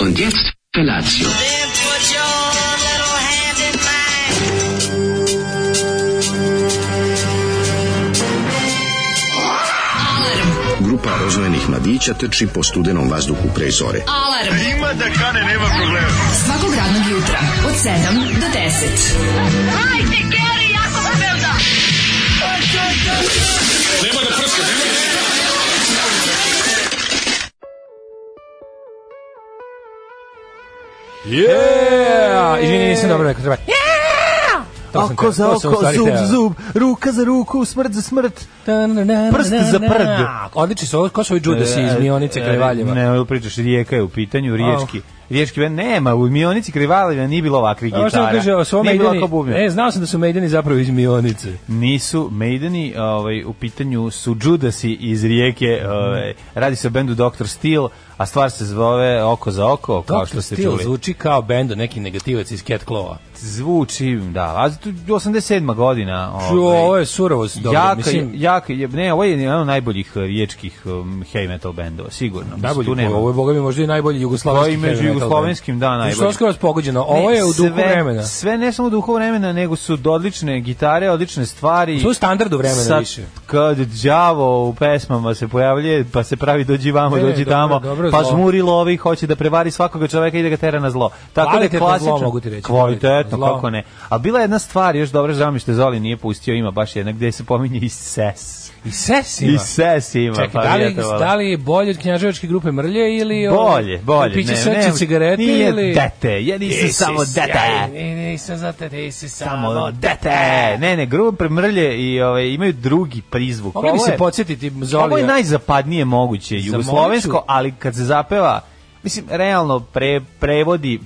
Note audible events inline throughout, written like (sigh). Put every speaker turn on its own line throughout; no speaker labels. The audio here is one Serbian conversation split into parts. Und jetzt Felatio.
Then put your little hand in mine.
Grupa rozvojenih mladića teči po studenom vazduhu pre zore.
Alarm. Ima da kane, nema problema. Svakog radnog jutra, od 7 do 10.
Yeah! Izvini, nisam dobro rekao, treba. Yeah! To sam,
Oko za
to sam u
oko,
stvari
zub
hteo.
za zub, ruka za ruku, smrt za smrt.
Prst
za prd.
Odlični su ovo, ko su ovi Judasi Pa iz Mionice kraj Valjeva?
E, Ne, ovo pričaš, rijeka je u pitanju, riječki. Riječki band nema, u Mionici Krivaljeva nije bilo ovakvih
Ovo što
gitara.
vam kaže, ovo su E, ovo
Nije bilo
Maideni,
ovako bubnja.
ne, znao sam da su Maideni zapravo iz Mionice.
Nisu Maideni, ovaj, u pitanju su Judasi iz rijeke,
Mhm.
ovaj, radi se o bendu Dr. Steel, a stvar se zove Oko za oko, kao što
Dr.
ste
Steel
čuli.
zvuči kao bendo, neki negativac iz Cat Claw-a.
Zvuči, da, a tu 87. godina.
Ču,
ovaj,
Ovo je surovost, dobro,
jaka,
mislim...
jaka, je- ne, ovo je jedan od najboljih eh, riječkih um, heavy metal bendova, sigurno. Mislim, tu
Najbolji,
nema.
ovo je, boga mi, možda i najbolji
Pa
jugoslovenski
i među
heavy metal
jugoslovenskim, da,
band.
najbolji.
Što skoro pogođeno, ovo je u duhu
sve,
vremena.
Sve ne samo u duhu vremena, nego su odlične gitare, odlične stvari.
To je u standardu vremena
Sad,
više.
Kad đavo u pesmama se pojavljuje, pa se pravi dođi vamo,
Ne,
dođi
E, dobro,
tamo,
dobro
pa
zlo.
žmuri lovi, hoće da prevari svakoga čoveka i da ga tera na zlo. Tako da je
Kvalitetno
klasično.
zlo, mogu ti reći,
Kvalitetno,
kvalitetno zlo.
kako ne. A bila je jedna stvar, još dobro, žao mi što Zoli nije pustio, ima baš jedna gde se pominje i ses.
I ses ima.
I ses ima. pa
Čekaj, da li,
vjetovalo.
da li je bolje od knjaževačke grupe Mrlje ili... ovo,
Bolje, bolje.
Piće
ne,
srce,
ne,
cigarete
nije
ili...
dete, ja nisam samo dete.
Ne, nisam za te, nisi
Samo dete. Ne, ne, grubo premrlje i ovaj, imaju drugi prizvuk.
Mogli bi
Ovo
se
je-
podsjetiti Zolija.
Ovo je najzapadnije moguće jugoslovensko, ali kad se zapeva, mislim, realno pre, prevodi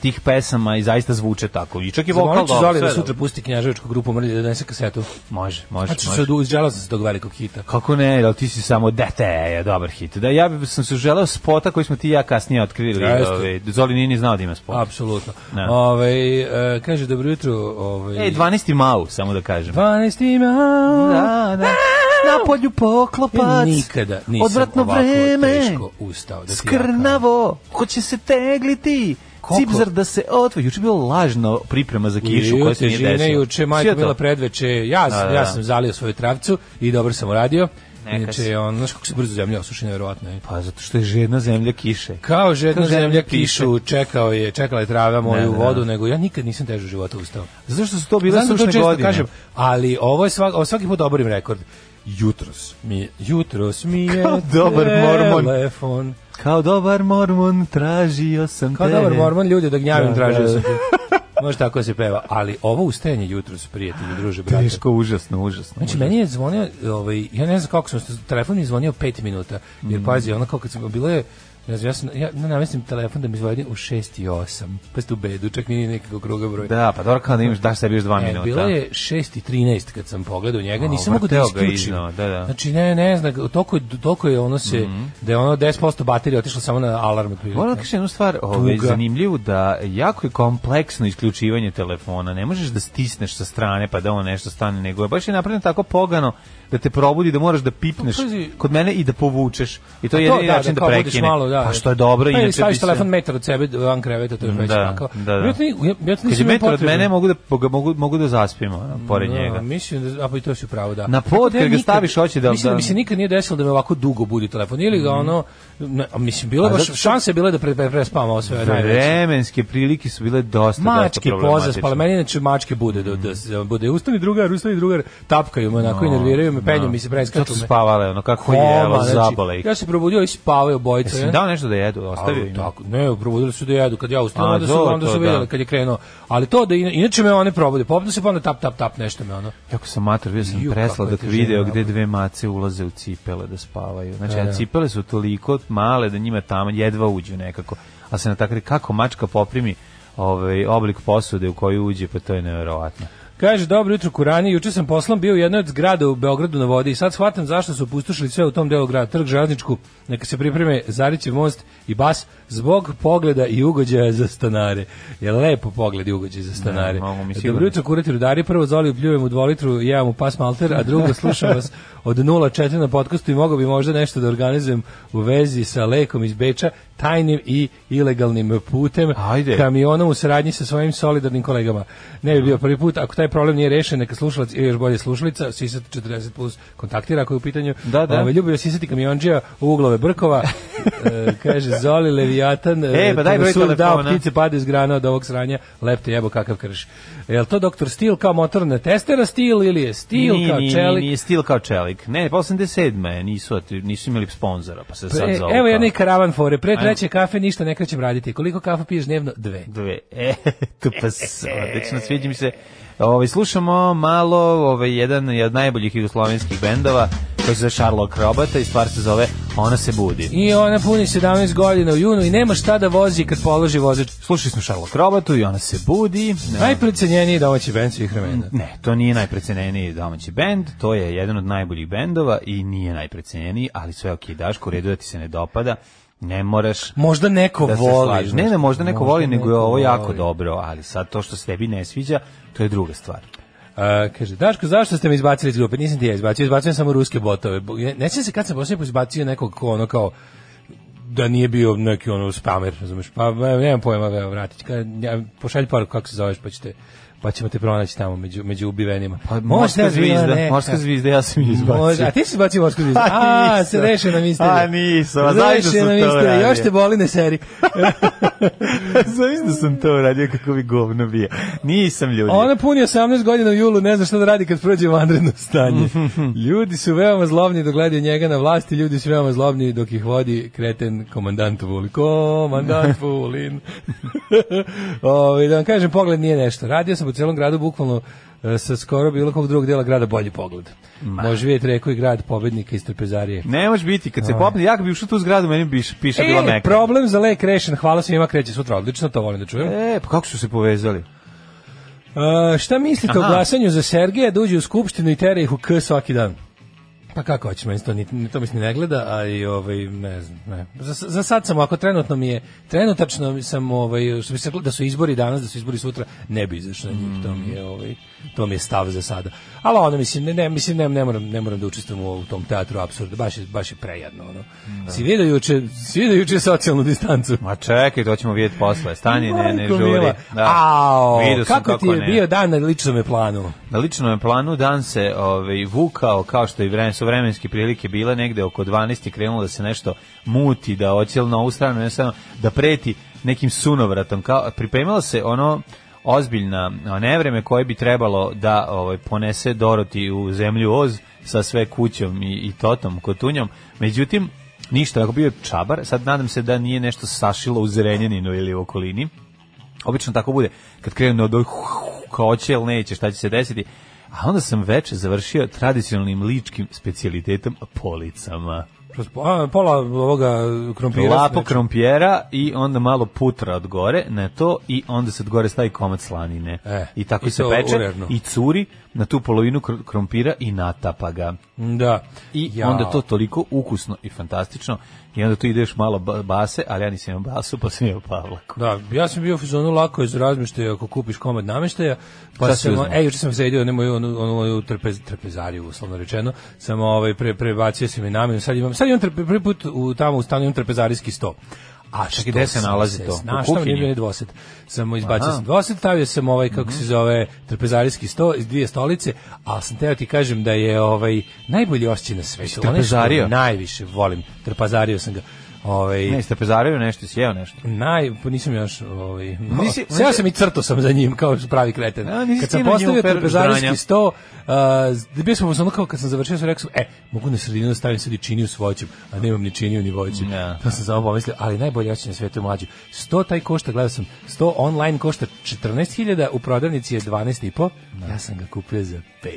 tih pesama i zaista zvuče tako. I čak i vokal
Zamolit ću
dobro.
Zolija da
sve
sutra
dobro.
pusti knjaževačku grupu Mrlje da donese kasetu.
Može, može,
Znači,
može.
se uzđalo sam se tog velikog hita.
Kako ne, ali ti si samo dete, je dobar hit. Da, ja bi sam se želeo spota koji smo ti i ja kasnije otkrili.
Jeste.
Ovaj, Zoli nije ni znao da ima spota.
Apsolutno.
Ne.
Ovaj e, kaže, dobro jutro. Ovaj
E, 12. mau, samo da kažem.
12. ima.
Da, da. Na polju
Ja
poklopac.
nikada nisam
Odvratno
ovako
vreme.
teško ustao. Da ti ja
Skrnavo, ko će se tegliti?
Koliko?
Cipzar da se otvori. Juče je bilo lažno priprema za kišu
Ju,
koja se nije
težine,
desila.
Juče
Sve
majka
to.
bila predveče, ja, sam-
Da, da,
ja
da.
sam zalio svoju travcu i dobro sam uradio.
Neka si.
Inače, on, znaš kako se brzo zemlja osuši, nevjerovatno je.
Pa zato što je žedna zemlja kiše.
Kao žedna
Kao žedna
zemlja
piše.
kišu, čekao je, čekala je trava moju
da,
vodu, nego ja nikad nisam teže u životu ustao.
Zato što su to bile
Znam da to
sušne
često
godine.
kažem, ali ovo je svak, ovo svaki put oborim rekord. Jutros mi je, jutros mi je
Kao dobar mormon.
telefon.
Kao dobar mormon tražio sam
Kao
te.
dobar mormon, ljudi, da gnjavim
Da,
tražio
da.
sam. te. Može tako da se peva, ali ovo ustajanje jutros, prijatelji, druže, brate.
Teško, užasno, užasno.
Znači,
užasno.
meni je zvonio, ovaj, ja ne znam kako sam, telefon mi je zvonio 5 minuta,
Mm.
jer pazi, ono kao kad sam, bilo je, ne znam, ja, sam, ja namestim telefon da mi zvoni u 6 i 8, pa ste u bedu, čak nije nekako kruga broja.
Da, pa dobro kao da imaš, daš sebi još dva
E,
minuta.
bilo je 6 i 13 kad sam pogledao njega,
A,
nisam mogao da
vrteo ga
isključim.
iznova, da, da.
Znači, ne, ne znam, toliko, je- toliko je ono se, da je ono 10% baterije otišlo samo na alarm. otprilike.
Moram da kažem jednu stvar, ovaj,
Tuga.
zanimljivu, da jako je kompleksno isključivanje telefona. Ne možeš da stisneš sa strane pa da on nešto stane, nego je baš je napravljeno tako pogano da te probudi, da moraš da pipneš
Pa, pazi.
kod mene i da povučeš. I to je
Pa
jedini način da,
kao budeš
prekine.
Malo, da.
Pa što je dobro,
pa,
inače
inače
bi
staviš
se- Mm,
telefon metar od sebe van kreveta, to je već
Da,
tako.
da, da.
Ja to ni- ja- ja to
Kad je
nisam imao
metar od
potrebu.
mene, mogu da, ga- mogu, mogu da zaspim ono, pored njega.
Mislim da, a pa i to si pravo, da.
Na pod,
Tako da ja
kad ga
nikad-
staviš, hoće da-
Mislim da
da- Mhm.
mi se nikad nije desilo da me ovako dugo budi telefon. Ili ga ono, ne, a mislim, bilo je baš,
zato-
šanse bile da pre, pre, prespam ovo sve najveće.
Vremenske prilike su bile dosta,
Mačke
dosta
pozaspale,
problematične.
meni inače mačke bude, da, da, da bude ustani drugar, ustani drugar, tapkaju me onako i nerviraju me, penju mi se preskaču
Zato
me.
spavale, ono, kako
Koma,
je, evo,
znači,
zabole ih.
Ja se probudio i spavaju bojica.
Jesi im dao nešto da jedu, ostavio
Ali
im?
Tako, ne, probudili su da jedu kad ja ustanem,
A,
onda su
to,
onda
to,
su videli
da.
kad je krenuo. Ali to da ina- inače me one probude. Popnu se pa onda tap tap tap nešto me ono.
Jako sam mater, bio sam
Ju,
presladak
kakva je težina,
video
ono.
gde dve mace ulaze u cipele da spavaju. Znači,
Da, da.
a cipele su toliko male da njima tamo jedva uđu nekako. Ali se natakli kako mačka poprimi ovaj oblik posude u koju uđe, pa to je neverovatno.
Kaže, dobro jutro, Kurani, juče sam poslom bio u jednoj od zgrada u Beogradu na vodi i sad shvatam zašto su opustošili sve u tom delu grada, trg Žazničku, neka se pripreme Zarićev most i bas zbog pogleda i ugođaja za stanare. Je lepo pogled i ugođaj za stanare.
Ne, malo mi sigurno.
dobro jutro, kurati rudari, prvo zoli pljujem u dvolitru, jevam u pas malter, a drugo slušam vas od 0.4 na podcastu i mogao bi možda nešto da organizujem u vezi sa lekom iz Beča, tajnim i ilegalnim putem,
Ajde.
kamionom u saradnji sa svojim solidarnim kolegama. Ne bi bio prvi put, ako taj problem nije rešen, neka slušalac ili još bolje slušalica, Sisat 40 plus kontaktira ako je u pitanju.
Da, da.
Ove, ljubio Sisati kamionđija u uglove
(laughs)
Brkova, E, kaže Zoli Leviatan,
E, pa daj broj
Tursul dao
telefona.
ptice pade iz grana od ovog sranja, lepte jebo kakav krš. Jel to doktor Stil kao motorna testera Stil ili je Stil
Ni,
kao
ni, ni,
čelik?
Nije stil kao čelik. Ne, pa 87. je, nisu, nisu imali sponzora, pa se sad
E,
zovu.
evo
kao-
jedne karavan fore, pre
Ajmo.
treće kafe ništa ne krećem raditi. Koliko kafa piješ dnevno? Dve.
Dve. E, (laughs) tu pa s- odlično, sviđa mi se. Ovaj, slušamo malo ovaj, jedan je od najboljih jugoslovenskih bendova, koji se zove Charlotte Krobata i stvar se zove Ona se budi.
I ona puni 17 godina u junu i nema šta da vozi kad položi vozač.
Slušali smo Charlotte Krobatu i Ona se budi. Ne,
Najprecenjeniji domaći band svih vremena.
ne, to nije najprecenjeniji domaći bend, to je jedan od najboljih bendova i nije najprecenjeniji, ali sve ok, Daško, u redu da ti se ne dopada, ne moraš...
Možda neko
da se
voli.
slažeš. Ne, ne, možda neko voli, nego je
neko
ovo jako
voli.
dobro, ali sad to što se tebi ne sviđa, to je druga stvar.
A, E, kaže, Daško, zašto ste me izbacili iz grupe? Nisam ti ja izbacio, izbacio sam samo ruske botove. Bo- Ne, ne sjećam se kad sam posljednji put izbacio nekog ko ono kao da nije bio neki ono spamer, razumeš? Pa ba, nemam pojma, evo, vratić. Kad, ja, pošalj par kako se zoveš, pa ćete pa ćemo te pronaći tamo među, među ubivenima.
Pa
Možda
morska
je bila
zvizda,
neka-
morska zvizda, ja sam je izbacio.
Može, e,
(laughs)
a ti si bacio morsku zvizdu.
A,
A,
nisam.
se rešena misterija.
A, nisam, a zašto sam
Rešena
to
misterija,
uradio?
Još te boli ne
(laughs)
seri.
Zavis da sam to uradio kako bi govno bio. Nisam ljudi.
Ona puni 18 godina u julu, ne zna šta da radi kad prođe u vanredno
(laughs)
stanje. Ljudi su veoma zlobni dok gledaju njega na vlasti, ljudi su veoma zlobni dok ih vodi kreten komandant Vulin. Komandant Vulin. (laughs) Ove, da vam kažem, pogled nije nešto. Radio sam po celom gradu bukvalno e, sa skoro bilo kog drugog dela grada bolji pogled. Može vidjeti reku i grad pobednika iz Trpezarije.
Ne može biti, kad se popne, ja kad bi ušao u tu zgradu, meni bi piše bila
E,
meka.
problem za lek rešen, hvala svima, kreće sutra, odlično, to volim da čujem.
E, pa kako su se povezali?
E, šta mislite o
Aha.
glasanju za Sergeja da uđe u skupštinu i tera ih u K svaki dan? Pa kako hoćeš, meni se to, ni, to mi se ni ne gleda, a i ovaj, ne znam, ne. Za, za sad sam, ako trenutno mi je, trenutačno sam, ovaj, što bi se reklo, da su izbori danas, da su izbori sutra, ne bi izašao na
Mm.
njih, to mi je, ovaj, to mi je stav za sada. Ali ono, mislim, ne, ne, mislim, ne, ne, moram, ne moram da učestvujem u, u tom teatru apsurda, baš je, baš je prejadno, ono. Si vidio juče, si vidio juče socijalnu distancu?
Ma čekaj, to ćemo vidjeti posle. Stani, ne, ne
Majko
žuri.
mila. Au,
Vidio sam
kako, ti je
ne.
bio dan na ličnom planu?
Na ličnom planu dan se ovaj, vukao, kao što i vremen, su vremenske prilike bile, negde oko 12 je krenulo da se nešto muti, da oćel na ovu stranu, ne samo da preti nekim sunovratom. Kao, pripremilo se ono ozbiljna a, nevreme koje bi trebalo da ovaj, ponese Doroti u zemlju Oz sa sve kućom i, i totom, kotunjom. Međutim, ništa, ako bio je čabar, sad nadam se da nije nešto sašilo u Zrenjaninu ili u okolini obično tako bude, kad krenu od ovih kao oće ili neće, šta će se desiti, a onda sam veče završio tradicionalnim ličkim specijalitetom policama.
Kroz po- a, pola ovoga krompira.
Lapo
znači.
krompjera i onda malo putra od gore na to i onda se od gore stavi komad slanine.
E,
I tako
i
se
to
peče
uredno.
i curi na tu polovinu kr- krompira i natapa ga.
Da.
I
Jao.
onda to toliko ukusno i fantastično i onda tu ide još malo ba- base, ali ja nisam imao basu, pa sam imao Pavlaku.
Da, ja sam bio u fazonu lako je za razmeštaj ako kupiš komad nameštaja,
Šta
pa
si
sam,
uzmao?
ej, juče sam sredio onu moju, onu, onu moju trpez, trpezariju, uslovno rečeno, sam ovaj, pre, prebacio sam je namenu, sad imam, sad imam trpe, prvi put u, tamo u stanu imam trpezarijski sto. A
Čekaj,
što
gde se
sam
nalazi to? U
Znaš šta mi
kuhinji?
nije bio dvosed. Sam izbacio
Aha. Mhm.
sam dvosed, stavio sam ovaj, kako se zove, trpezarijski sto iz dvije stolice, ali sam teo ti kažem da je ovaj, najbolji osjećaj na svetu. Onaj što
trpezario?
Najviše volim. Trpezario sam ga. Ovaj,
Ne, ste pezaraju nešto, sjeo nešto.
Naj, pa nisam još, ovaj, no,
Nisi-
seo sam i crto sam za njim kao pravi kreten.
A, nisi
kad
ti
sam
na njemu
postavio
peru
trpezarijski
zdranja.
sto, uh, bio sam ono kao kad sam završio, sam rekao sam, e, mogu na sredinu da stavim sad i činiju s voćem, a nemam ni činiju ni voće.
Ne.
To sam samo pomislio, ali najbolje osjećaj na svetu je mlađu. Sto taj košta, gledao sam, sto online košta 14.000, u prodavnici je 12.5, ja sam ga kupio za 5.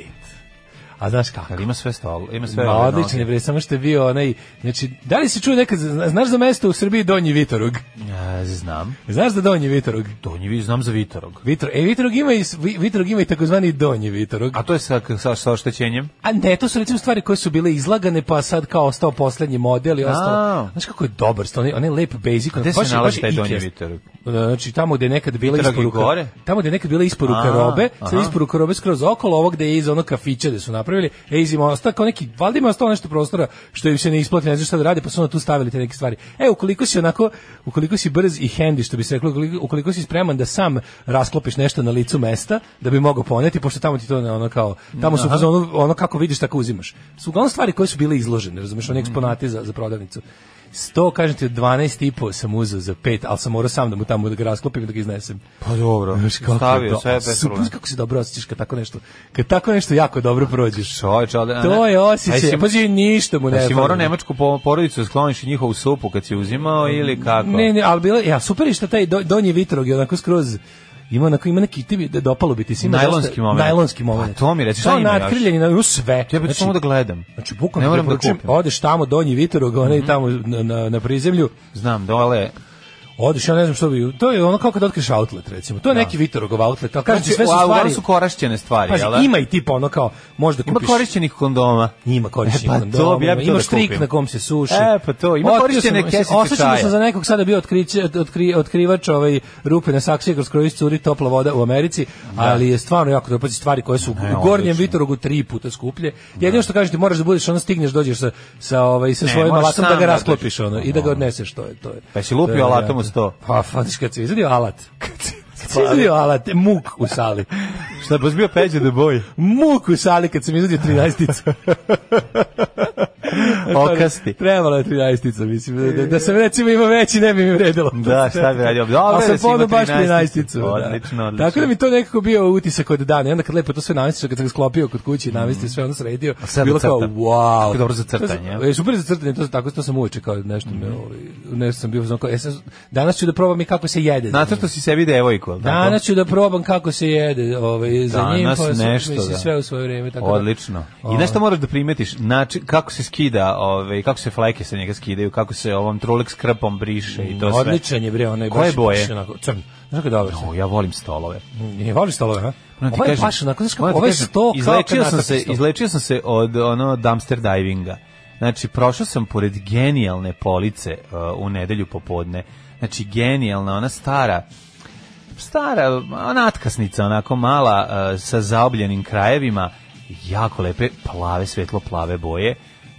A znaš kako?
Ali ima sve stol, ima sve
Ma,
ove
odličan je
noge.
bre, samo što je bio onaj, znači, da li si čuo nekad, zna- znaš za mesto u Srbiji Donji Vitorog?
Ja, znam.
Znaš za Donji Vitorog?
Donji vi znam za Vitorog.
Vitro, e, Vitorog ima i, s- Vi- Vitorog ima i takozvani Donji Vitorog.
A to je sa, sa, sa oštećenjem?
A ne, to su recimo stvari koje su bile izlagane, pa sad kao ostao poslednji model i ostalo.
A.
Znaš kako je dobar, sto, onaj, onaj lep basic.
Gde
baš
se
je- baš
nalazi
je
taj donji
Ikea.
Vitorog?
Znači tamo gde je nekad bila
Vitorog i
isporuka,
gore?
tamo gde je nekad bila isporuka
A,
robe, sad
aha.
isporuka robe skroz okolo, ovo gde je iz onog kafića gde su napravili, e iz ima ostao kao neki, valjda ima ostao nešto prostora što im se ne isplati, ne znam šta da rade, pa su onda tu stavili te neke stvari. E, ukoliko si onako, ukoliko si brz i handy, što bi se reklo, ukoliko, ukoliko si spreman da sam rasklopiš nešto na licu mesta, da bi mogao poneti, pošto tamo ti to ne, ono kao, tamo su u fazonu, ono kako vidiš, tako uzimaš. Su uglavnom stvari koje su bile izložene, razumeš, oni eksponati za, za prodavnicu. 100, kažem ti, od 12 i po sam uzeo za 5, ali sam morao sam da mu tamo da ga rasklopim i da ga iznesem.
Pa dobro,
Znaš kako je
stavio
do-
sve bez
super,
problema.
kako se dobro osjećaš kad tako nešto, kad tako nešto jako dobro prođeš.
Čoveč, ali...
To je
Aj, si-
osjećaj, pazi, ništa mu ne
Jesi morao
fali.
nemačku po- porodicu skloniš i njihovu supu kad si uzimao ili kako?
Ne, ne, ali bilo, ja, super je što taj do- donji vitrog je onako skroz ima onako ima neki ti bi da dopalo bi ti se ima dosta-
Najlonski moment.
Najlonski moment.
Pa to mi reci, šta
To
ima još?
natkriljenje na u sve.
Ja bih samo da gledam.
Znači,
Ne
bukvalno
moram da
preporučujem,
kupim. Mhm.
odeš tamo, Donji Vitorog, onaj tamo na, na, na prizemlju,
Znam, dole.
odeš, ja ne znam što bi, to je ono kao kad otkriš outlet, recimo, to je neki Vitorogov outlet, ali kažem ti,
Znači,
sve su
a,
stvari,
uglavnom su korašćene stvari, jel? da?
pazi, ima i tipa ono kao, možda
Ima
kupiš,
korišćenih kondoma.
Ima korišćenje
E, pa
kondoma,
to bi ja bi to
ima
da
štrik
kupim.
na kom se suši.
E, pa to, ima
Otkrio
korišćene
sam-
kesice
osjećao
čaja.
sam za nekog sada bio otkriće, otkri, otkrivač ovaj, rupe na saksiji kroz krović curi topla voda u Americi, ali je stvarno jako dobro, pazi, stvari koje su u gornjem
odlično.
Vitorogu tri puta skuplje. Jedino što kažete, moraš da budeš, ono stigneš, dođeš sa, sa, ovaj, sa
Ne,
svojim
moraš
alatom
sam
da ga
da
rasklopiš
dođeš.
ono, i da ga
Ono.
odneseš, to je. To je
Pa si lupio
to je
alatom
varijanta.
uz to?
Pa, fadiš, kad si izvedio alat, kad si kad si izvedio alat, muk u sali.
Šta, baš bio peđe da boji?
Muk u sali kad sam Znači, izvedio
(laughs)
13
Okasti.
Trebalo je 13-ica, mislim. Da, da, da sam recimo imao veći, ne bi mi vredilo.
Da, šta bi radio? Dobro
Ali
je
sam
da si imao
ponao baš 13-icu.
13-icu.
da.
Odlično, odlično.
Tako da mi to nekako bio utisak od dana. I onda kad lepo to sve namestio, kad sam ga sklopio kod kuće i namestio sve, onda sredio,
sad
bilo
Mm. za
kao,
crtanje.
wow.
Kako dobro za crtanje, Mm.
To sam-
a?
E, super za crtanje, to, sam- tako to sam uveče kao nešto me, ovaj, nešto sam bio, znam kao, e, sad, danas ću da probam i kako se jede.
Znate što si sebi devojku, jel tako?
Danas ću da probam kako se jede ovaj, za njim,
Danas
pa sam,
nešto,
mislim,
da.
sve u svoje vreme. Tako da-
Odlično. I nešto moraš da primetiš, način kako se skida, ovaj kako se fleke sa njega skidaju, kako se ovom Trulex krpom briše i to sve.
Odličan je bre, onaj
Koje
baš-
boje?
baš onako crn. Znaš kako je dobar?
O, ja volim stolove.
Ne voliš stolove, ha?
Moram Ono ti
Ovo je
kažem-
baš Ovaj onako, znaš
moram
kako,
ti
ovo je
kažem,
sto kao
izlečio sam se,
sto.
izlečio sam se od ono dumpster divinga. Znači, prošao sam pored genijalne police uh, u nedelju popodne. Znači, genijalna, ona stara stara natkasnica, onako mala, eh, sa zaobljenim krajevima, jako lepe, plave, svetlo plave boje,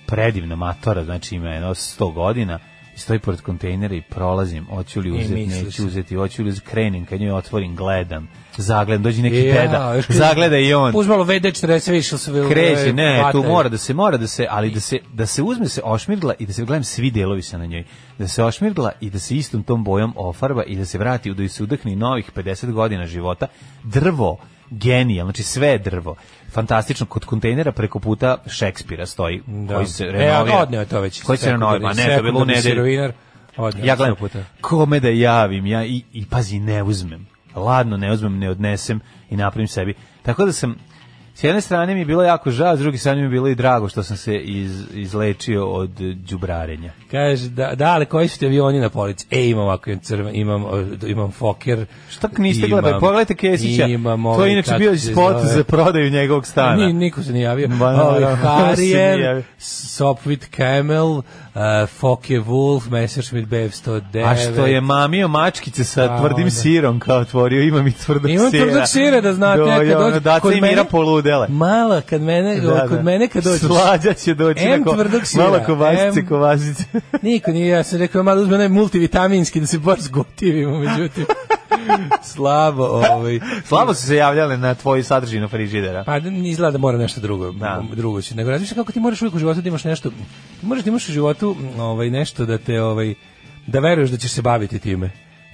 predivna matora, znači ima jedno 100 godina, i stoji pored kontejnera i prolazim, hoću li uzeti,
E, misliš.
neću uzeti, hoću li uzeti, krenim, kad njoj otvorim, gledam, zagledam, dođe neki
Ja,
deda,
još kad-
zagleda i on,
Uzmalo VD40 više, ali se ve-
kreće, ne, tu
hvataju.
mora da se mora da se, ali da se da se uzme se ošmirgla i da se gledam svi delovi se na njoj. Da se ošmirgla i da se istom tom bojom ofarba i da se vrati u da se udahni novih 50 godina života. Drvo genijalno, znači sve je drvo. Fantastično, kod kontejnera preko puta Šekspira stoji,
Da.
koji se
E,
renovira.
a odneo je to već.
Koji se
sekundarni-
renovira, ma ne, to je bilo u
sekundarni
nedelju.
sirovinar, odneo
Ja
je
gledam,
sto puta.
kome da javim, ja i, i pazi, ne uzmem. Ladno ne uzmem, ne odnesem i napravim sebi. Tako da sam, s jedne strane mi je bilo jako žao, s druge strane mi je bilo i drago što sam se iz, izlečio od eh, đubrarenja.
Kaže, da, da, ali koji su ti avioni na polici? E, imam ovako, imam crven, imam, o, imam foker.
Šta niste
imam-
gledali? Pogledajte Kesića.
imam
to
ovaj,
je inače
kako
bio
se
spot
zove.
za prodaju njegovog stana.
Ni, niko se nije javio.
Pa Ba,
Ovaj,
naravno, (laughs) se nije
Harrier,
javio.
Sopwith Camel, uh, Focke Wolf, Messerschmitt BF-109.
A što je mamio mačkice sa
A,
tvrdim
onda.
sirom kao otvorio, imam i tvrdog
Imam
sira.
tvrdog sira, da znate,
Do,
kad
kad
dođe- kod
i mira
mene-
poludele.
Mala, kad mene, kod mene kad dođeš.
Slađa će doći.
M
na ko-
tvrdog sira,
Malo kovačice,
M- (laughs)
kovačice.
Niko nije, ja sam rekao, malo uzme onaj multivitaminski da se baš zgotivimo,
(laughs)
međutim. Slabo, ovaj.
Slabo su se javljale na tvoju sadržinu frižidera.
Pa izgleda da mora nešto drugo,
Da.
drugo će. Nego razmišljam kako ti moraš uvijek u životu da imaš nešto, ti moraš da imaš u životu m, ovaj, nešto da te, ovaj, da veruješ da ćeš se baviti time.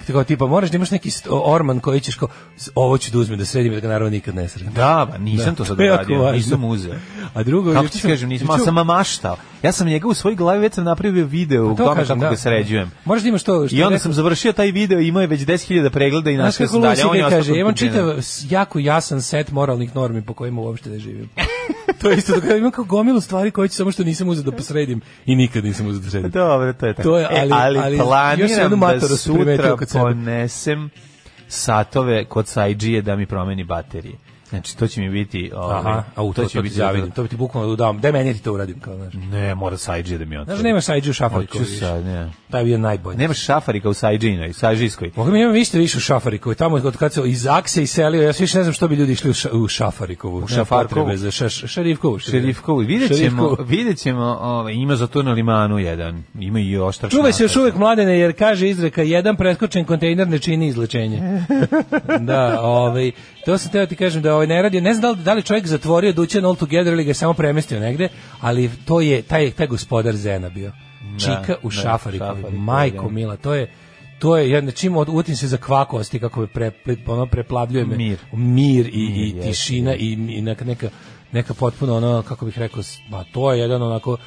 Tako tipa, moraš da imaš neki st- orman koji ćeš kao, "S- ovo ću da uzmem, da sredim, i da ga naravno nikad ne sredim.
Da, ba, nisam to sad
To je Pa jako
uradio,
važno.
nisam uzeo.
A drugo,
Kako
juče
ti
sam-
kažem, nisam, ali
juče-
sam maštao. Ja sam njega u svojoj glavi već sam napravio video u
Pa To
tome
kažem,
kako
da.
ga sređujem.
Moraš da imaš to što
I
je
onda
rekao-
sam završio taj video i imao je već 10.000 pregleda i
Znaš
našao
kako
sam
Lucy
dalje. a On
Gay
je ostao
kaže,
kod
imam
kontejnera.
čitav s- jako jasan set moralnih normi po kojima uopšte ne živim. (laughs) to je isto da imam kao gomilu stvari koje ću samo što nisam uzeo da posredim i nikad nisam uzeo da sredim.
Dobro, to je tako.
To je,
E,
ali- ali još jednu
planiram da
matoru sam
sutra
primetio kod sebe.
ponesem satove kod Saidžije da mi promeni baterije. Znači, to će mi biti... ovaj,
Aha, a u to,
će
će
mi
biti zavidim. To bi ti bukvalno dao, daj meni ti to uradim kao, znaš.
Ne, mora Saidžije da mi otvori.
Znaš, nema sajđu u šafariku.
Hoću sad, ne.
Taj je bio najbolji.
Nemaš šafarika u Saidžinoj, Saidžijskoj.
Mogu mi imam više više u Šafarikovu, tamo od kad se iz Akse iselio, ja se više ne znam što bi ljudi išli u, ša, u Šafarikovu. U
Šafarkovu.
Za ša, ša- šerifkovu. šerif-
Šerifkovu, vidjet ćemo,
Šerifkovu.
vidjet ćemo ovaj, ima za to na limanu jedan, ima i oštar
Čuvaj se još
šnatar.
uvek mladene, jer kaže izreka, jedan preskočen kontejner ne čini
(laughs)
izlečenje. da, ovaj, to sam teo ti kažem da ovaj ne radi, ne znam da li, da li čovjek zatvorio dućan all together ili ga je samo premestio negde, ali to je, taj, taj gospodar Zena bio. Čika u
da,
Šafarikovu,
Šafarikovu,
majko
da.
mila, to je to je jedna čim od utim se za kvakosti kako je pre, pre- ono preplavljuje me
Mir.
mir i, i
Mm, jeste,
tišina i, i neka, neka, neka potpuno ono, kako bih rekao, s- ma to je jedan onako,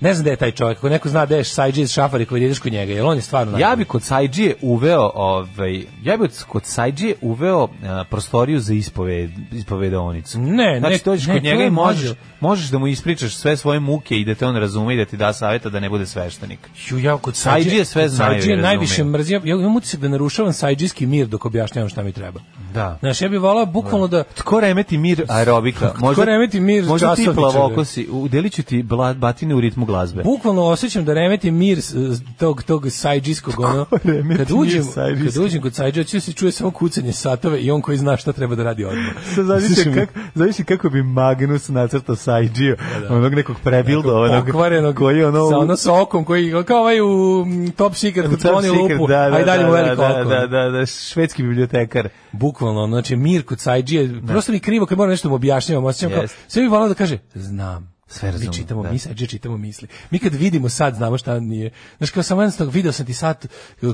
ne znam gde je taj čovjek, ako neko zna gde je Sajđi iz Šafari koji ideš kod njega, jer on je stvarno
Ja
najbolji.
bi kod Sajđije uveo, ovaj, ja bi kod Sajđije uveo a, prostoriju za ispoved, ispovedonicu.
Ne,
znači,
ne,
dođeš
ne,
kod
to
njega
je
i možeš,
mlađo.
možeš da mu ispričaš sve svoje muke i da te on razume i da ti da savjeta da ne bude sveštenik.
Ju, ja kod
Sajđije sve
kod
znaju i
Sajđije
razumeju.
najviše mrzim, ja imam utisak da narušavam sajđijski mir dok objašnjavam šta mi treba.
Da.
Znaš, ja bih volao bukvalno da,
Tko remeti mir aerobika? Možda,
remeti mir
možda ti
časovničara?
plavokosi, udelit ću ti bla- batine u ritmu glazbe.
bukvalno osjećam da remeti mir s- s- tog tog sajđijskog ono
remeti
kad
mir
uđem
sajđijskog?
kad uđem kod sajđija će se čuje samo kucanje satove i on koji zna šta treba da radi odmah
(laughs) Sad
Slušaj
zamisli
me,
kak, zamisli kako bi Magnus nacrtao Sajdžiju, onog nekog prebildovanog,
pokvarenog
koji je ono...
sa ono sa okom koji kao ovaj u mm, Top Secret
u
kad
Top
oni
Secret,
lupu
da, da,
a i dalje
da,
mu veliko
da,
oko
da, da, da, švedski bibliotekar.
bukvalno ono, znači mir kod sajđije prosto mi je krivo kad moram nešto da mu objašnjavam osjećam kao
Jest.
sve bi volao da kaže znam
Sve razumem,
mi čitamo
da.
misli, sajđije čitamo misli. Mi kad vidimo sad, znamo šta nije. Znaš, kao sam jednostavno, video sam ti sad,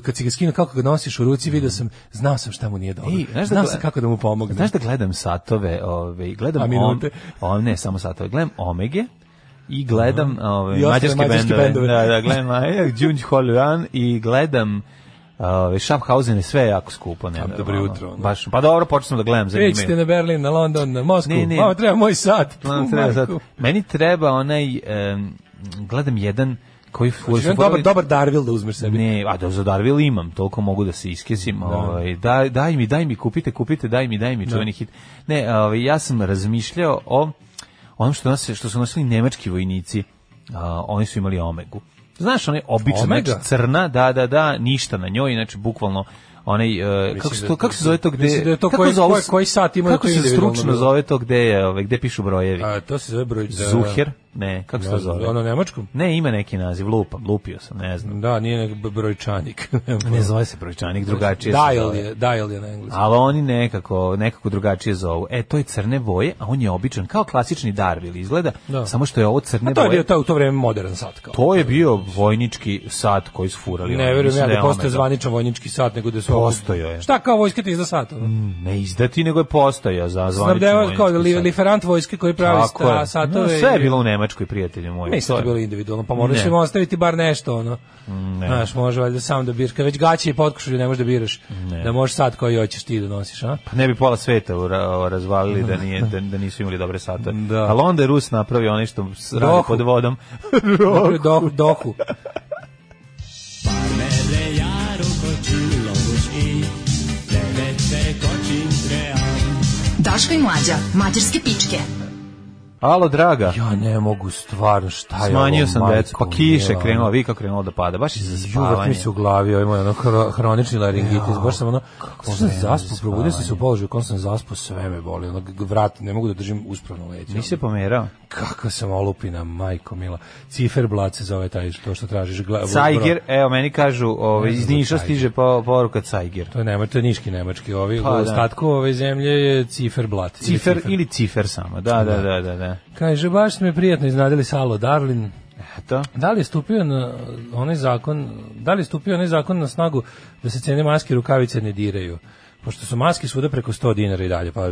kad si ga skinuo, kako ga nosiš u ruci, video sam, znao sam šta mu nije dobro.
I, znaš da
znao
gle-
sam kako da mu pomognem.
Znaš da gledam satove, ove, gledam...
A minute?
Om, o, ne, samo satove, gledam Omege, i gledam ove,
I ostale
mađarske,
mađarske
bendove.
bendove.
Da, da, gledam Maja, Đunđ Holjan i gledam Ove, Schaffhausen je sve jako skupo, ne.
dobro
ono,
jutro, ono.
Baš, pa dobro, počeo sam da gledam, zanimljivo.
Vidite na Berlin, na London, na Moskvu.
Ne, ne.
Mama, treba moj sat. Znači,
Ono
Tu,
treba sad-
majku.
Meni treba onaj, em, gledam jedan koji koji su
Jedan dobar,
furali-
dobar Darvil da uzmeš sebi.
Ne, a da za Darvil imam, toliko mogu da se iskesim. Ovaj, daj, daj mi, daj mi, kupite, kupite, daj mi, daj mi, čuveni hit. Ne, ovaj, ja sam razmišljao o onom što, nose, što su nosili nemački vojnici. A, oni su imali omegu. Znaš, onaj običan,
Omega?
znači crna, da, da, da, ništa na njoj, znači bukvalno onaj e, kako se
da
to
je to-
kako se zove to gde
mislim da je to
kako
koji-
zovu-
koji- koji sat ima da
kako
to
se
individualno
stručno
bilo?
zove to gde je ovaj gde pišu brojevi
A, to se zove broj... Da,
Zuher ne kako se
Ne
to
znam,
zove
Ono nemačkom?
ne ima neki naziv lupam lupio sam ne znam
Da, nije nek b-
(laughs)
brojčanik.
ne zove se brojčanik drugačije se
Dial
Znači, zove.
je, dial je na engleskom.
ali oni nekako, nekako drugačije zovu. E, to je crne boje, a on je običan, kao klasični Darvil izgleda,
Da.
samo što je ovo crne
A to je bio
boje.
to, u to vreme modern sat kao.
To je bio vojnički sat koji su furali.
ne
oni.
verujem
Mislim
ja da
je ono-
postoje
omega.
zvaničan vojnički sat, nego da je svako...
Postojao je.
Šta kao vojska ti izda sat? ono?
Ne izdati, nego je postojao za zvanični
Snabdeva
vojnički
kao li,
sat.
liferant vojske koji pravi
Tako
sta,
je.
satove.
No, sve je
i-
bilo u Nemačkoj, prijatelju moji.
Mislim da je
To je-
bilo individualno, pa moraš
Ne.
im ostaviti bar nešto, ono. Znaš, može valjda sam da biraš. Kad već gaće i potkošulju ne možeš da biraš, da možeš sad koji hoćeš ti da nosiš,
(laughs)
a?
Pa ne bi pola sveta ura- razvalili da, nije, da, da nisu imali dobre sate.
Da.
Ali onda je Rus napravio ono što s- radi
Dohu.
pod
(laughs)
vodom.
Dobro, dohu. dohu.
Daško i mlađa, mađarske pičke.
Alo, draga.
Ja ne mogu stvarno, šta je
Smanjio
ovo,
sam
majko
decu, pa kiše
mila,
krenulo, vi kako krenulo da pada, baš i za
Juvrat mi
spavanje.
se u glavi, ovo ima ono hro- hronični laringitis, baš sam ono, kako sam
vreme za
zaspao, probudio sam se u
spavanje.
položaju, kako sam zaspao, sve me boli, ono, g- vrat, ne mogu da držim uspravno leđe.
Nisi se pomerao?
Kakva sam olupina, majko mila. Ciferblat se zove taj, to što tražiš. Gla,
Cajger, evo meni kažu, ovaj, iz Niša stiže po, poruka Cajger.
To je nema, to je niški nemački, ovi
Pa,
pa,
da.
u ostatku ove zemlje je ciferblat. ili
Cifer ili cifer samo, da, da, da, da. da.
Kaže, baš ste me prijatno iznadili Salo Darlin.
Eto.
Da li je stupio na onaj zakon, da li je stupio onaj zakon na snagu da se cene maske i rukavice ne diraju? Pošto su maske svuda preko 100 dinara i dalje, pa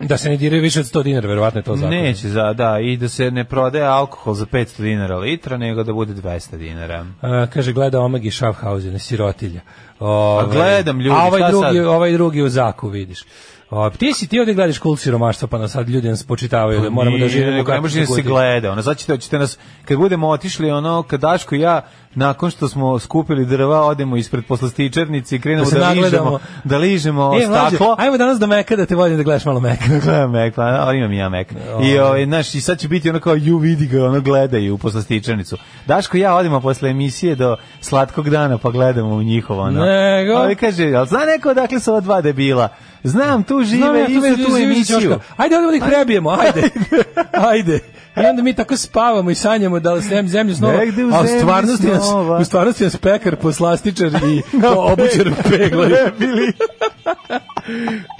da se ne diraju više od 100 dinara, verovatno je to zakon.
Neće, za, da, i da se ne prodaje alkohol za 500 dinara litra, nego da bude 200 dinara.
A, kaže, gleda Omeg i Schaffhausen, sirotilja. Ove,
gledam, ljudi,
a ovaj
šta
drugi,
sad?
Ovaj drugi u zaku, vidiš. O, ti si ti ovde gledaš kult siromaštva, pa nas sad ljudi nas spočitavaju da moramo da
Pa Nije,
živimo
nego
kako
ne može da se
godi.
gleda. Ono, znači, ćete nas, kad budemo otišli, ono, kad Daško i ja, nakon što smo skupili drva, odemo ispred poslastičarnice i krenemo
Da se
da, ližemo,
nagledamo.
da ližemo
E, mlađe,
ono staklo.
ajmo danas do Meka da te vodim da gledaš malo Meka.
Gledam Mac, pa, ali imam i ja Mac. I, ovaj, znaš, I sad će biti ono kao, ju vidi ga, ono gledaju posle stičanicu. Daško i ja odimo posle emisije do slatkog dana, pa gledamo u njihovo. Ono.
Nego?
Ovi kaže, jel zna neko odakle su ova dva debila? Znam, tu žive,
Znam ja, tu
isto
već
tu
živi
emisiju. (laughs)
Ćoška. Ajde, onda ih prebijemo, ajde. (laughs) Ajde. I onda mi tako spavamo i sanjamo da sem zemlju snova,
Negde u
a u
zemlji
stvarnosti nas,
snova.
u stvarnosti nas pekar, poslastičar (laughs) i obućar peglaju.
Debili.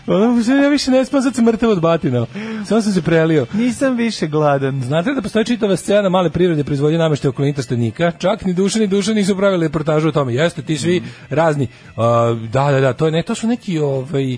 Ono, Ja više ne spam, sad sam mrtav od batina. Samo sam se prelio.
Nisam više gladan.
Znate da postoji čitava scena male privrede proizvodnje nameštaja oko Linta Stenika? Čak ni Duša ni Duša nisu pravili reportažu o tome. Jeste, ti
Mm.
svi razni. Uh, da, da, da, to, je ne, to su neki... Ovaj,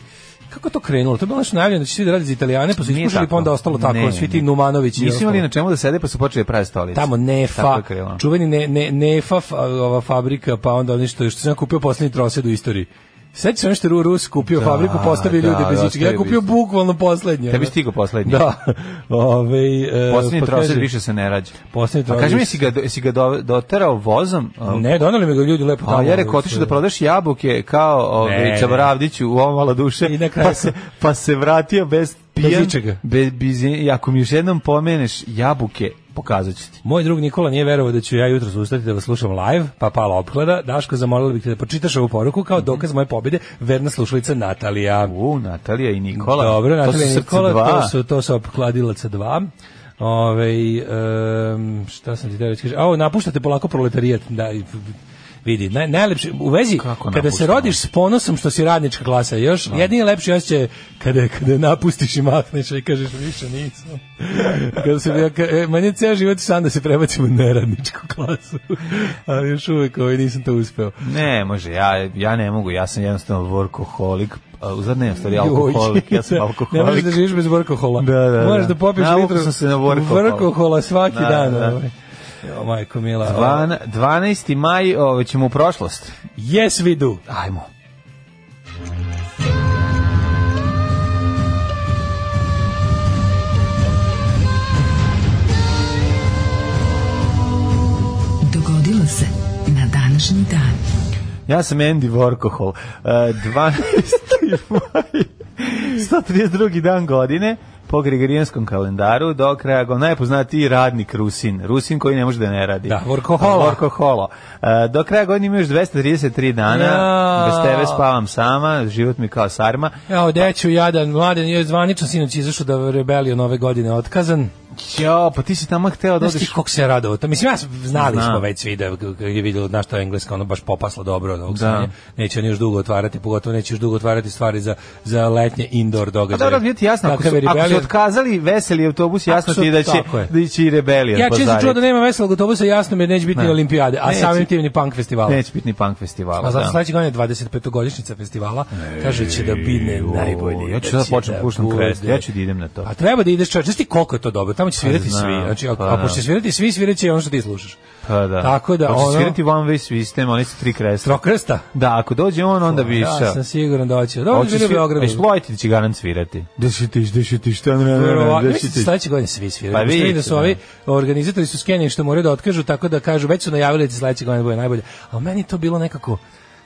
kako je to krenulo? To je bilo nešto najavljeno da će svi da radi za Italijane, pa su
Nije
ispušali,
tako.
pa onda ostalo tako,
Ne, ne,
svi ti
ne.
Numanovići. i
Nisu imali
ostalo.
na čemu da sede, pa su počeli pravi stolice.
Tamo
Tako
Nefa,
je krenulo.
čuveni ne, ne, Nefa fa- ova fabrika, pa onda oni što, što sam ja kupio poslednji trosed u istoriji. Sećam se ono što je Ru- Rus kupio
Da,
fabriku, postavio
da,
ljude bez
da,
ičega. Ja
ostavio
kupio
bi-
bukvalno poslednje.
Tebi
ono.
stigo poslednji.
Da. (laughs) Ovaj e,
Poslednji
pa
trosed
kaže-
više se ne rađa.
Poslednji
Pa
trosed
kaži mi,
više-
jesi ga, do- jesi ga do- doterao vozom? a,
Ne, doneli mi ga ljudi lepo tamo.
A ja rekao,
ovaj,
otišu da prodaš jabuke kao
Ne,
ovaj,
ne.
Čavravdiću u ovo malo duše,
I na kraju
pa, se, pa se vratio bez pijan.
ičega.
Be, bez, i ako mi još jednom pomeneš jabuke, pokazat ću ti.
Moj drug Nikola nije verovao da ću ja jutros ustati da vas slušam live, pa pala opklada. Daško, zamolila bih te da pročitaš ovu poruku kao dokaz moje pobjede, verna slušalica Natalija.
U, Natalija i Nikola.
Dobro,
to
Natalija
su
i
srce
Nikola,
dva.
to su, to su opkladilaca dva. Ove, um, šta sam ti da reći? Kaže, Ao, napuštate polako proletarijat. Da, i- vidi, naj, najlepši, u vezi,
Kako
kada se
napuštamo?
rodiš s ponosom što si radnička klasa, još jedini lepši osjećaj je kada, kada napustiš i mahneš i kažeš više nisam. (laughs) kada se, ja, ka, e, meni je ceo život san da se prebacim u neradničku klasu, (laughs) ali još uvek ovaj, nisam to uspeo.
Ne, može, ja, ja ne mogu, ja sam jednostavno workoholik, a, uzad ne, stvari alkoholik,
Joj,
ja
(laughs)
sam
Ne možeš
alkoholik.
da živiš bez vrkohola.
Da, da, da.
Moraš da popiješ
Navukao
litru
sam se na workohola.
vrkohola svaki
Da,
dan.
da.
ovaj. Jo, majko mila. ovaj.
Dvan- 12. maj, ove, ćemo u prošlost.
Yes, we do.
Ajmo.
Dogodilo se na današnji dan.
Ja sam Andy Vorkohol. Uh,
(laughs)
12. maj, 132. dan godine, po gregorijanskom kalendaru, do kraja go najpoznatiji radnik Rusin. Rusin koji ne može da ne radi.
Da, workohola.
Vorkoholo. Uh, do kraja godine ima još 233 dana.
Ja.
Bez tebe spavam sama, život mi kao sarma.
Evo, deću, jadan, mladen, je zvanično sinoć izašao da je rebelion ove godine otkazan.
Jo, pa ti si tamo hteo da
Znaš ti
odeš...
kako se je radovao? To, mislim, ja s- znali
Znam.
smo već svi da kad je vidjelo znaš to je engleska, ono baš popasla dobro od ovog
Da.
sranja. Neće oni još dugo otvarati, pogotovo neće još dugo otvarati stvari za, za letnje indoor
A
događaje.
Pa dobro, biti jasno, ako su,
Kakav je
ako su
Rebellion-
otkazali veseli autobus, jasno
Ako su-
ti je da će,
tako je.
da će i rebelija.
Ja često čuo da nema veselog autobusa, jasno mi je da neće biti
Ne.
ni olimpijade, a
Neće.
samim tim ni punk festivala.
Neće biti ni punk festivala.
A zato
da.
sledeće godine je 25-godišnjica festivala, kaže će da bine najbolji.
Ja ću da
će
počnem puštam
bude.
krest, ja ću da idem na to.
A treba da ideš čovječ, znaš ti koliko je to dobro, tamo će svirati
znam,
svi, znači ako,
pa da.
ako će svirati svi, sviraće i ono što ti slušaš.
Pa da.
Tako da,
Hoće
ono-
svirati one way system, oni su tri kresta.
Trokrsta?
Da, ako dođe on, onda bi išao.
Ja sam siguran da će. Dobro, bili u Beogradu.
Išplojiti će garant svirati. Da si ti, da si ti, šta ne,
Verovatno, mislim da sledeće godine svi sviraju.
Pa
Pa vidite, da
vidite,
su ovi organizatori su skenjeni što moraju da otkažu, tako da kažu, već su najavili da će sledeće godine bude najbolje. A meni je to bilo nekako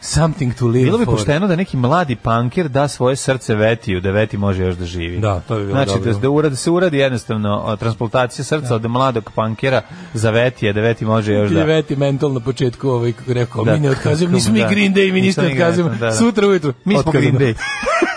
something to live
Bilo bi
for.
pošteno da neki mladi panker da svoje srce vetiju, da veti može još da živi.
Da, to bi bilo
znači,
dobro.
da, da, uradi, se uradi jednostavno o, transplantacija srca od mladog pankera za vetije, da veti može još
Ti
da...
je Veti mental na početku ovaj kako rekao,
Da,
mi ne otkazujemo,
kako,
nismo mi
da.
Green Day, mi nismo
Nismo mi Green
otkazujemo,
Day, da, da.
sutra ujutru.
Mi smo
otkazano. (laughs)
Green Day.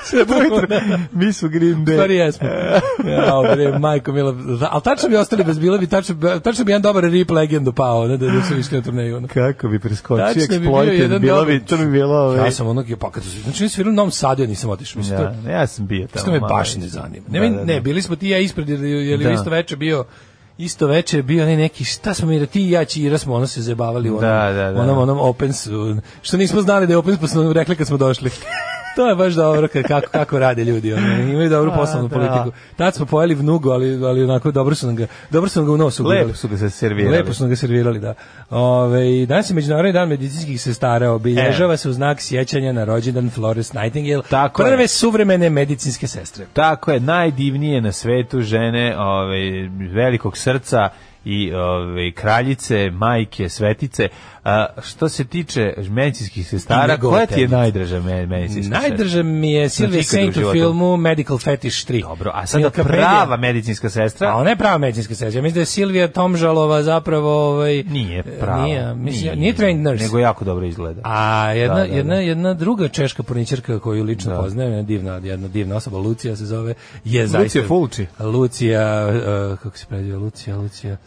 Sutra ujutru.
Mi smo Green Day.
Stvari
(laughs)
jesmo. Ja, bre, majko mila. Da, ali tačno bi ostali bez bila bi, tačno, bi- tačno bi jedan dobar rip legendu pao, ne, da, da su išli na turneju. Ono.
Kako bi preskočio
Tačno bi bio
Exploited,
jedan
bilo
dobar-
bi, to bi bilo... ovaj,
Ja sam onog, pa kad su, znači mi svirali u Novom Sadu, ja nisam otišao. Mislim, to,
Ja, ja sam bio tamo.
Što me
malo.
baš ne zanima. Ne,
Da,
meni-
da,
ne,
da.
bili smo ti i ja ispred, jer je
Da.
li isto veče bio isto veče je bio ne neki šta smo mi da ti i ja Ćira smo ono se zabavali u onom,
Da, da, da.
onom onom opens što nismo znali da je opens pa smo nam rekli kad smo došli (laughs) to je baš dobro kad- kako, kako rade ljudi. Ono. Imaju dobru poslovnu
da.
politiku. Tad smo pojeli vnugu, ali, ali onako dobro su nam ga, dobro su nam ga u nosu
Lepo
gurali.
su ga se servirali.
Lepo su nam ga servirali, da. Ove, i danas je Međunarodni dan medicinskih sestara. Obilježava se u znak sjećanja na rođendan Florence Nightingale.
E. Tako je.
prve suvremene medicinske sestre.
Tako je, najdivnije na svetu žene ovaj, velikog srca i ovaj, kraljice, majke, svetice. A, što se tiče medicinskih sestara,
njegovo
koja ti je
telo.
najdraža me- medicinska sestra?
Najdrža mi je Silvia
Znači, ikad
Saint
u
u
životu.
filmu Medical Fetish 3.
Dobro, a sada
Milka
prava
Pedija.
medicinska sestra?
A ona je prava medicinska sestra. Ja mislim da je Silvija Tomžalova zapravo... Ovaj,
Nije
e,
prava.
Nije, mislim, nije, trained nurse.
Nego jako dobro izgleda.
A jedna,
Da, da,
jedna,
da.
jedna druga češka porničarka koju lično poznajem, jedna divna, jedna divna osoba, Lucija se zove, je Lucija zaista...
Fulci.
Lucija, e, kako se predio, Lucija, Lucija...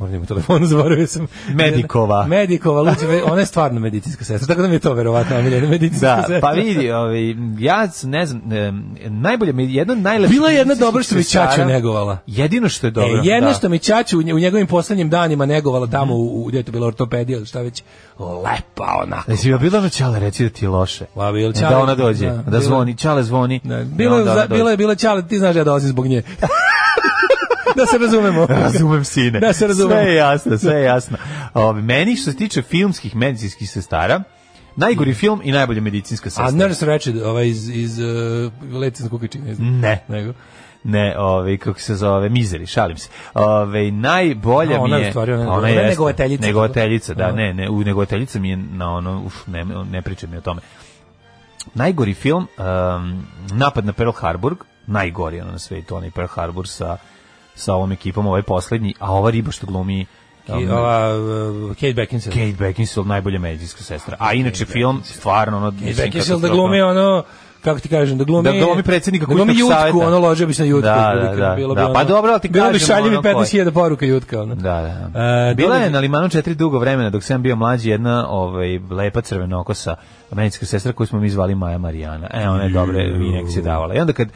Moram da imam telefon, (laughs) zaboravio sam.
Medikova.
Medikova, Lucija, ona je stvarno medicinska sestra, tako da mi je to verovatno omiljena medicinska (laughs)
Da,
sestra.
pa vidi, ovaj, ja ne znam, em, najbolje, mi- jedna od najlepših...
Bila je jedna
medicinskih
dobra što mi
sestara-
Ćaća negovala.
Jedino što je dobro.
E, jedno
da.
što mi Ćaću u nje- u njegovim poslednjim danima negovala tamo u, u gde je to bila ortopedija ili šta već, lepa onako.
Jesi joj bila na Čale reći da ti je loše?
Pa, bilo
E,
Ćale,
da ona dođe,
da,
da,
bilo-
zvoni, Čale zvoni.
Da,
i
bilo, je,
onda
za-
ona dođe.
bilo je, bilo je Ćale, ti znaš da ja dolazim zbog nje. (laughs) da se
(laughs)
razumemo.
(laughs) Razumem sine.
Da se razumemo.
Sve je jasno, sve je jasno. Ove, meni što se tiče filmskih medicinskih sestara, najgori film i najbolja medicinska
A
sestra.
Nurse Ratched, ovaj iz, iz uh, Letice na kukačini, ne znam.
(laughs) Ne.
Nego.
Ne, ovaj kako se zove, Mizeri, šalim se. Ovaj najbolja
A, ona
mi
je
je.
u stvari, ona je
Pa
dobra. Ona je
jeste.
negovateljica.
Negovateljica, da,
A.
ne, ne, u negovateljica mi je na ono, uf, ne, ne pričaj mi o tome. Najgori film, um, napad na Pearl Harbor, najgori ono na svetu, onaj Pearl Harbor sa, sa ovom ekipom, ovaj poslednji, a ova riba što glumi
I,
um,
ova, uh, Kate Beckinsale.
Kate Beckinsale, najbolja medijska sestra. A inače film, stvarno, ono...
Kate
mislim,
Beckinsale da
katastrofa.
glumi ono, kako ti kažem, da glumi...
Da glumi predsjednika
da glumi
kućnog
jutku,
saveta.
ono ložio bi se na jutku.
Da, da,
otprilike,
da,
bilo bi
da.
ono-
Pa dobro, ali ti
Bilo bi
kažem,
šaljivi
ono, koji-
15.000 poruka jutka, ono.
Da, da.
E,
Bila
dobro-
je na Limanu 4 dugo vremena, dok sam bio mlađi, jedna ovaj, lepa crvenokosa medicinska sestra koju smo mi zvali Maja Marijana. E, ona je dobre injekcije davala. I onda kad,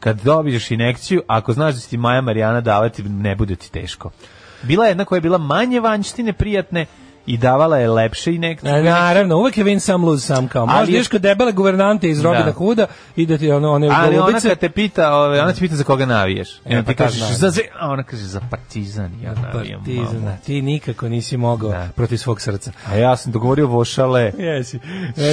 kad dobiješ injekciju, ako znaš da će ti Maja Marijana davati, ne bude ti teško. Bila je jedna koja je bila manje vanjštine prijatne i davala je lepše injekcije.
Na, E, naravno, uvek je win sam, lose sam kao. Možda
Ali je-
ideš kod debele guvernante iz Robina
Da.
Hooda i da ti ono, one
Ali ona
golubice-
kad te pita, ovaj, ona te pita za koga navijaš. I
E,
onda
pa
ti
tad
kažeš
navijam.
za Zve-" a ona kaže za Partizan, ja navijam.
Partizan,
mamu."
Pa ti nikako nisi mogao
Pa, Da.
protiv svog srca. (laughs)
A ja sam dogovorio vošale.
Jesi.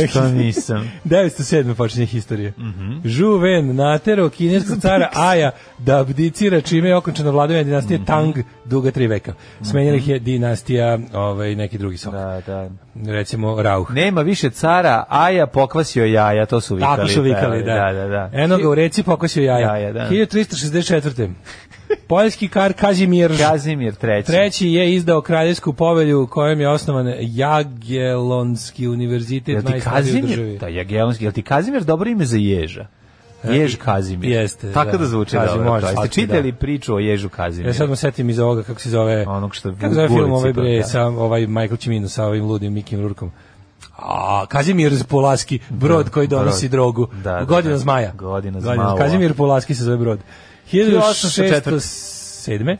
E, (laughs)
Što Mhm. nisam?
907. počinje historija. Mm -hmm. Žu Wen natero kineskog cara Aja da abdicira čime je okončena vladavina dinastije
Mhm.
Tang duga tri veka. Smenjala ih je dinastija ovaj, neki drugi sok.
Da, da.
Recimo Rauh.
Nema više cara, Aja pokvasio jaja, to su vikali.
Tako su vikali, da.
Da, da, da.
Eno ga u reci pokosio jaja.
Jaja, da.
1364. Poljski kar Kazimir
Kazimir III.
Treći je izdao kraljevsku povelju u kojem je osnovan Jagelonski univerzitet
Jel ti
najstariji u državi. E,
Kazimir? Da, Jagelonski. Jel ti Kazimir dobro ime za ježa? Jež Kazimir.
jeste,
Tako
da.
da, zvuči
Kazim,
dobro.
može
To. Jeste
svaki,
čitali
da.
priču o ježu Kazimiru?
Ja sad mu setim iz ovoga kako se zove
Onog što
kako se zove
u
film
ulici,
ovaj bre
pa, da.
sa ovaj Michael Cimino sa ovim ludim Mikim Rurkom. A Kazimir Polaski brod koji donosi
brod.
drogu.
Da, da,
Godina
da.
zmaja.
Godina zmaja.
Kazimir Polaski se zove brod. 1807.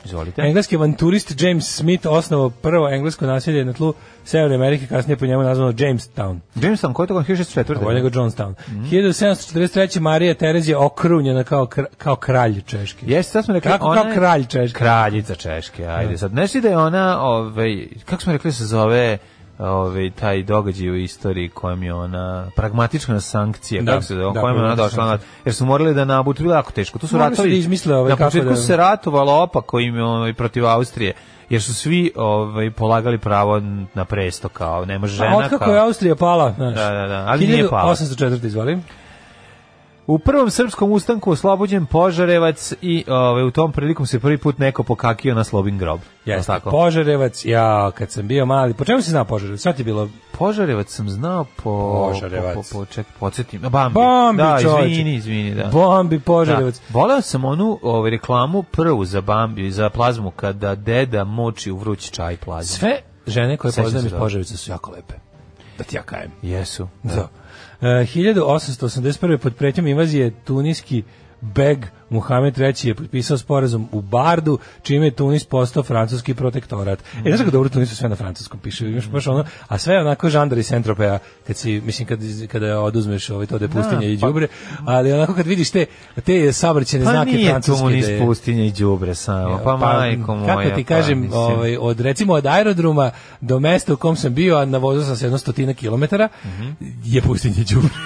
Izvolite.
Engleski avanturist James Smith osnovao prvo englesko naselje na tlu Severne Amerike, kasnije po njemu nazvano Jamestown.
Jameson, koji je to kon
A Bolje
1604.
nego Johnstown.
Mhm.
1743. Marija Terezija okrunjena kao, kr kao kralj Češki.
Jeste, sad smo rekli
Kako
ona
kao
je-
kralj Češki?
Kraljica Češke, ajde. Sad nešto da je ona, ovaj, kako smo rekli da se zove ovaj taj događaj u istoriji kojem je ona pragmatična sankcija
Da,
kako se zove,
da,
kojem je ona
pragmatična
došla na, jer su morali da nabutu bilo je jako teško. Tu su
Morali su
ratovi
da izmisle, ovaj,
na
kako
početku
da-
se ratovalo opako im je, ovaj protiv Austrije jer su svi ovaj polagali pravo na presto kao ne može
A
žena
otkako
kao
je Austrija pala? Znaš,
Da, da, da, ali nije pala.
1804. izvoli.
U prvom srpskom ustanku oslobođen Požarevac i ovaj, u tom prilikom se prvi put neko pokakio na Slobin grob. Jel'
Jeste, Požarevac, ja, kad sam bio mali, po čemu si znao Požarevac? Šta ti je bilo?
Požarevac sam znao po...
Požarevac.
Po, po, po ček, podsjetim. Bambi.
Bambi,
da,
čoveče.
izvini, izvini, da.
Bombi,
Da.
Požarevac.
Voleo sam onu ovaj, reklamu prvu za Bambi, za plazmu, kada deda moči u vrući čaj plazmu.
Sve žene koje
Sećam
poznajem
se
iz
toga.
Požarevca su jako lepe. Da ti ja kajem.
Jesu.
Da. E, 1881. pod pretnjom invazije tuniski Beg Muhamed III je potpisao sporazum u Bardu, čime je Tunis postao francuski protektorat. E, znaš kako dobro Tunisu sve na francuskom piše, imaš baš ono, a sve je onako žandar iz Centropea, kad si, mislim, kad, kada oduzmeš ovaj to depustinje i đubre, ali onako kad vidiš te, te sabrćene
Pa
znake
nije
francuske...
Tunis
da je-
pustinja i đubre samo, pa, majko moja.
Kako ti
pa,
kažem,
mislim.
ovaj, od recimo od aerodroma do mesta u kom sam bio, a na vozu sam se jedno stotina kilometara,
Mhm.
je pustinje đubre. (laughs)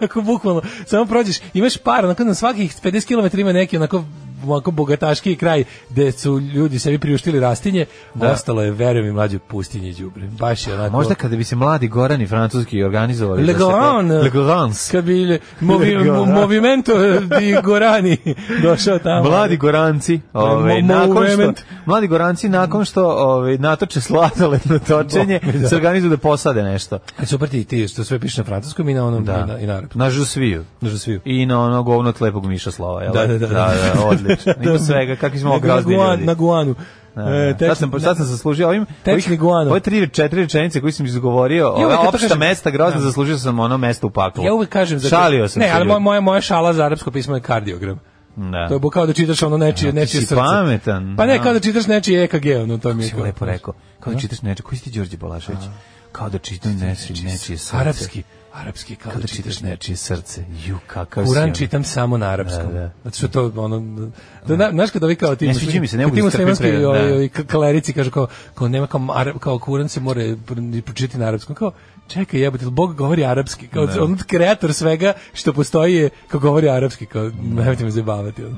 onako bukvalno, samo prođeš, imaš par, onako na svakih 50 km ima neki onako onako bogataški kraj gde su ljudi sebi priuštili rastinje, ostalo je, verujem i mlađe, pustinje đubre. Baš je onako...
Možda kada bi se mladi gorani francuski organizovali... da se-
Legoran,
Le Gorans.
Kad bi movi,
Le Goran.
Movimento di Gorani
(laughs)
došao tamo.
Mladi Goranci, ovaj
Mo- mo-
nakon što
moment.
mladi Goranci nakon što ovaj natoče sladoled točenje,
(laughs) Da.
se organizuju da posade nešto.
E, Super ti, ti što sve piše na francuskom i na onom i na, i na arapskom.
Na žusviju.
Na žusviju.
I na ono govno od lepog Miša Slova, jel?
Da, da, da.
da, da
(laughs)
odlično. Ima svega, kakvi smo
Na-
ograzni
na, Guan-
ljudi.
Na Guanu.
Da,
E,
da.
tek-
sad sam, sad sam zaslužio ovim...
Tečni
ovih-
guano.
Ove tri, četiri rečenice koje sam izgovorio,
uvek
ove
kad to
opšta
kažem-
mesta grozna,
Da.
zaslužio sam ono mesto u paklu.
Ja uvek kažem... da-
Šalio sam
Ne,
se,
ali
ljudi.
moja, moja, moja šala za arapsko pismo je kardiogram.
Da.
To je bu- kao da čitaš ono nečije,
ti
nečije
si
srce.
pametan,
Pa ne,
da.
kao da čitaš nečije EKG, ono to mi je
si
kao-
mu lepo rekao. Kao da čitaš nečije, koji si ti Đorđe Balašević? Kao da čitaš nečije, nečije srce.
Arapski, arapski, kao
Kao
da
da
čitaš
čitaš
nečije.
nečije srce. Ju, kakav si.
Kuran
ono.
čitam samo na arapskom.
Da, da.
Zato što to ono da na, znaš kad ovi kao ti
Ne sviđa
muslim-
mi se, ne mogu
ti
da strpim
muslimanski
prevod, da.
ovi, ovi k- klerici kažu kao kao nema kao Arab- kao Kuran se mora pr- pročitati na arapskom kao čekaj jebote jel Bog govori arapski kao on kreator svega što postoji je kao govori arapski kao nemojte me zabavati. ono.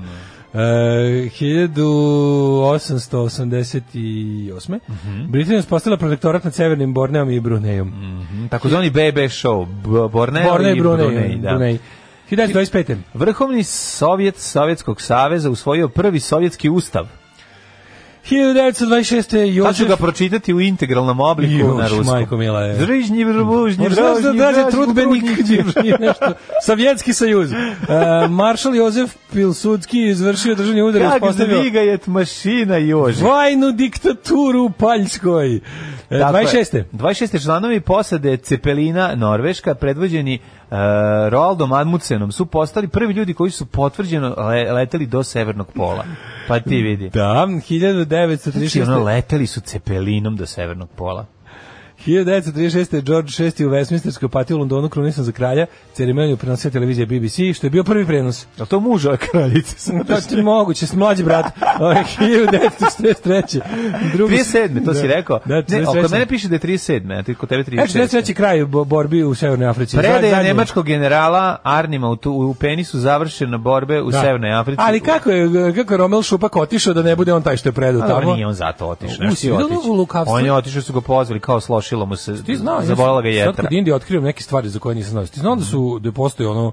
E, 1888. Britanija je uspostavila protektorat nad severnim Borneom i Brunejom.
Mhm, Takozvani BB show. B- Borneo
Borneo i
i
Brunei.
Brunei, da.
Brunei. 1925.
Vrhovni sovjet Sovjetskog saveza usvojio prvi sovjetski ustav.
1926.
Sad ću
Jožef...
ga pročitati u integralnom obliku
Juš,
na ruskom.
majko mila, je.
Drižnji vrbužnji,
Možda znaš pa da
vražnji,
dađe
vražnji,
trudbenik
vrbužnji.
nije nešto. Sovjetski
(laughs)
sajuz. E, maršal Jozef Pilsudski izvršio državni udar i
Kak
uspostavio
zdiga je mašina Jože.
vojnu diktaturu u Paljskoj. E,
Dakle,
26.
26. članovi posade Cepelina Norveška, predvođeni uh, Roaldom Admutsenom, su postali prvi ljudi koji su potvrđeno le- leteli do Severnog pola. Pa ti vidi.
Da,
Znači,
1936.
ono, leteli su Cepelinom do Severnog pola.
1936. George VI. u Westminsterskoj patio u Londonu krunisan za kralja. Ceremoniju prenosio televizija BBC, što je bio prvi prenos.
Je li to muža (laughs) kraljice?
To ti je moguće, s mlađi
(laughs)
brat. Ovaj, 1943. Drugi-
37. to si
Da.
rekao.
Da,
ne, a
43..
kod mene piše da je 37. A ti kod tebe
Znači,
36.
43. kraj bo- borbi u Severnoj Africi.
Predaja
Zadnje-
nemačkog generala Arnima u, tu, u penisu završena borbe u
Da.
Severnoj Africi.
Ali kako je, kako je Romel Šupak otišao da ne bude on taj što je predao
A
tamo?
dobro, nije on zato otišao.
Pa U,
nešto je
svi
otišao.
u lukavstvu.
On je otišao, su ga pozvali, kao slošilo mu se,
Ti znao,
zabolela ga
ja sam- Sad
jetra.
kad Indija otkrivam neke stvari za koje nisam znao. Ti znao da su, da postoji ono,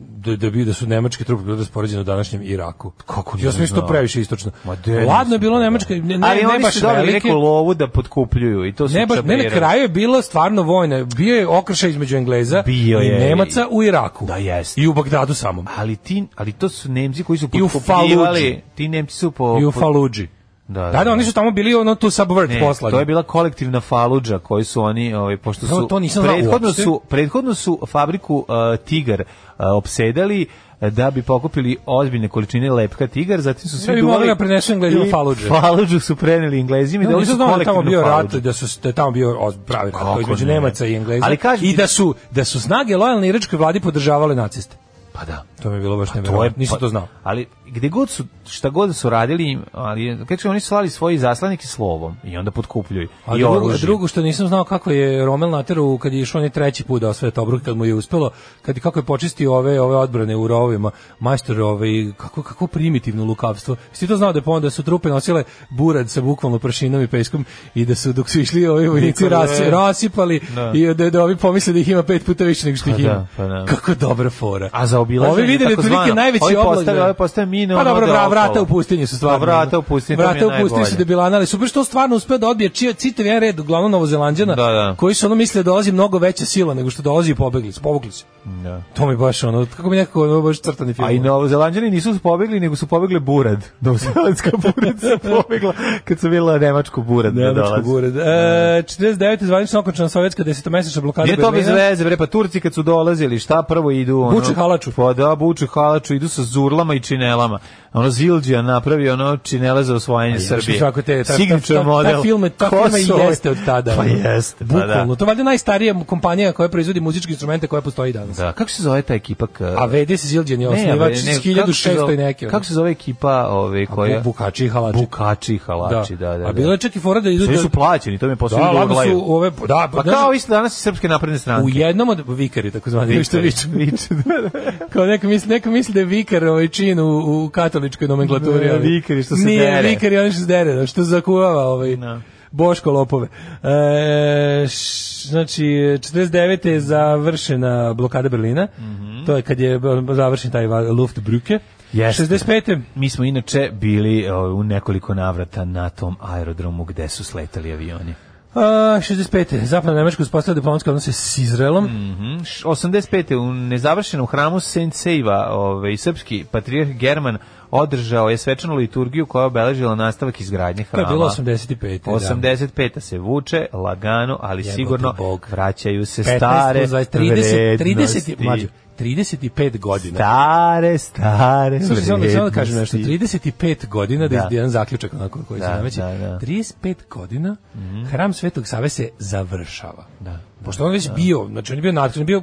da, da, bi, da su nemačke trupe bile raspoređene u današnjem Iraku. Kako
nisam
Ja sam isto
znao?
previše istočno.
Ma, de,
Ladno je
nisam
bilo
znao.
nemačka, ne, ne,
Ali
ne
oni
baš
su dobili
velike.
neku lovu da potkupljuju i to su
Ne, baš, ne, na
čabrirali.
kraju je bila stvarno vojna. Bio je okršaj između Engleza
Bio
i
je.
Nemaca u Iraku.
Da, jest.
I u Bagdadu samom.
Ali, ti, ali to su Nemci koji su
I u Faludži.
potkupljivali. Ti Nemci su po...
I u
po-
Faludži.
Da,
Da, da, oni su tamo bili ono tu subvert
Ne,
poslani.
E, to je bila kolektivna faludža koju su oni, ovaj, pošto
Prvo,
su
to nisam znao
prethodno
uopšte.
su prethodno su fabriku uh, Tigar uh, opsedali uh, da bi pokupili ozbiljne količine lepka Tigar, zatim su svi
Da bi
duvali-
mogli da prenesu Englezima
i
faludže.
Faludžu su preneli Englezima i
Ja
da
nisam
su
znao da je tamo
kolektivnu
bio rat,
faludžu.
da su da je tamo bio oz- pravi rat
Kako
između
ne?
Nemaca i Engleza.
Ali kaži
I
ti-
da su da su snage lojalne iračkoj vladi podržavale naciste.
Pa da.
To mi je bilo baš
To je,
neverovatno. Nisam
pa-
to znao.
Ali gde god su, šta god su radili, ali kako oni su slali svoji zaslanike slovom i onda potkupljuju.
A
I
drugo,
oružjem.
drugo što nisam znao kako je Rommel naterao kad je išao on treći put da osvoje Tobruk kad mu je uspelo, kad je- kako je počistio ove ove odbrane u rovima, majstor ove kako kako primitivno lukavstvo. Jesi ti to znao da je pa onda su trupe nosile burad sa bukvalno prašinom i peskom i da su dok su išli ovi vojnici
Niko ne-
rasi- rasipali
Da.
i da, da ovi pomisle da ih ima pet puta više nego što ih
Pa
ima.
da, pa da.
Kako dobra fora.
A za obilaženje
Ovi videli
takozvano,
otprilike najveći
ovi
oblak.
postave-
da.
ovi postave mine,
Pa
ono
dobro,
ode
vra- vrata
okolo.
u pustinji su
Pa
stvarno.
vrata u pustinji, to mi je
Vrata u pustinji su
najbolje.
bila ali super što stvarno uspeo da odbije čija citav jedan red uglavnom Novozelanđana
Da, da.
koji su ono mislili da dolazi mnogo veća sila nego što dolazi i pobegli, su, povukli se.
Da.
To mi baš ono, kako mi nekako ono baš crtani film.
A i novozelanđani nisu pobegli, nego su pobegle burad.
(laughs)
Novozelandska burad se pobegla kad su bila nemačku burad. da
Nemačko
dolazi.
gured. E, 49. zvanično okončana sovjetska desetomesečna blokada
Nije to bez
Berlina.
veze, bre, pa Turci kad su dolazili, šta prvo idu? Ono,
Buče halaču.
gospoda, obuču halaču, idu sa zurlama i činelama. Ono Zildžija napravi ono činele za osvajanje Srbije.
Svako Pa te, ta,
Signature
ta, ta,
model.
Ta film, ta
Ko
firma
su
i
ovi?
jeste od tada.
Pa
ono.
jeste, pa da.
Bukvalno. To je valjda najstarija kompanija koja proizvodi muzičke instrumente koja postoji danas.
Da, kako se zove ta ekipa? k-
A Vedis Zildjian je
Ne,
osnivač
ne,
iz
kako se
1600
zove-
i neke. ono.
Kako se zove ekipa ove,
A
koja...
Bu- Bukači i halači.
Bukači i halači, da, da. da.
A bilo je čak i fora da idu...
Svi
da-
su plaćeni, to mi je posao
Da,
da,
lagno su ove... Da,
Pa
znaš-
kao isto danas i srpske napredne stranke.
U jednom od vikari, tako zvani, ili što viču.
viče, da, da.
(laughs) Kao neko misli, neko misli da je vikar ovaj čin u, u katoličkoj nomenklaturi.
Ne,
ali-
vikari što se
Nije,
dere.
vikar je on što se dere, da, što zakuvava ovaj.
Da.
Boško Lopove. E, š, znači, 49. je završena blokada Berlina. To je kad je završen taj va- Luftbrücke.
Mhm. Jeste.
65.
Mi smo inače bili o, u nekoliko navrata na tom aerodromu gde su sletali avioni.
A, 65. Zapadna Nemačka uspostavila diplomatske odnose s Izraelom.
Mhm. Š- 85. u nezavršenom hramu Saint Seiva, ovaj, srpski patrijarh German održao je svečanu liturgiju koja je obeležila nastavak izgradnje
To je
hrama.
bilo 85. da.
85. se vuče, lagano, ali
Jebote
sigurno
Bog.
vraćaju se
15,
stare
20, 30, 30,
vrednosti.
mlađo, 35 godina.
Stare, stare
Slušaj, samo, samo da kažem nešto.
vrednosti.
35 godina, da,
Da.
da. jedan zaključak onako koji se
Da,
nameće.
da, da. Mhm.
35 godina hram Svetog Save se završava. Da. Pošto on već bio, znači on je bio natkren, bio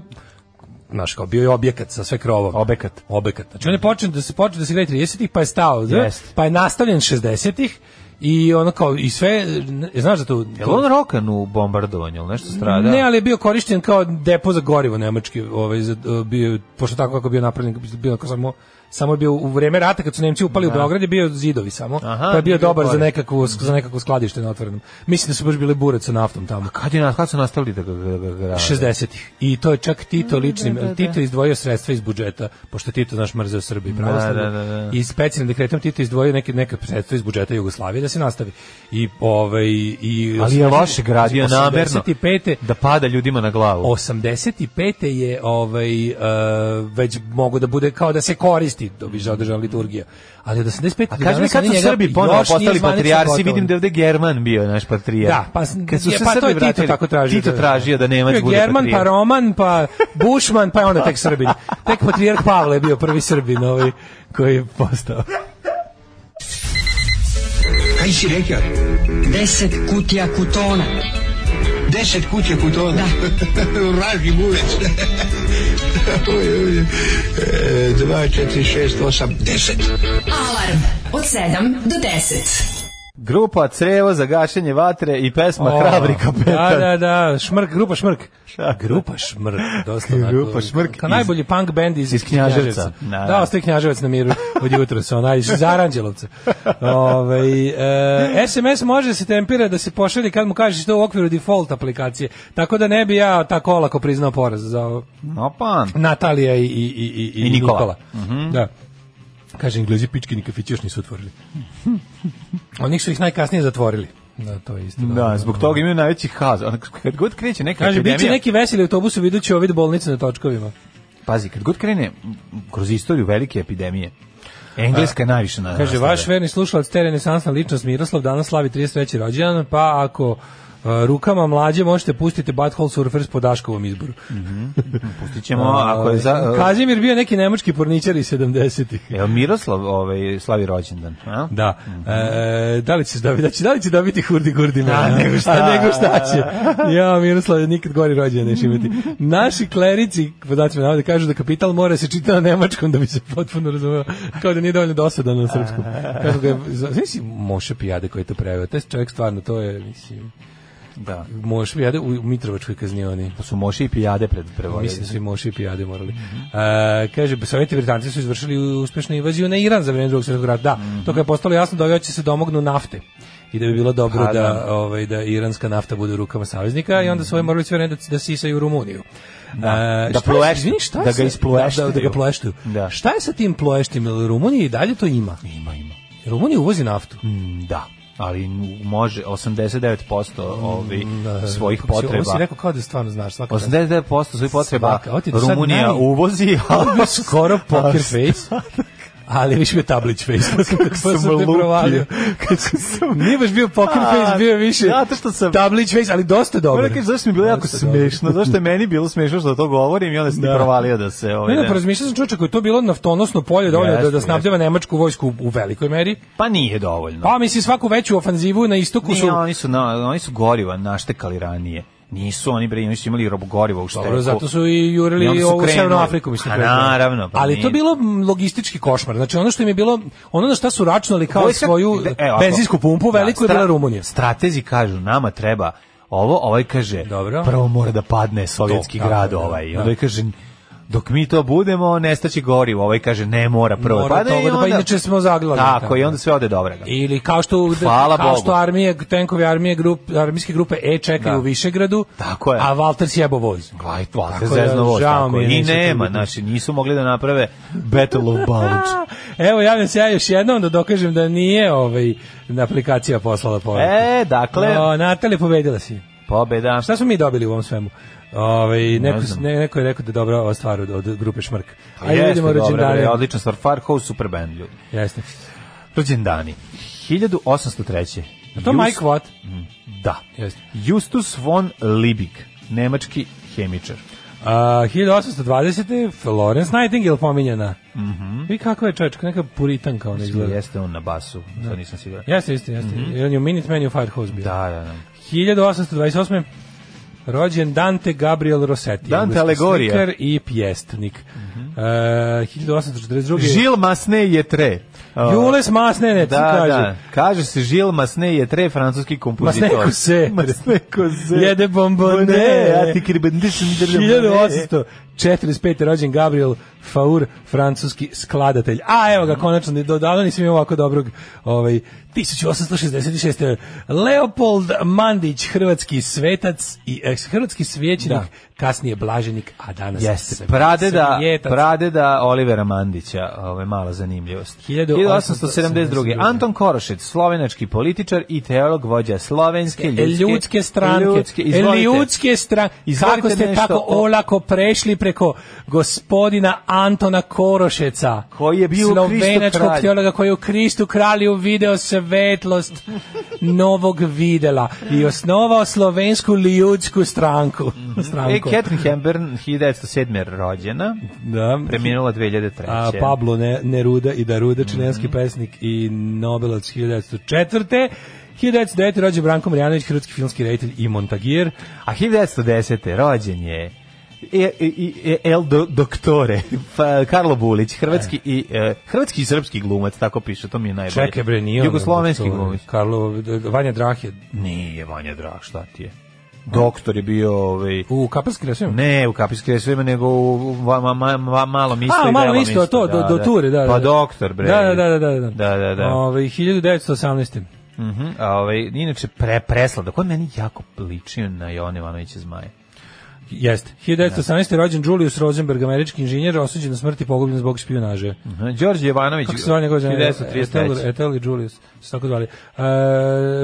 znaš kao, bio je objekat sa sve krovom.
Obekat.
Obekat. Znači on je počeo da se počeo da se gradi 30-ih, pa je stao, da?
Jeste.
pa je nastavljen 60-ih i ono kao, i sve, n- znaš da to...
Je
to-
li on rokan u bombardovanju, ili nešto strada?
ne, ali je bio korišten kao depo za gorivo nemački, ovaj za eh, bio pošto tako kako je bio napravljen, bio kao samo samo je bio u vreme rata kad su Nemci upali u Beograd je bio zidovi samo,
Aha,
pa je bio
nije bio
dobar za
korišten.
nekakvo za nekakvo skladište na otvorenom. Mislim da su baš bile bure sa naftom tamo.
Kad, je, na- kad su nastavili da ga, da ga grade?
60-ih. I to je čak Tito ličnim, Tito je izdvojio sredstva iz budžeta, pošto je Tito naš mrzeo Srbi i pravoslavlje.
da, da, da.
I specijalnim dekretom Tito je izdvojio neke neke sredstva iz budžeta Jugoslavije da se nastavi. I ovaj i
Ali je loše gradio namerno
85
da pada ljudima na glavu.
85. je ovaj e, već mogu da bude kao da se koristi da bi zadržala liturgija. Ali od 85.
A kaži mi kad su Srbi ponovo postali patrijarsi, vidim da je ovde German bio naš patrijar.
Da, pa,
kad su
je,
se
pa to
Srbi
je Tito
vratili,
tako tražio.
Tito tražio da Nemac
Bio je
bude
German, pa
patrijarh.
Roman, pa Bušman, pa je onda tek
(laughs)
Srbin. Tek patrijarh Pavle je bio prvi Srbin ovaj koji je postao.
Kaj si rekao?
Deset kutija kutona.
Deset kuće putova. (laughs) Vraži buvec. (laughs) Oj, oj. E, Dva, četiri, šest, osam, deset.
Alarm od 7 do 10.
Grupa Crevo za gašenje vatre i pesma
O,
Hrabri kapetan.
Da, da, da, šmrk, grupa šmrk. Grupa šmrk, dosta onako.
Grupa Šmrk
Kao
iz-
najbolji punk band iz,
iz Knjaževca. Da,
Da,
da.
da ostaje knjaževac na miru od jutra se onaj iz Aranđelovca. Ovaj, e, SMS može se tempira da se pošalje kad mu kažeš to u okviru default aplikacije. Tako da ne bi ja tako olako priznao poraz za ovo.
Opa.
Natalija i, i, i, i,
I Nikola. Mhm.
Da. Kaže, Englezi pičkini kafići još nisu otvorili. Onih su ih najkasnije zatvorili. Da, to je isto.
Da, zbog toga imaju najveći haz. Ono, Kad god kreće neka
Kaže, bit će
epidemija-
neki veseli autobusu, vidući ovid bolnice na točkovima.
Pazi, kad god krene m, kroz istoriju velike epidemije, Engleska je najviše na
Kaže,
nastavlja.
vaš verni slušalac, te renesansna ličnost Miroslav, danas slavi 33. rođendan, pa ako e, rukama mlađe možete pustiti Butthole Surfers po Daškovom izboru.
Pustit ćemo, ako je Pa za... e,
Kazimir bio neki nemački porničar iz 70-ih.
Jel Miroslav ovaj, slavi rođendan? A?
Da. E, da li ćeš dobiti, da, će, da li će dobiti hurdi gurdi mene? A nego šta, nego šta (laughs) će. Ja, Miroslav, nikad gori rođendan neće imati. Naši klerici, podaci me navode, kažu da kapital mora se čita na nemačkom da bi se potpuno razumeo. Kao da nije dovoljno dosadan na srpskom. Kako ga je, znaš si Moša Pijade koji je to preveo. Taj čovjek stvarno, to je, mislim,
Da.
Moša Pijade u Mitrovačkoj kaznioni.
To su moši i pijade pred
Mislim da
prevodili.
su i moši i pijade morali. E, kaže, Sovjeti i Britanci su izvršili uspešnu invaziju na Iran za vreme drugog svjetskog rata. Da,
Mhm.
to kad je postalo jasno da ovi hoće se domognu nafte i da bi bilo dobro
Pa,
da,
da. Mhm.
ovaj, da iranska nafta bude u rukama saveznika i onda svoje morali sve vreme da, da sisaju u Rumuniju. E, Da,
Da ploeš- da ga isploeštaju.
Da, da ga ploeštuju.
Da.
Šta je sa tim ploeštim? Jel Rumunija i dalje to ima?
Ima, ima.
Rumunija uvozi naftu.
Mm, Da, ali n- može 89% ovi
Mm, Da,
ovaj, svojih
kako si- Ovo si
potreba. Pa
rekao kao da stvarno znaš. svaka čast.
89% svojih potreba
Svaka, ovo ti je do sad
Rumunija
naj-
uvozi, (laughs)
Ovo je bio
a
skoro poker face. ali više bio tablić face. pa Kako
sam
te
lupio. (laughs)
provalio. Kako sam... Nije baš bio poker face,
A,
bio je više
zato što sam-
tablić face, ali dosta dobar.
Moram da kažem, zašto mi je bilo jako
Dosta dobar.
smešno, zašto je meni bilo smešno što to govorim i onda sam ti
Da.
provalio da se... Ovaj,
Ne, ne,
da-
pa razmišljao sam čovječe, ako je to bilo naftonosno polje dovoljno da,
Jeste,
da snabdeva nemačku vojsku u, u velikoj meri,
Pa nije dovoljno.
pa mislim svaku veću ofanzivu na istoku su...
Nije, oni su, na, oni su goriva naštekali ranije. Nisu oni bre, oni su imali robogoriva u šteku.
Dobro, zato su i
I
jurili
onda su
ovu
krenuli.
Severnu Afriku, mislim.
A
to je bilo.
naravno, pa
Ali to
nije.
bilo m, logistički košmar. Znači, ono što im je bilo, ono na šta su računali kao
Vojska-
svoju
de- e, ovako.
benzinsku pumpu, veliku je
stra-
bila Rumunija.
Stratezi kažu, nama treba ovo, ovaj kaže,
Dobro.
prvo mora da padne sovjetski
To, tako
grad
je, da,
ovaj. I
da.
onda je kaže, dok mi to budemo, nestaće gorivo. Ovaj kaže, ne mora prvo.
Mora
da padne
to ovo
i
da- pa
onda-
inače smo zaglali.
Tako,
Tako,
i onda sve ode dobra.
Ili kao što
Hvala
kao
Bogu.
što armije, tenkovi armije, grup, armijske grupe E čekaju
Da.
u Višegradu,
Tako je.
a Walter sjebo voz. (laughs)
Glajt, Walter
Tako da,
zezno voz.
žao
tako.
mi je,
I
neće to
nema,
biti.
znači, nisu mogli da naprave Battle of
(laughs)
Baluč.
Evo, javljam se ja još jednom da dokažem da nije ovaj, aplikacija poslala poruku.
E, dakle-
O, Natalija, pobedila si.
Pobeda.
Šta smo mi dobili u ovom svemu? Ove, neko,
znam.
ne, neko je rekao da je dobra ova stvar od, od grupe Šmrk.
Pa
Ajde
jeste,
vidimo
dobro, bre,
rođendane.
Odlična stvar, Far House super band, ljudi.
Jeste.
Rođendani. 1803.
A to
Just-
Mike Watt?
Da.
Jeste.
Justus von Liebig, nemački hemičar.
A, 1820. Florence Nightingale pominjena. Mm -hmm. I kako je čovječka, neka puritanka ona izgleda.
Mhm. Jeste on na basu, to nisam siguran.
Jeste, jeste, jeste. Mm -hmm. On je u Minuteman i u Firehouse bio.
Mhm. Da, da, da.
1828. Rođen Dante Gabriel Rossetti.
Dante
engleski
Alegorija. Mhm.
Slikar i pjesnik. Mm -hmm. uh, 1842.
Žil Masne je tre.
Jules Masnene,
(laughs) da,
kaže.
da. Kaže se Žil Masne je tre, francuski kompozitor.
Masne Kose.
(laughs) Masne Kose.
Jede bombone.
A ti kribendišem državne.
1845. rođen Gabriel Faur, francuski skladatelj. A evo ga, konačno, ni do davno nisam imao ovako dobrog. Ovaj, 1866. Leopold Mandić, hrvatski svetac i eh, hrvatski svećenik, kasnije blaženik, a danas
Jeste,
sve-
pradeda,
svijetac.
pradeda Olivera Mandića, ovo je mala zanimljivost.
1872.
1872. Anton Korošec, slovenački političar i teolog vođa slovenske
E,
ljudske,
ljudske stranke,
Ljudske,
e,
izvolite.
ljudske stranke,
Izvolite
kako ste
nešto
tako
o-
olako prešli preko gospodina Antona Korošeca,
Koji je bio u Kristu
slovenačkog
kralj.
teologa koji je u Kristu kralju video svetlost novog videla i osnovao slovensku ljudsku stranku.
E,
stranku.
Catherine Hepburn, 1907. rođena,
da.
preminula 2003.
A, pa Pablo Ne- Neruda i Daruda,
Mhm.
čilenski pesnik i Nobelovac 1904. 1909. rođen Branko Marjanović, hrvatski filmski reditelj i montagir.
A 1910. rođen je E, e, e, El do, Doktore, pa, Karlo Bulić, hrvatski, i, e, hrvatski i srpski glumac, tako piše, to mi je najbolje.
Čekaj bre, nije ono,
Jugoslovenski
doktor,
glumac.
Karlo, Vanja Drahe,
Nije Vanja Drag, šta ti je? Doktor je bio ovaj
u Kapelski resim?
Ne, u Kapijskim resovima, nego u va- ma- ma- ma- malom isto
A,
i
malo
velom
isto, to, do, do ture, da, da.
Pa doktor, bre.
Da, da, da, da.
Da, da, da.
Ovaj, 1918.
Mhm, a ovaj, inače, pre, preslada, koji meni jako ličio na Jovan Ivanovića Zmaja.
Jeste. 1918. rođen Julius Rosenberg, američki inženjer, osuđen na smrt i pogubljen zbog špijunaže.
Mhm, Đorđe Jovanović,
Kako se zove njegov žena? Etel,
1933.
Etel i Julius, se tako zvali. Uh,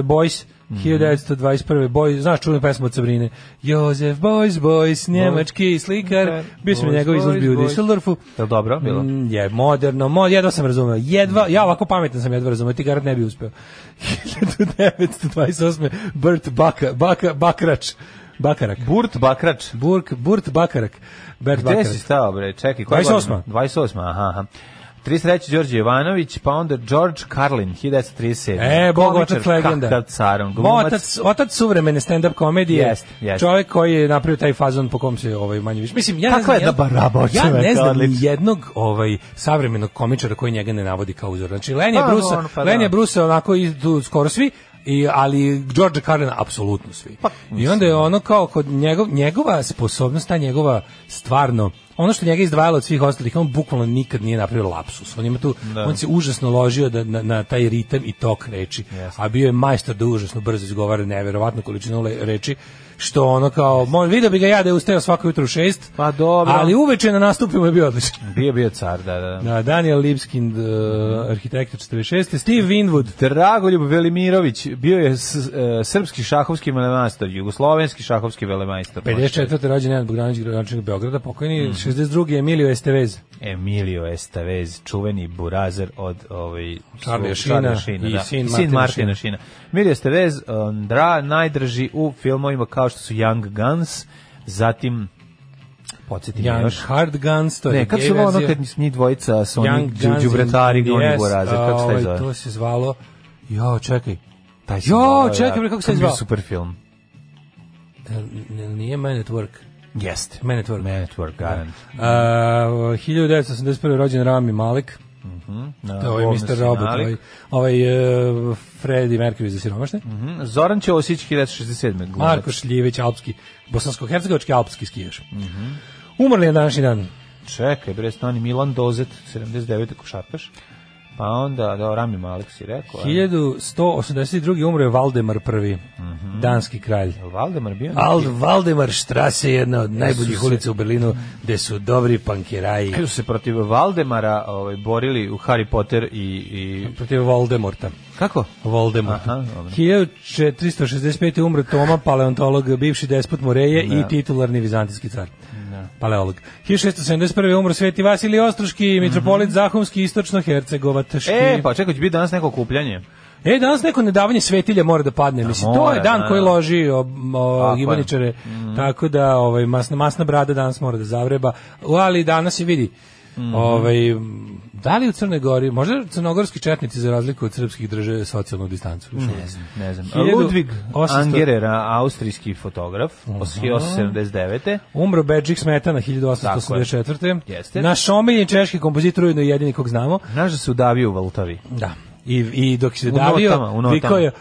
Boys,
Mhm.
1921. Boys, znaš čuvenu pesmu od Sabrine? Jozef Boys, Boys, njemački slikar. Bio sam na
Boys,
njegovoj izložbi u
Boys, Boys.
Düsseldorfu.
Je li dobro bilo?
Mm, je, moderno, mod, jedva sam razumeo. Jedva, ja ovako pametan sam jedva razumeo, ti garant ne bi uspeo. 1928. Burt Baka, Baka, Bakrač, Bakarak.
Burt Bakrač.
Burk, Burt Bakarak. Bert
Gde si
Bakarak.
stao, bre? Čekaj, koja
28..
godina? 28. aha, aha. 33. Đorđe Jovanović, pa onda George Carlin, 1937.
E, bog
Komičar,
otac legenda.
Kakav carom, glumac.
Otac, otac suvremene stand-up komedije.
Jest, jest.
Čovjek koji je napravio taj fazon po kom se ovaj manje više. Mislim, ja ne
Kakva
znam,
je
jedan-
dabaraba od
ja ne
čoveka,
znam ni
odlično.
jednog ovaj, savremenog komičara koji njega ne navodi kao uzor. Znači, Lenja
Pa,
Brusa,
ono, pa da.
Lenja Brusa onako idu skoro svi, I, ali George Carlin apsolutno svi.
Pa,
I onda je ono kao kod njegov, njegova sposobnost, ta njegova stvarno, ono što njega izdvajalo od svih ostalih, on bukvalno nikad nije napravio lapsus. On ima tu,
Da.
on se užasno ložio da, na, na taj ritam i tok reči. A bio je majstor da užasno brzo izgovara neverovatnu količinu le- reči što ono kao, mo, vidio bi ga ja da je ustao svako jutro u šest,
Pa dobro.
ali uveče na nastupima je bio odličan.
Bio bio car, da, da. da.
Da, Daniel Lipskind, uh, arhitekta 46. Steve Winwood,
Dragoljub Velimirović bio je s, e, srpski šahovski velemajstor, jugoslovenski šahovski velemajstor. Mhm.
54. rođen Nenad Bogdanović, gradonačelnik Beograda, pokojni, 62. Emilio Estevez.
Emilio Estavez, čuveni burazer od ovaj
Charlie'a
svog-
Sheena
Charlie'a
i
da.
sin
I
Martina
Martina Sheena. Emilio Estavez, um, dra najdrži u filmovima kao što su Young Guns, zatim podsjetim
Young
još.
Hard Guns, to je
Ne, kako se ono kad njih dvojica sa onim đubretari goni burazer, kako se taj zove?
ovaj, To se zvalo, jo, čekaj,
Taj
Jo,
zvao, da.
čekaj, bre, kako se
To je bio
zvao?
Super film.
E, nije Man at Work.
Jeste.
Man at Work.
Man at Work, garant.
Uh, 1981. rođen Rami Malek,
Na
to je
ovom
Mr. Robot,
finali.
ovaj, ovaj uh, Freddie Mercury za siromašne.
Mhm, Zoran Ćosić 1967. glumac.
Marko Šljivić, alpski, bosansko-hercegovački alpski skijaš.
Mhm.
Umrli je današnji dan.
Čekaj, bre, stani Milan Dozet, 79. košarkaš. Pa onda, da, Rami Malek si rekao. a?
1182. umro je Valdemar I, danski kralj.
Jel Valdemar bio?
Al Valdemar Štrase je jedna od najboljih ulica u Berlinu, gde su dobri pankiraji.
Kada su se protiv Valdemara ovaj, borili u Harry Potter i... i...
Protiv Voldemorta.
Kako?
Voldemort.
Aha, dobro.
1465. umro Toma, paleontolog, bivši despot Moreje i titularni vizantijski car. Paleolog. 1671. umro Sveti Vasilij Ostroški, mitropolit Zahumski, istočno-hercegovački.
Mhm. E, pa čekaj, će biti danas neko kupljanje.
E, danas neko nedavanje svetilja mora da padne. Mislim, to
mora,
je dan
da.
koji loži o, o,
Tako je.
gibaničare. Tako da, ovaj, masna, masna brada danas mora da zavreba. U, Ali danas se vidi. Ovaj, m, da li u Crnoj Gori, možda crnogorski četnici za razliku od srpskih drže socijalnu distancu? Ne znam.
Ne znam.
1800
Ludwig Angerera, austrijski fotograf, 1879.
Umro Bedžik Smetana
Jeste.
1884. Naš omiljeni češki kompozitor, ujedno i jedini kog znamo.
Znaš da se udavio u Valtavi?
Da. I, i dok se
U
davio,
notama, u notama.
vikao je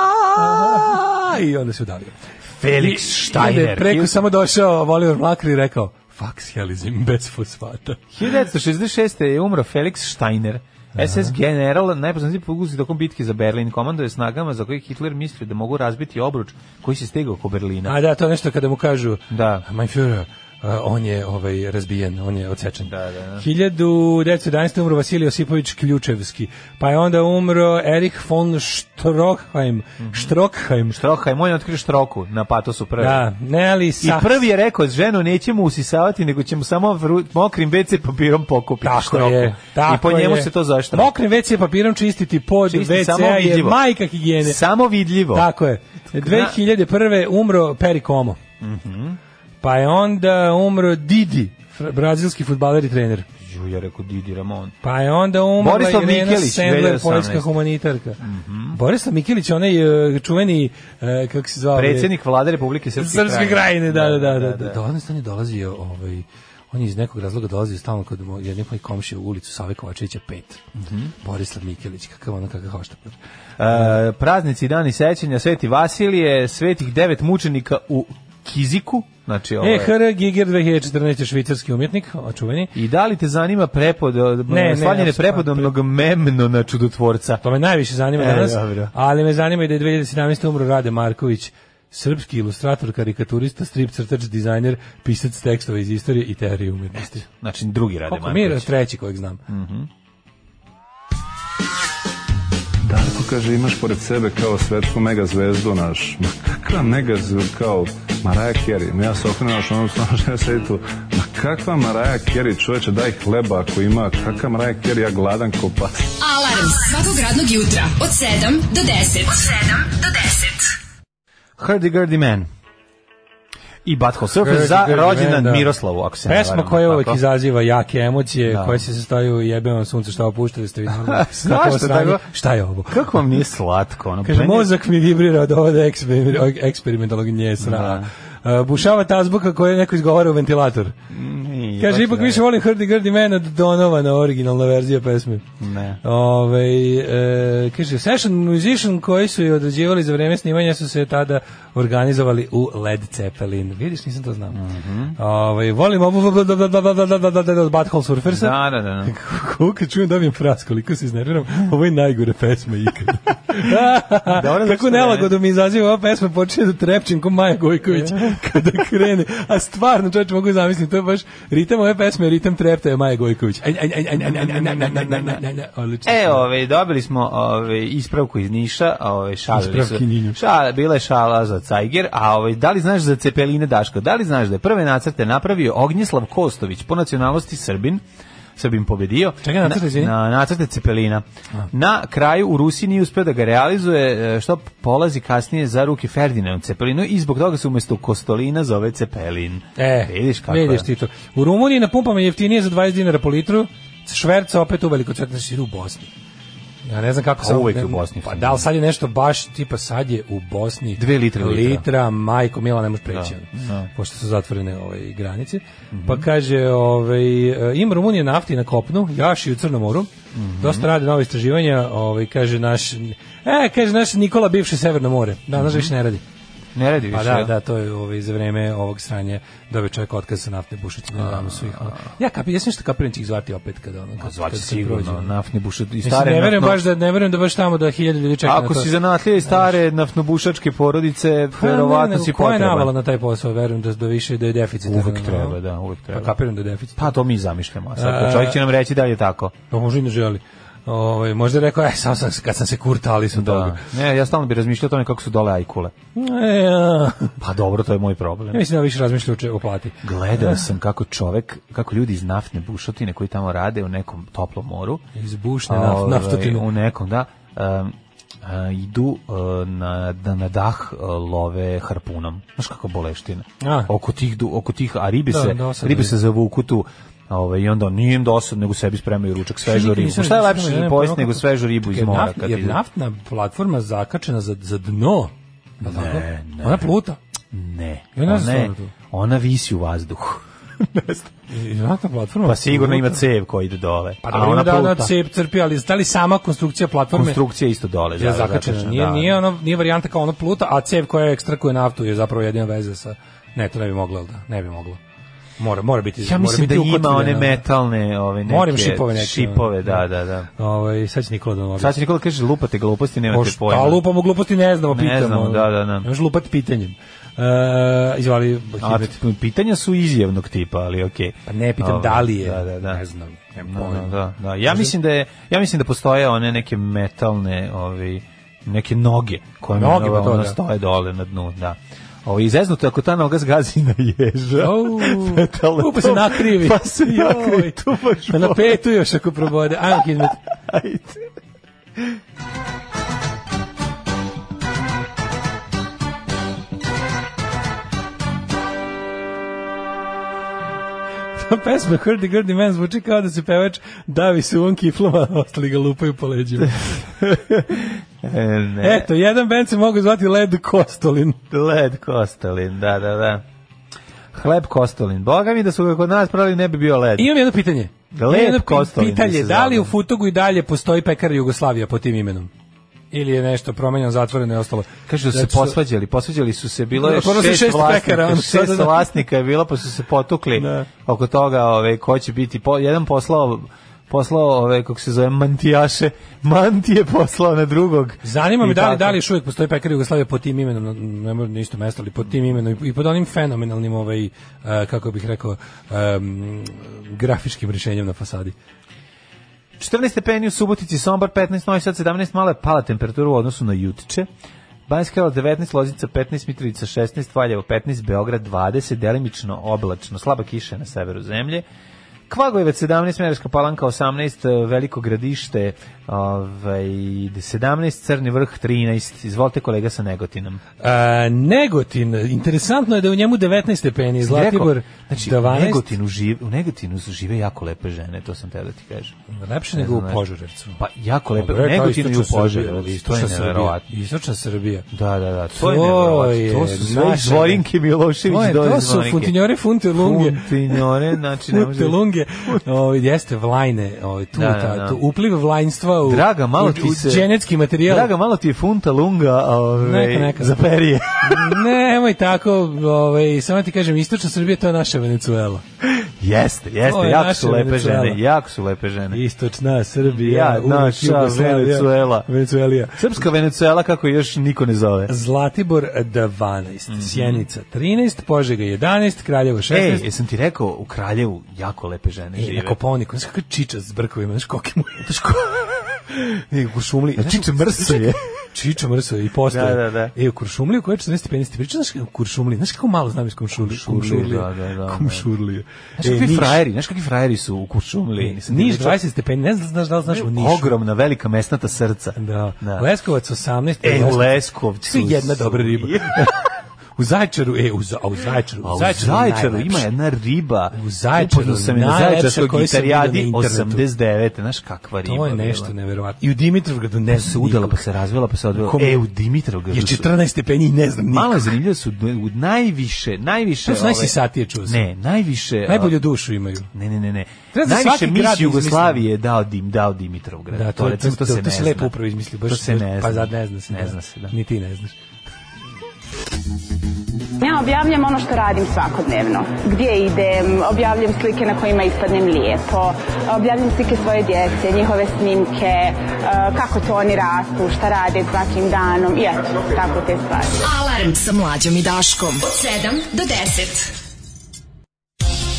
"Aaaaaa!" i onda se udavio.
Felix
I onda je
Steiner.
preko samo došao Volimir Mlakar i rekao Faksijalizam bez fosfata.
1966. je umro Felix Steiner, SS general, najpoznatiji poguznik tokom bitke za Berlin, komando je snagama za koje Hitler mislio da mogu razbiti obruč koji se stigao oko Berlina.
A da, to je nešto kada mu kažu
Da.
Mein Führer, uh, on je ovaj, razbijen, on je odsečen.
Da, da, da.
1911. umro Vasilij Osipović Ključevski, pa je onda umro Erich von Stroheim,
Mhm.
Stroheim,
Štrohaj, moj je otkrio štroku na patosu prvi.
da, Nelly
I
Sachs.
prvi je rekao, ženu nećemo usisavati, nego ćemo samo vru- mokrim WC papirom pokupiti
Tako
štroku.
je. Tako
I po njemu
je.
se to zaštava.
Mokrim WC papirom čistiti pod
Čisti,
WC
samo
je
vidljivo.
majka higijene.
Samo vidljivo.
Tako je. 2001. umro Peri Como.
Mhm.
Pa je onda umro Didi, fr- brazilski futbaler i trener.
Ju, ja rekao Didi Ramon.
Pa je onda umrla
Borislav
Irena
Mikelić,
Sendler,
2018.
poljska humanitarka.
Mhm.
Borislav Mikelić, onaj e, čuveni, e, kako se zvao?
Predsjednik vlade Republike Srpske,
Srpske krajine, da, da, da. da, da.
da.
da. On je dolazio, ovaj, on je iz nekog razloga dolazio stalno kod mo- jednih mojih komšija u ulicu Save Kovačevića 5.
Mhm.
Borislav Mikelić, kakav ono, kakav hoštapar.
E, praznici dani sećanja Sveti Vasilije, svetih devet mučenika u Kiziku, znači ovo
E,
je.
H.R. Giger 2014. švicarski umjetnik, čuveni.
I da li te zanima prepod,
Ne, ne,
ne, slavljene
apsolutno.
prepodobnog memno na čudotvorca?
To me najviše zanima
E,
danas,
dobro.
ali me zanima i da je 2017. umro Rade Marković, srpski ilustrator, karikaturista, strip crtač, dizajner, pisac tekstova iz istorije i teorije umjetnosti.
Znači drugi rade
Koliko mi je
Marković. Mm.
treći kojeg znam.
Darko kaže imaš pored sebe kao svetsku mega zvezdu naš. Ma kakva mega zvezdu kao Maraja Kerry. Ma ja se okrenem naš onom stvarno što ja sedi tu. Ma kakva Maraja Kerry čoveče daj hleba ako ima. Kakva Maraja Kerry ja gladan ko pas.
Alarm svakog radnog jutra od 7 do 10. Od 7 do 10.
Hurdy Gurdy Man. I Butthole Surfer
Hurdy
za
Gurdy Man,
rođendan
da.
Miroslavu, ako se ne
Pesma
varam,
koja
tako?
uvek izaziva jake emocije, koje se sastoji u jebenom suncu što opuštali ste vi
(laughs)
normalno.
Znaš
Kako
šta,
sranje?
tako?
Šta je ovo?
Kako vam nije slatko? Ono,
Kaže,
meni je-
mozak mi vibrira od ovog eksper- eksperimentalnog njesra. Uh, bušava tazbuka koju neko izgovara u ventilator.
Nije,
Kaže,
baš
ipak
ne.
više volim Hrdi Grdi Man od Donovana, originalna verzija pesme.
Ne.
Ove, e, kaže, session musician koji su je određivali za vreme snimanja su se tada organizovali u Led Zeppelin. Vidiš, nisam to znao. Ovaj, volim ovu bla, bla, bla, bla, bla, bla, bla, bla, od Butthole Surfersa.
Da, da, da. da.
Koliko čujem dobijem fras, koliko se iznerviram, ovo je najgore pesma ikada.
Dobro, zašto
Kako
ne?
nelagodu mi izaziva ova pesma, počinje da trepčem ko Maja Gojković kada krene. A stvarno, čovječ, mogu zamisliti, to je baš ritam ove pesme, ritam trepta je Maja Gojković. Anj, anj, anj, anj, anj, anj, anj, anj, anj, anj, anj, anj, anj. Odlično.
E, ove, dobili smo ove, ispravku iz Niša, ove, šalili su.
Ispravkinju.
Šala, bila je šala za Cajger, a ove, da li znaš za Cepeline Daško? Da li znaš da je prve nacrte napravio Ognjislav Kostović, po nacionalnosti Srbin, Srbin pobedio.
Čekaj, nacrte, izvini?
Na, na nacrte Cepelina. Na kraju u Rusiji nije uspeo da ga realizuje, e, što polazi kasnije za ruke Ferdinand Cepelinu i zbog toga se umjesto Kostolina zove Cepelin.
E,
vidiš kako
vidiš
je.
ti to. U Rumuniji na pumpama je jeftinije za 20 dinara po litru, šverca opet u veliko crtno u Bosni. Ja ne znam kako
A
sam...
uvek
ne-
je u Bosni
Pa
jeftinije.
da, ali sad je nešto baš, tipa sad je u Bosni...
Dve litre litra.
Litra, majko, mila, ne može preći. ono,
da. Mhm.
Pošto su zatvorene ovaj, granice. Pa kaže, ovaj, e, ima Rumunije nafti na kopnu, jaš i u Crnom moru.
Mhm.
Dosta rade nove istraživanja, ovaj, kaže naš... E, kaže naš Nikola, bivše Severno more. Da,
Mhm.
znaš da više ne radi.
Ne radi više.
Pa da,
jel?
da, to je ovaj, za vreme ovog sranja dobio čovjek otkaz sa naftne bušice na danu svih. ono. Ja kapi, ja sam što kapiram će ih zvati opet kada ono. Kad,
Zvaće
kad- kad
sigurno,
prođe.
naftni bušet i
Mislim,
stare
ne verujem
naftno-
baš da ne verujem da baš tamo da hiljade ljudi čeka na
Ako
to.
si zanatlije stare naftnobušačke porodice,
Pa, ne,
verovatno
nego
si
koja je navala
potreban.
na taj posao, verujem da, da više da je deficit. ono,
Uvek treba, da, uvek
Pa
treba.
kapiram da je deficit.
Pa to mi zamišljamo. a Sad,
A-
pa čovjek će nam reći da li je tako.
Pa možda i ne želi. Ovaj možda je rekao, aj, sam sam, kad sam se kurta, ali sam
Da.
toga.
Ne, ja stalno bih razmišljao o tome kako su dole ajkule.
E, ja.
Pa dobro, to je moj
Ja
problem.
mislim da više razmišlja uče o plati.
Gledao sam kako čovjek, kako ljudi iz naftne bušotine koji tamo rade u nekom toplom moru,
Iz bušne
Ovaj,
naf, naftotinu.
U nekom, da. Um, a, idu uh, na, da na dah uh, love harpunom. Znaš kako boleština.
A.
Oko tih, du- oko tih, a ribe
Da,
se,
dosadno
ribe
je.
se zavuku tu ovaj, i onda nije im dosad, nego sebi spremaju ručak svežu ribu. Pa Šta je lepše za pojesti nego svežu ribu iz mora? kad
Jer
ide?
naftna platforma zakačena za, za dno. Ne,
ne.
Ona pluta.
Ne.
Ja ne znam
Ona,
stvarno
ona visi u vazduhu. Ne znam.
I- i Naftna platforma.
pa sigurno ima
pluta.
cev koji ide dole.
Pa
a
dobro, ima
ona
da ona
pluta.
cep crpi, ali da li sama konstrukcija platforme
Konstrukcija isto dole.
je
da,
zakačena? Nije,
da.
nije, ono, nije varijanta kao ona pluta, a cev koja ekstrakuje naftu je zapravo jedina veza sa... Ne, to ne bi moglo, jel da? Ne bi moglo. Mora, mora biti
Ja
mora
mislim da
biti
ima
ukotvljena,
one
da.
metalne, ove neke
Morim šipove neke,
Šipove,
ono,
da, da, da.
Ovaj, sad će Nikola da nam
Sad će Nikola kaže lupate gluposti, nemate
Pošto-
pojma.
A lupamo gluposti, ne znamo,
Ne
pitamo.
znamo, da, da, da.
ono, Ne može lupat pitanjem. E, izvali,
A,
Hibet.
pitanja su izjevnog tipa, ali okej.
Pa ne pitam
Ovaj,
da li je,
Da, da, da.
ne znam, nemam
Da,
pojma.
da, da, da. Ja mislim da je, ja mislim da postoje one neke metalne, ovi neke noge koje
Noge, pa to
ono,
da.
stoje dole na dnu, da. Ovo, izeznuto je ako ta noga zgazi na ježa.
(laughs)
(laughs)
Au,
Metalno
u, pa se
to-
nakrivi.
Pa se nakrivi,
Joj.
to baš
Pa na petu još ako probode. Ajmo Hidmet.
Ajde.
Ta pesma Hrdi Grdi Man zvuči kao da se pevač davi se u on kiflama, a ostali ga lupaju po
(laughs)
leđima.
E, ne.
Eto, jedan band se mogu zvati Led Kostolin.
Led Kostolin, da, da, da. Hleb Kostolin. Boga mi da su ga kod nas pravili ne bi bio led.
Imam jedno pitanje.
Lep
Imam jedno pi-
Kostolin bi
Pitanje,
se
da li
zvao.
u Futogu i dalje postoji pekar Jugoslavija po tim imenom? Ili je nešto promenjeno, zatvoreno i ostalo?
Kažu da su se
Zato što-
posvađali, posvađali su se, bilo je
Da, kod nas je
šest,
šest
vlasnika,
pekara, Znači, ono, sad, da,
šest
da.
vlasnika je bilo, pa su se potukli
Da.
oko toga ove, ko će biti, po, jedan poslao poslao ove kako se zove mantijaše mantije poslao na drugog
Zanima me
I
da li,
tako.
da li još uvijek postoji pekar Jugoslavije pod tim imenom, na- ne moram na isto mesto, ali pod tim imenom i- i pod onim fenomenalnim, ovaj, eh, kako bih rekao, em, grafičkim rješenjem na fasadi.
14 stepeni u Subotici, Sombor 15, Novi Sad 17, malo je pala temperatura u odnosu na jutče. Banjska Kraljevo 19, Loznica 15, Mitrovica 16, Valjevo 15, Beograd 20, delimično oblačno, slaba kiša je na severu zemlje. Kvagojevac 17, Mereška Palanka 18, Veliko gradište ovaj, 17, Crni vrh 13. Izvolite kolega sa Negotinom.
E, Negotin, interesantno je da je u njemu 19 stepeni, Zlatibor
Rekao,
znači,
znači,
12,
u, Negotinu žive, u Negotinu su žive jako lepe žene, to sam teo da ti kažem.
lepše
Ne
nego u
znam, ne.
Požarevcu.
Pa jako lepe, u
Dobro, je, to je
Negotinu i u
istočna
Požarevcu,
Srbija,
to je
istočna Srbija,
neverovatno.
Istočna Srbija.
Da, da, da,
To
to je nevjerovatno. To
je
su sve
naša-
iz Zorinke Milošević
To, je,
do
to su funtinjore funte lunge.
Funtinjore, znači ne
Funte
može...
lunge. O, jeste vlajne, o, tu,
Da, da,
ta,
da.
tu upliv vlajnstva u,
Draga, malo
u,
ti se-
u genetski materijal.
Draga, malo ti je funta lunga ove,
Neka, neka.
za
(laughs)
perije. (laughs)
ovaj, Nemoj tako, ovaj, samo ti kažem, istočna Srbija to je naša Venecuela.
Jeste, jeste,
To je
jako
naša
su lepe
Venecuela.
žene, jako su lepe žene.
Istočna Srbija,
Ja,
uvek
naša
Jugoslavija,
Venecuela.
Venecuelija.
Srpska Venecuela kako je još niko ne zove.
Zlatibor 12,
Mhm.
Sjenica 13, Požega 11, Kraljevo 16.
Ej, E, jesam ti rekao, u Kraljevu jako lepe žene
Ej,
žive.
na Koponiku, znaš kakav čiča s brkovima, znaš koliko mu je.
(laughs)
E,
Ej, u Šumli, a
znači,
čiče mrso je.
Čiča mrso i postoje.
Da, da, da.
E, u Kuršumliju, koja je 14 15 priča, znaš kako- u Kuršumliji, znaš kako malo znam iz Kumšurlije.
Kuršumlije, da, da, da, da.
Kumšurlije.
Znaš kakvi frajeri, znaš kakvi frajeri su u Kuršumli.
E, Niš 20 stepeni, ne znam znaš da li znaš u Nišu.
Ogromna, velika mesnata srca.
Da. Leskovac 18.
E, u
Leskovac-
Leskovcu.
To je jedna dobra riba.
Je.
u Zajčaru, e, u, za, a u Zajčaru,
A u
Zajčaru je
Zajčaru
najlepše.
ima jedna riba.
U Zaječaru
Upoznao sam je na
najlepša
Zaječarskoj
koju sam vidio na
gitarijadi
internetu.
89. Znaš kakva riba.
To je
bila.
nešto neverovatno. I u Dimitrovgradu ne
Se
znam
udala, pa
nikog.
se razvela, pa se odvela.
Kom-
E, u Dimitrovgradu.
Je
su-
14 stepeni i ne znam nikog.
Malo je zanimljivo su u najviše, najviše...
To su
ovaj-
najsisatije čuo sam.
Ne, najviše...
Najbolju dušu imaju.
Ne, ne, ne, ne.
Treba za
Najviše
svaki grad
mis
izmisliti.
Jugoslavije je dao Dim, dao Dimitrovgrad.
Da, to, je- to,
recimo,
to, to,
se ne
si lepo
zna.
upravo izmislio. Baš,
To se ne
Pa
zna.
zad ne zna se.
Ne zna se, da.
Ni ti ne znaš.
Ja objavljam ono što radim svakodnevno. Gdje idem, objavljam slike na kojima ispadnem lijepo, objavljam slike svoje djece, njihove snimke, eh, kako to oni rastu, šta rade svakim danom i eto, tako te stvari.
Alarm sa mlađom i Daškom. Od 7 do 10.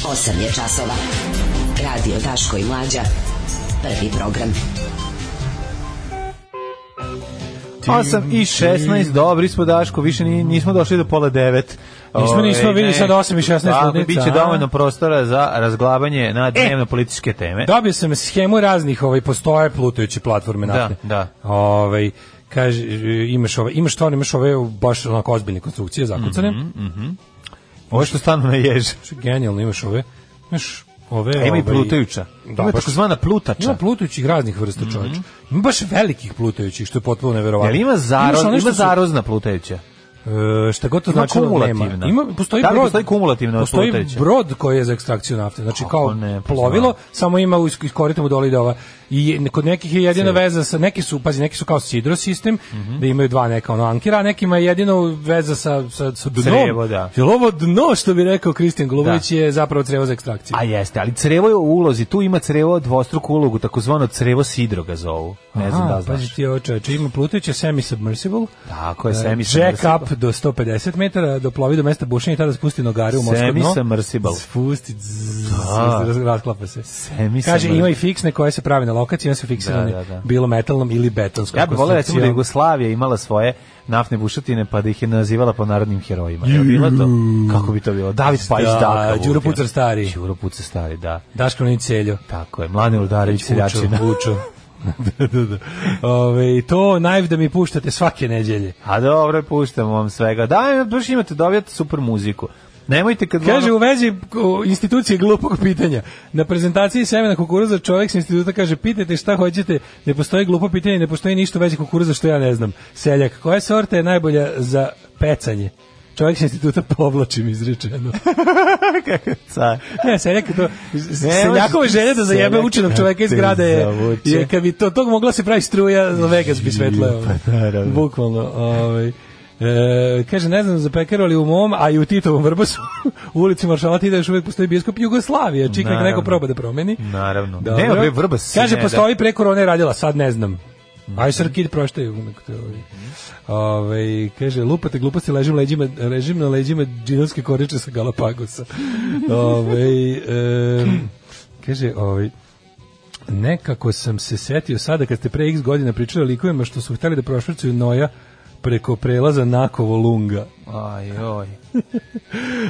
8 je časova. Radio Daško i Mlađa. Prvi program.
8 i 16, dobri smo Daško, više ni- nismo došli do pola 9.
Nismo, nismo, vidi sad 8 i 16
Tako,
ludnica,
biće
a? E.
dovoljno prostora za razglabanje na dnevno političke teme.
Dobio sam schemu raznih, ovaj, postoje plutajuće platforme naftne.
da.
Ovaj, kaže, e, imaš ove, imaš to, imaš ove baš onako ozbiljne konstrukcije, zakucane.
Mhm. Ovo što stanu na jež.
Što je genijalno, imaš ove, imaš ove...
A ima i
ovaj-
plutajuća.
Da,
ima
baš
takozvana
Ima
plutača.
plutajućih raznih vrsta čovječa. Ima baš velikih plutajućih, što je potpuno neverovatno.
Jel ima, zaro,
Imaš one što
ima
su-
zarozna plutajuća?
E, šta god to
Ima
znači
kumulativna.
nema. Ima postoji
Da li
brod.
postoji kumulativna od
Postoji
plutajuća?
brod koji je za ekstrakciju nafte. Znači
Kako
kao
ne, pa
plovilo,
znam.
samo ima u is- iz korita mu dole ide ova. I je- kod nekih je jedina veza sa neki su pazi, neki su kao sidro sistem,
Mhm.
da imaju dva neka ono ankera, a nekima je jedino veza sa sa sa dnom.
Crevo, da.
Jel ovo dno što bi rekao Kristijan Golubović je zapravo crevo za ekstrakciju.
A jeste, ali crevo je u ulozi, tu ima crevo dvostruku ulogu, takozvano crevo sidro ga zovu. Ne znam
Aha,
da li znaš.
Pazi ti ovo čoveče, ima plutajuće semi-submersible,
Tako je,
semi
semi
jack up do 150 metara, do plovi do mesta bušenja i tada spusti nogare u morsko dno.
Semi-submersible.
Spusti, zzz,
Da.
raz- rasklapa se.
Semi-submersible.
Kaže, ima i fiksne koje se pravi na lokaciji, one su fiksirane
Da, da, da.
bilo metalnom ili betonskom
Ja bih volio recimo da
konstrukcijom.
Jugoslavija imala svoje naftne bušotine pa da ih je nazivala po narodnim herojima. Je bilo to? Kako bi to bilo? David Pajić
Da,
Daka.
Đuro Pucar stari.
Đuro Pucar stari, da.
Daško Ninić Celjo.
Tako je. Mladen Rudarević Seljačina.
Vučo. (laughs) da, da, da. Ove, i to najv da mi puštate svake neđelje.
(laughs) A dobro, puštamo vam svega. Da, baš imate, dobijate super muziku. Nemojte kad...
Kaže
ono-
u vezi o, institucije glupog pitanja. Na prezentaciji semena kukuruza čovjek s instituta kaže pitajte šta hoćete, ne postoji glupo pitanje, ne postoji ništa u vezi kukuruza što ja ne znam. Seljak, koja sorta je najbolja za pecanje? Čovjek s instituta povlačim izrečeno.
Ca-
(laughs) Ne, seljak je to...
Ne,
Seljakova
može-
želja da zajebe
seljak
učenog čovjeka iz
te
grada je...
zavuče.
je kad bi to, tog mogla se pravi struja, Vegas bi svetleo.
Pa naravno.
Bukvalno. Ovaj. E, kaže, ne znam za pekaru, ali u mom, a i u Titovom vrbasu, (laughs) u ulici Maršala Tita još uvijek postoji biskup Jugoslavije. Čik neka neko
Naravno.
proba da promeni.
Naravno.
Dobro.
Nema bre vrbas.
Kaže,
ono. ne, Mhm.
postoji pre korone radila, sad ne znam. Ajsar Kid proštaje umek to. Ovaj. Ovaj, kaže, lupate gluposti, ležim, leđima, ležim na leđima džinovske koriče sa Galapagosa. ovaj, em, kaže, ovaj, nekako sam se setio sada kad ste pre x godina pričali o likovima što su hteli da prošvrcuju Noja preko prelaza Nakovo Lunga.
da. Aj, oj.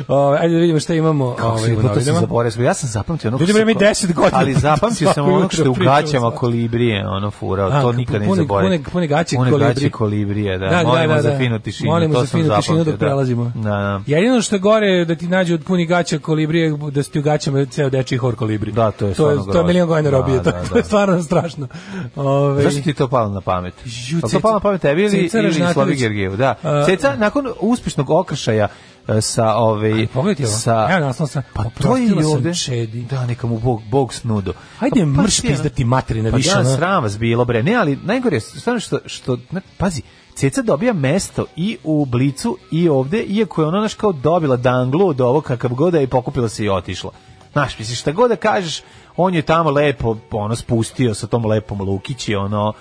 Ovaj, ajde da vidimo šta imamo.
Kako
ovaj,
si,
u
to sam
novinama.
zaboravio. Ja sam zapamtio ono...
Ljudi,
ko se
bre, mi
ko-
10 godina (laughs)
Ali zapamtio sam
svako
ono što je u
jutro pričamo
gaćama
svašta.
kolibrije, ono furao.
A,
To nikad ne
pune-
zaboravim.
pune- pune gaće
gaće
kolibri.
kolibrije, da. Molimo za finu tišinu.
Molimo
to
za
sam
finu tišinu
zapamtio,
dok prelazimo.
Da, da.
Jedino što je gore da ti nađu od puni gaća kolibrije, da si ti u gaćama ceo dečiji hor kolibri.
Da, to je
to je,
stvarno
to je milion
grozno.
godina
Da,
robije, to,
da,
to je
da.
stvarno strašno. Ove,
Zašto ti je to palo na pamet?
Ju,
Ju, to
Ceca-
palo na pamet tebi ili,
Ceca
ili
Ražnatović.
Slavi Gergijevu, da.
A-
Ceca, nakon uspešnog okršaja e, sa ove...
pogledajte ovo.
Sa,
Evo naslov sa-
Pa to je
Oprostila
i
sam
ovde.
čedi.
Da, neka mu Bog, Bog snudo.
Hajde
pa,
mrš
ti, ono-
pizdati materina
Pa
više.
da,
ono.
sram vas bilo, bre. Ne, ali najgore je stvarno što, što ne, pazi, Ceca dobija mesto i u Blicu i ovde, iako je ona naš kao dobila danglu od ovo kakav god da je i pokupila se i otišla. Znaš, misliš, šta god da kažeš, on je tamo lepo, ono, spustio sa tom lepom Lukići, ono,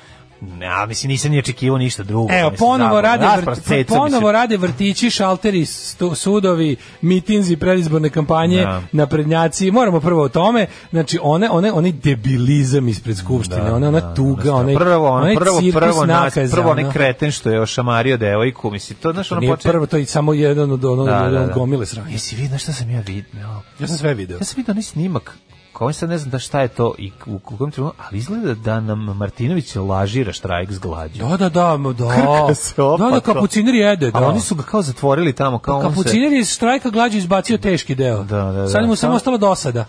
Ja, mislim, nisam ni očekivao ništa drugo.
Evo,
mislim,
ponovo
zabavno.
rade,
Raspar
vrti-
ceca mi se-
ponovo rade vrtići, šalteri, stu- sudovi, mitinzi, predizborne kampanje,
Da.
naprednjaci. Moramo prvo o tome. Znači, one, one, onaj debilizam ispred skupštine, ona, ona tuga, onaj,
ono, prvo, on,
onaj
prvo,
cirkus
prvo, nas,
nakaza,
prvo onaj
ono.
kreten što je ošamario devojku, mislim, to, znaš, ono
Nije
počne...
prvo, to je samo jedan od ono,
Da, da, da.
gomile sranje.
Jesi vidio, znaš šta sam ja vidio?
Ja sam sve video.
Ja sam vidio onaj snimak, koji sad ne znam da šta je to i u, u kom trenutku, ali izgleda da nam Martinović lažira štrajk s glađu.
Da, da, da, ma da.
Krka se
Da, da,
opako.
kapuciner jede, da. Pa
Ali oni su ga kao zatvorili tamo, kao on se...
Kapuciner je iz štrajka glađu izbacio teški deo.
Da, da, da.
Sad mu samo
Samo-
ostalo dosada.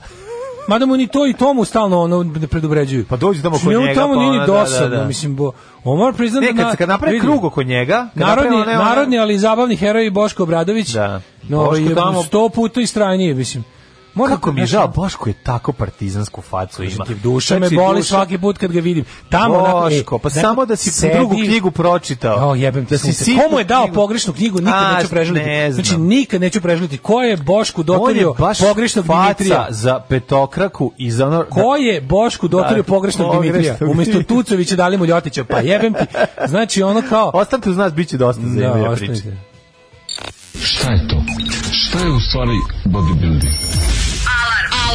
Mada mu ni to i tomu stalno ono ne predubređuju.
Pa dođi tamo kod
Njemu
njega,
tamo
pa
nije ni
ono, da, da,
dosadno,
da.
mislim, bo, on mora priznati
Ne, kad, se- kad napravi
vidi,
krug oko njega... kad
Narodni,
napravi one- one-
narodni, ali i zabavni heroji Boško Obradović.
Da.
No,
Boško
je
tamo-
sto puta istrajnije, mislim. Mora
Kako mi je žao, Boško je tako partizansku facu ima.
Ti duša me
Znači,
boli
duša-
svaki put kad ga vidim. Tamo onako, e,
Boško, pa
znaš,
samo da si
sedi-
drugu knjigu pročitao.
O, jebem te
da
sunce.
sitnu
Komu je dao
knjigu-
pogrešnu knjigu, nikad
A,
neću prežaliti.
ne znam.
znači, nikad neću prežaliti. Ko je Bošku
On je
dotorio
baš
pogrešnog
faca
Dimitrija?
za petokraku i za ono...
Ko je Bošku dotorio
Da,
pogrešnog
pogrešnog
Dimitrija? Umesto
Dimitrija.
Tucovića dali mu Ljotića. Pa jebem ti. Znači, ono
(laughs)
kao...
Ostanite uz nas, bit će dosta zanimljive
Da,
priče.
ostanite.
Šta je to? Šta je u stvari bodybuilding?
Alarm.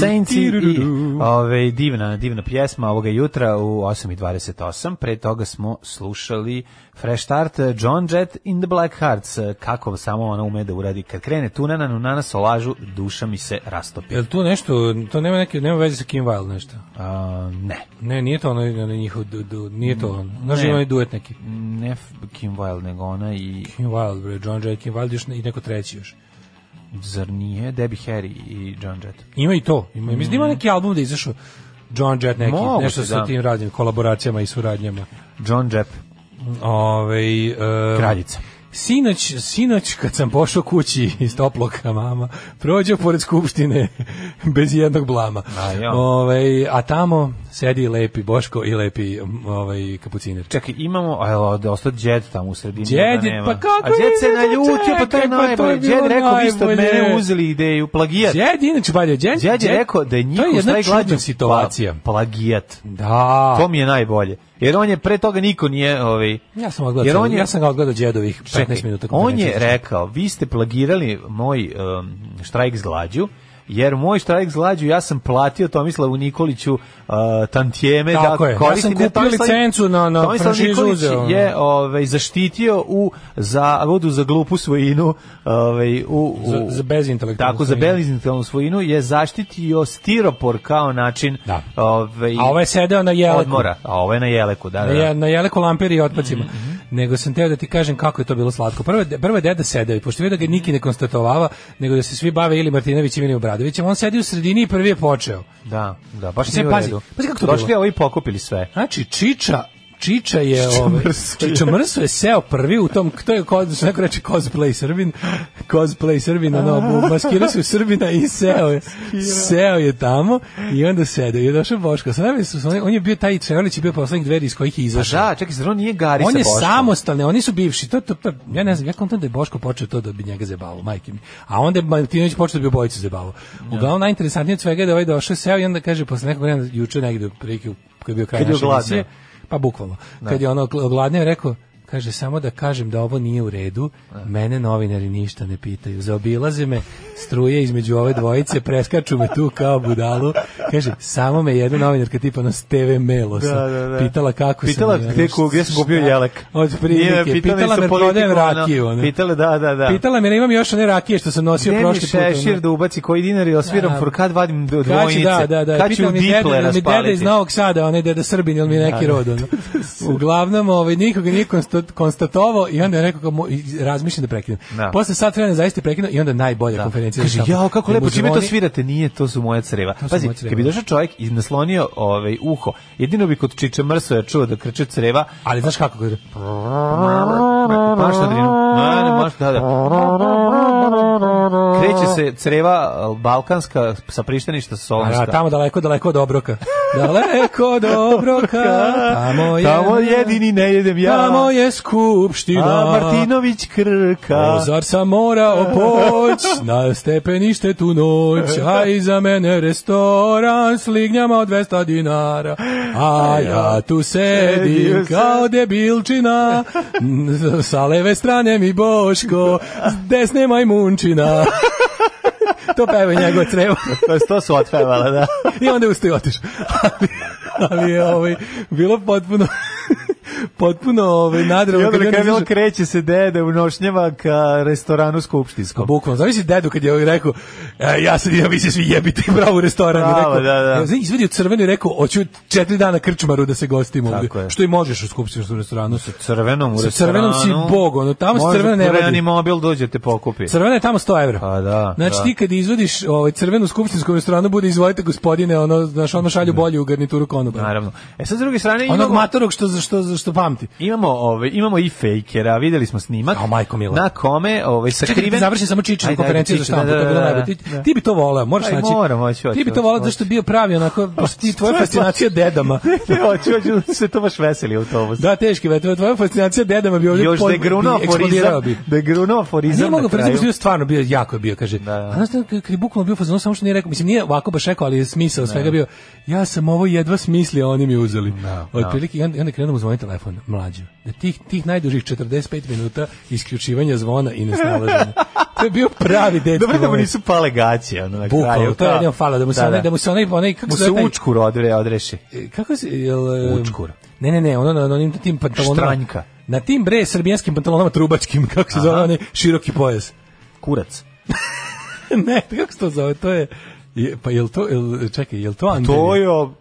Saints i ove, divna, divna pjesma ovoga jutra u 8.28. Pre toga smo slušali Fresh Start, eh, John Jett in the Black Hearts. eh, Kako samo ona ume da uradi. Kad krene tunana, nunana solažu, duša mi se rastopi.
Jel tu nešto, to nema neke, nema veze sa Kim Wilde nešto.
A, ne.
Ne, nije to ono, ono njihov, du, du, nije to ono. Znaš,
Ne.
ima onaj duet neki.
Ne F- Kim Wilde, nego ona i...
Kim Wilde, bre, John Jay, Kim Wilde još ne- i neko treći još.
Zar nije? Debbie Harry i John Jett.
Ima i to. Ima, Mislim da ima neki album da je izašao John Jett neki,
Moguće,
nešto sa
da.
tim raznim kolaboracijama i suradnjama.
John Jett,
Ove,
kraljica.
Sinoć, sinoć kad sam pošao kući iz toploka mama, prođeo pored skupštine (laughs) bez jednog blama.
A, ja.
Ovaj, a tamo sedi lepi Boško i lepi m, ovaj, kapuciner.
Čekaj, imamo, a jel, da ostao Jed tamo u sredini.
Đed
da
je-
nema.
pa kako
A Jed se
je,
naljutio, pa to je
čekaj, pa to je
najbolje.
bilo
Jed rekao, vi ste od mene
najbolje."
uzeli ideju, plagijat.
Đed, inače, balje, Đed,
Đed je rekao da je njihov
to je jedna
štrajk glađu
čudna situacija.
Pa, plagijat.
Da.
To mi je najbolje. Jer on je pre toga niko nije, ovaj,
Ja sam odgledao,
Jer on je-
ja sam ga odgledao Đedovih 15
Čekaj,
minuta.
On je
konferencije.
rekao, vi ste plagirali moj um, štrajk s glađu, jer moj štrajk s glađu ja sam platio Tomislavu Nikoliću uh, tantijeme
Tako
da
je, ja
koristim.
sam
jer
kupio
Tomislav-
licencu na- na
Tomislav
franšizu ono.
Nikolić
uzeo.
je ovaj, zaštitio u zavodu za glupu svojinu ovaj, u, u,
Za- za bezintelektualnu
Tako, za
svojinu.
bezintelektualnu svojinu je zaštitio stiropor kao način
Da.
ovaj,
A ovaj je sedeo na jeleku.
odmora. A ovo je na jeleku, da, da.
Na,
da. Mhm,
je- na jeleku lampiri i otpacima. Nego sam teo da ti kažem kako je to bilo slatko. Prvo, je- prvo je deda sedeo i pošto vidio da ga niki ne konstatovava, nego da se svi bave ili Martinovićem ili Obradovićem, on sedi u sredini i prvi je počeo.
Da, da, baš
Sve
nije
pazi,
u redu.
pazi kako to
Došli
bilo.
ovi i pokupili sve.
Znači, Čiča Čiča je
Čiča
ovaj
Mrso je-
Čiča Mrso je seo prvi u tom to je kod što neko reče cosplay Srbin cosplay Srbina no bu- maskirao se u Srbina i seo je seo je tamo i onda sede i je došao Boško sa nama su on je bio taj Čevalić je bio poslednjih dveri iz kojih je
Pa
izašao
da, čekaj, zar on nije Gari
on
sa
je
Boškom?
samostalni, oni su bivši. To, to, to, ja ne znam, ja kontam da je Boško počeo to da bi njega zebalo, majke mi. A onda je Martinović počeo da bi obojicu zebalo. Uglavnom, najinteresantnije od svega je da je ovaj došao, seo i onda kaže, posle nekog vremena, juče negde, prilike, u- kad je bio kraj
Kad je
naše
ogladneo.
emisije, pa bukvalno, kad je ono ogladneo, je rekao, kaže, samo da kažem da ovo nije u redu, mene novinari ništa ne pitaju, zaobilaze me struje između ove dvojice, preskaču me tu kao budalu, kaže, samo me jedna novinarka tipa na TV Melosa,
Da, da, da.
pitala kako
Pitala
sam...
gde ku- gde sam kupio
Šta?
jelek.
Od
Nije,
prilike.
pitala
Pitala
nisu
me prodajem
politiku, ono.
rakiju. Ono.
Pitala, da, da, da.
Pitala me, imam još one rakije što sam nosio
Gde mi
prošli put. ono.
šešir da ubaci koji dinar i osviram
Da.
da, kad vadim do
Kad će,
dvojnice.
da, da, da.
Kad ću
Pitao
u
mi deda,
diple
da mi deda iz
raspaliti.
Novog Sada, onaj deda Srbin, ili mi je neki rod.
(laughs)
Ono. Uglavnom, ovaj, nikoga nije konsta- konstatovao i onda je rekao, kao, mo- i razmišljam da prekinem.
Da.
Posle sat vremena zaista je prekinuo i onda najbolja konferencija. za
Kaže,
štampu.
jao, kako
Jer
lepo,
mu
čime to
zvoni-
svirate? Nije, to su moje creva.
su
Pazi,
moja creva.
kad bi došao čovjek i naslonio ovaj, uho, jedino bi kod Čiče Mrsoja čuo da krče creva,
Ali
Pa
znaš kako kaže?
Maš na drinu. Ne, ne, maš, da, da. Kreće se creva uh, balkanska sa prišteništa sa Solunska.
A, pa tamo daleko, daleko od
(laughs)
obroka. Daleko od obroka, tamo je...
Tamo jedini ne jedem ja.
Tamo je skupština.
A Martinović krka.
Ozar sam morao poć na stepenište tu noć, a iza mene restoran s lignjama od 200 dinara, a ja tu sedim kao debilčina, n- sa leve strane mi Boško, s desne majmunčina. (laughs) To peva njegov crevo.
To, to su
(laughs)
otpevala, da.
I onda je ustao i otišao. Ali, ali je ovaj, bilo potpuno (laughs) potpuno ovaj nadrealno.
I onda
kad je
na
on
kraju bilo,
izašao-
kreće se dede u nošnjama ka restoranu Skupštinskom.
Bukvalno, znaš si dedu kad je ovaj rekao, e, ja sad idem, vi se svi jebite i bravo u restoran. I
Bravo,
rekao, "E,
da, da.
Znaš, Izvadio crveni i rekao, hoću četiri dana krčmaru da se gostim ovdje.
Tako je.
Što i možeš u skupštinskom restoranu. Sa
crvenom u
Sa
restoranu.
crvenom si bog, ono, tamo se
Možda
crveno ne
Crveni
vodi.
mobil dođe te pokupi.
Crvena je tamo 100 evra.
Pa da,
Znači
da.
ti kad izvodiš ovaj crvenu u skupštinskom restoranu bude izvolite gospodine, ono znaš ono šalju bolju u garnituru konobara.
Mhm. Naravno. E sad s druge strane
Onog
imamo,
matorog što za što za što pamti.
imamo, ovaj, imamo i fejkera, videli smo snimak.
Jao, majko mila.
Na kome ovaj, sakriven...
Čekaj, završi samo Čičin
Ajde, ajde,
konferenciju za
Čičin, da,
štampu,
da,
to je bilo
da, da,
najbolje. Ti,
da. (laughs)
ti bi to voleo, moraš
Aj,
naći.
moram, hoću,
Ti bi
hoću,
to voleo
hoću.
zašto bio pravi
(laughs)
onako, pošto ti tvoja fascinacija dedama.
Ne, hoću, hoću, da se to baš veseli autobus.
Da, teški vetar, tvoja fascinacija dedama bi ovdje
Još da
pod-
je grunuo
bi eksplodirao
forizam,
bi.
da je grunuo
A
forizam
Nije
na
mogao,
kraju.
prezim bio stvarno bio, jako je bio, kaže.
Da, da.
A znaš da, kad je bukvalno bio fazon, samo što nije rekao, mislim, nije ovako baš rekao, ali je smisao svega bio, ja sam ovo jedva smislio, a oni mi uzeli. Otprilike, i onda, i onda krenuo mu zvoni telefon, mlađe. Da tih, tih najdužih 45 minuta isključivanja zvona i nesnalaženja. to je bio pravi dečki
(laughs) Dobro da mu
moment.
nisu pale gaće, ono, na kraju.
Bukvalno, to je
da.
jedino fala, da mu se
Da,
onaj,
da.
da mu se onaj, onaj, kako
Mu
se
se
zove taj-
učkur odre, odreši.
E, kako se jel e,
Učkur.
Ne, ne, ne, ono na onim tim pantalonama.
Štranjka.
Na tim bre srbijanskim pantalonama trubačkim, (laughs) kako se zove, onaj široki pojas. (laughs)
Kurac.
ne, kako se to zove, to je je- pa jel to jel čekaj, jel to anterija?
Pa To je... o-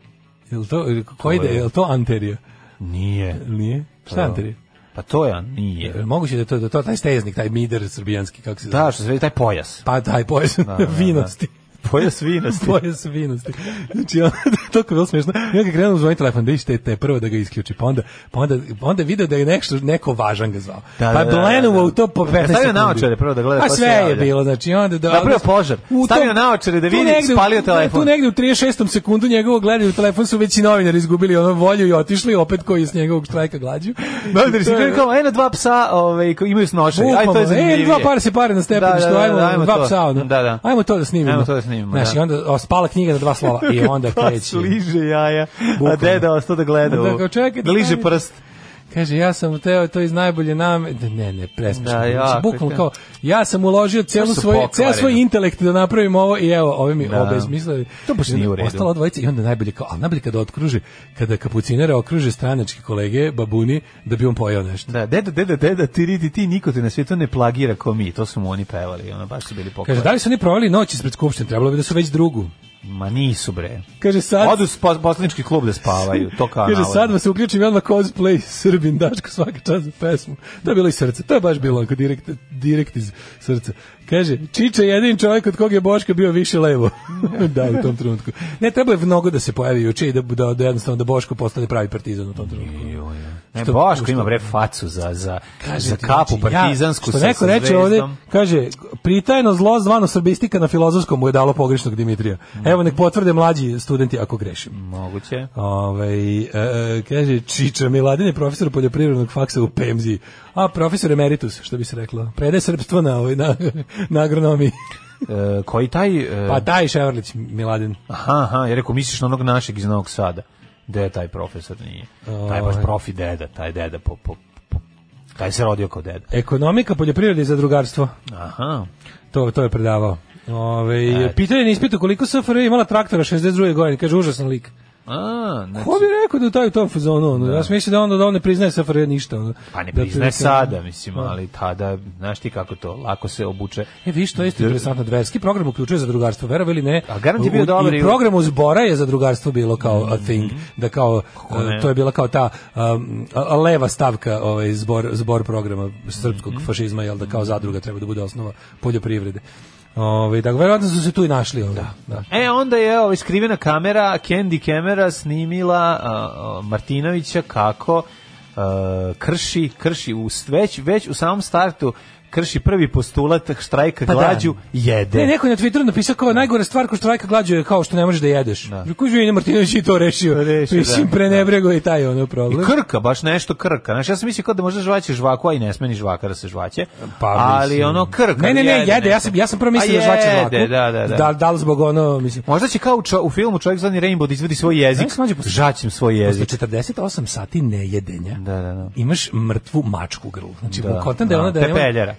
Jel to koji
To
da
je-
jel to anterija?
Nije.
Nije. Šta
je-
je anterija?
Pa to je, nije.
Jel Moguće da je to da je to taj steznik, taj mider srbijanski kako se zove.
Da, što se vidi, taj pojas.
Pa taj pojas
da, da.
(laughs) vinosti. (laughs)
Pojas vinasti.
Pojas vinosti. Znači, onda, (laughs) to je bilo smiješno. I onda krenuo zvoni telefon, da ište te prvo da ga isključi, pa onda, pa onda, pa onda je video da je nešto, neko važan ga zvao.
Da,
pa
da, da,
blenuo
da, da.
u to po 15 sekundi.
Stavio naočare prvo da gleda
A
ko se
sve je
javlja.
bilo, znači onda da...
Napravio
onda-
požar.
u
Stavio
tom-
naočare da
tu
vidi,
negde u-
spalio
tu-
telefon.
Tu negde u 36. sekundu njegovog gledanja u telefon su već i novinari izgubili ono volju i otišli opet koji iz njegovog štrajka glađu.
Novinari
I (laughs)
su
to je-
bili kao, eno dva psa ovaj, koji imaju snošaj. Aj, to
Bukvalno,
je zanimljivije.
E, dva par se pare na stepeništu,
Da, da, da,
ajmo,
da, ajmo
dva
to.
psa, ono.
Da, da.
Ajmo to da snimimo.
Ajmo to da snimimo,
Znaš,
da.
i onda o, spala knjiga na dva slova
(laughs)
i onda
Pa
kreće.
sliže jaja, a
Bukvalno.
deda ostao da gleda.
Da,
u-
kao, čekajte,
da liže
stavite.
prst.
Kaže, ja sam teo to iz najbolje name. Da, Ne, ne, presmešno.
Da,
Da,
jako je
Bukvalno
to.
kao, ja sam uložio celu
To su
svoj,
pokvareno.
ceo svoj intelekt da napravim ovo i evo, ove mi
Da.
da. obezmislili.
To baš
I onda
nije u redu.
Ostala dvojica i onda najbolje kao, a najbolje kada otkruži, kada kapucinera okruže stranačke kolege, babuni, da bi on pojao nešto.
Da, deda, deda, deda, ti ridi, ti niko te na svijetu ne plagira ko mi. To su mu oni pevali, ono, baš su bili
Kaže,
pokojni.
da li su oni provali noć ispred skupštine? Trebalo bi da su već drugu.
Ma nisu, bre.
Kaže, sad...
Odu s pos- poslanički klub da spavaju, to kao
Kaže,
Pa navodno.
sad vas uključim i odmah cosplay Srbin Daško svaka čast za pesmu. To je bilo iz srca, to je baš bilo onako direkt, direkt iz srca. Kaže, Čiče je jedin čovjek od kog je Boško bio više levo. (laughs) da, u tom trenutku. Ne, treba je mnogo da se pojavi juče i da, da, da jednostavno da Boško postane pravi partizan u tom trenutku.
Ne,
Što-
Boško
što-
ima bre facu za, za,
Kaže
za
ti,
kapu
znači, ja,
partizansku
što
sa,
neko
sa
reče
zvezdom.
ovde, kaže, pritajno zlo zvano srbistika na filozofskom mu je dalo pogrešnog Dimitrija. Evo, nek potvrde mlađi studenti ako grešim.
Moguće.
Ovaj e, kaže Čiča Miladin je profesor poljoprivrednog faksa u Pemzi, a profesor emeritus, što bi se reklo. Prede srpstvo na, ovoj, na, na agronomiji.
E, koji taj... e,
Pa taj Ševarlić Miladin.
Aha, aha, ja rekao, misliš na onog našeg iz Novog Sada. Gde je taj profesor? Nije. Taj je baš profi deda, taj deda po, po, po- taj se rodio kao deda.
Ekonomika, poljoprivreda i zadrugarstvo.
Aha.
To, to je predavao. Ove,
Ajde.
pitanje na ispitu koliko SFRJ je imala traktora 62. godine, kaže užasan lik.
A, znači,
Ko Pa bi rekao da je taj u tom fazonu? Ono? Ja sam mislio da onda da on ne priznaje SFRJ ništa. Ono.
pa ne
Da
priznaje
prilike-
sada, mislim, ali tada, znaš ti kako to, lako se obuče.
E, viš, to je isto interesantno. Dverski program uključuje zadrugarstvo, verovi ili ne.
A garant je bio
U- u-
dobar
I
i
u
u- Mhm.
programu zbora je zadrugarstvo bilo kao a thing. Da kao,
ne?
e, to je bila kao ta um, a- a leva stavka ovaj, zbor, zbor programa srpskog
Mhm.
fašizma, jel da kao zadruga treba da bude osnova poljoprivrede. Ovaj da, verovatno su se tu i našli. Ovaj. Da, da.
E, onda je ovaj, skrivena kamera, Candy kamera snimila a, a, Martinovića kako a, krši, krši u, s- već, već u samom startu krši prvi postulat štrajka
Pa da.
glađu, jede.
Ne, neko je na Twitteru napisao kao najgore stvar ko štrajka glađu je kao što ne možeš da jedeš. Da. Rekao je Martinović i to rešio.
Rešio,
Mislim,
da,
prenebrego je i taj ono
I
problem.
krka, baš nešto krka. Znaš, ja sam mislio kao da možda žvaće žvaku, a i ne smeni žvaka da se žvaće.
Pa,
ali
mislim.
ono krka.
Ne, ne, ne, jede,
nešto.
ja sam, ja sam prvo
A
mislio da žvaće žvaku.
jede, Da, da, Pa da.
Da, da li zbog ono, mislim,
Možda će kao u, čo- u filmu čovjek zadnji Rainbow da izvadi svoj jezik.
Znaš, mlađe, posle-
Žaćem svoj
posle
jezik.
48 sati nejedenja
Da, da, da.
imaš mrtvu mačku u grlu. Znači,
Da,
da, kontam da je
da,
ona da...
te
nema-
peljera.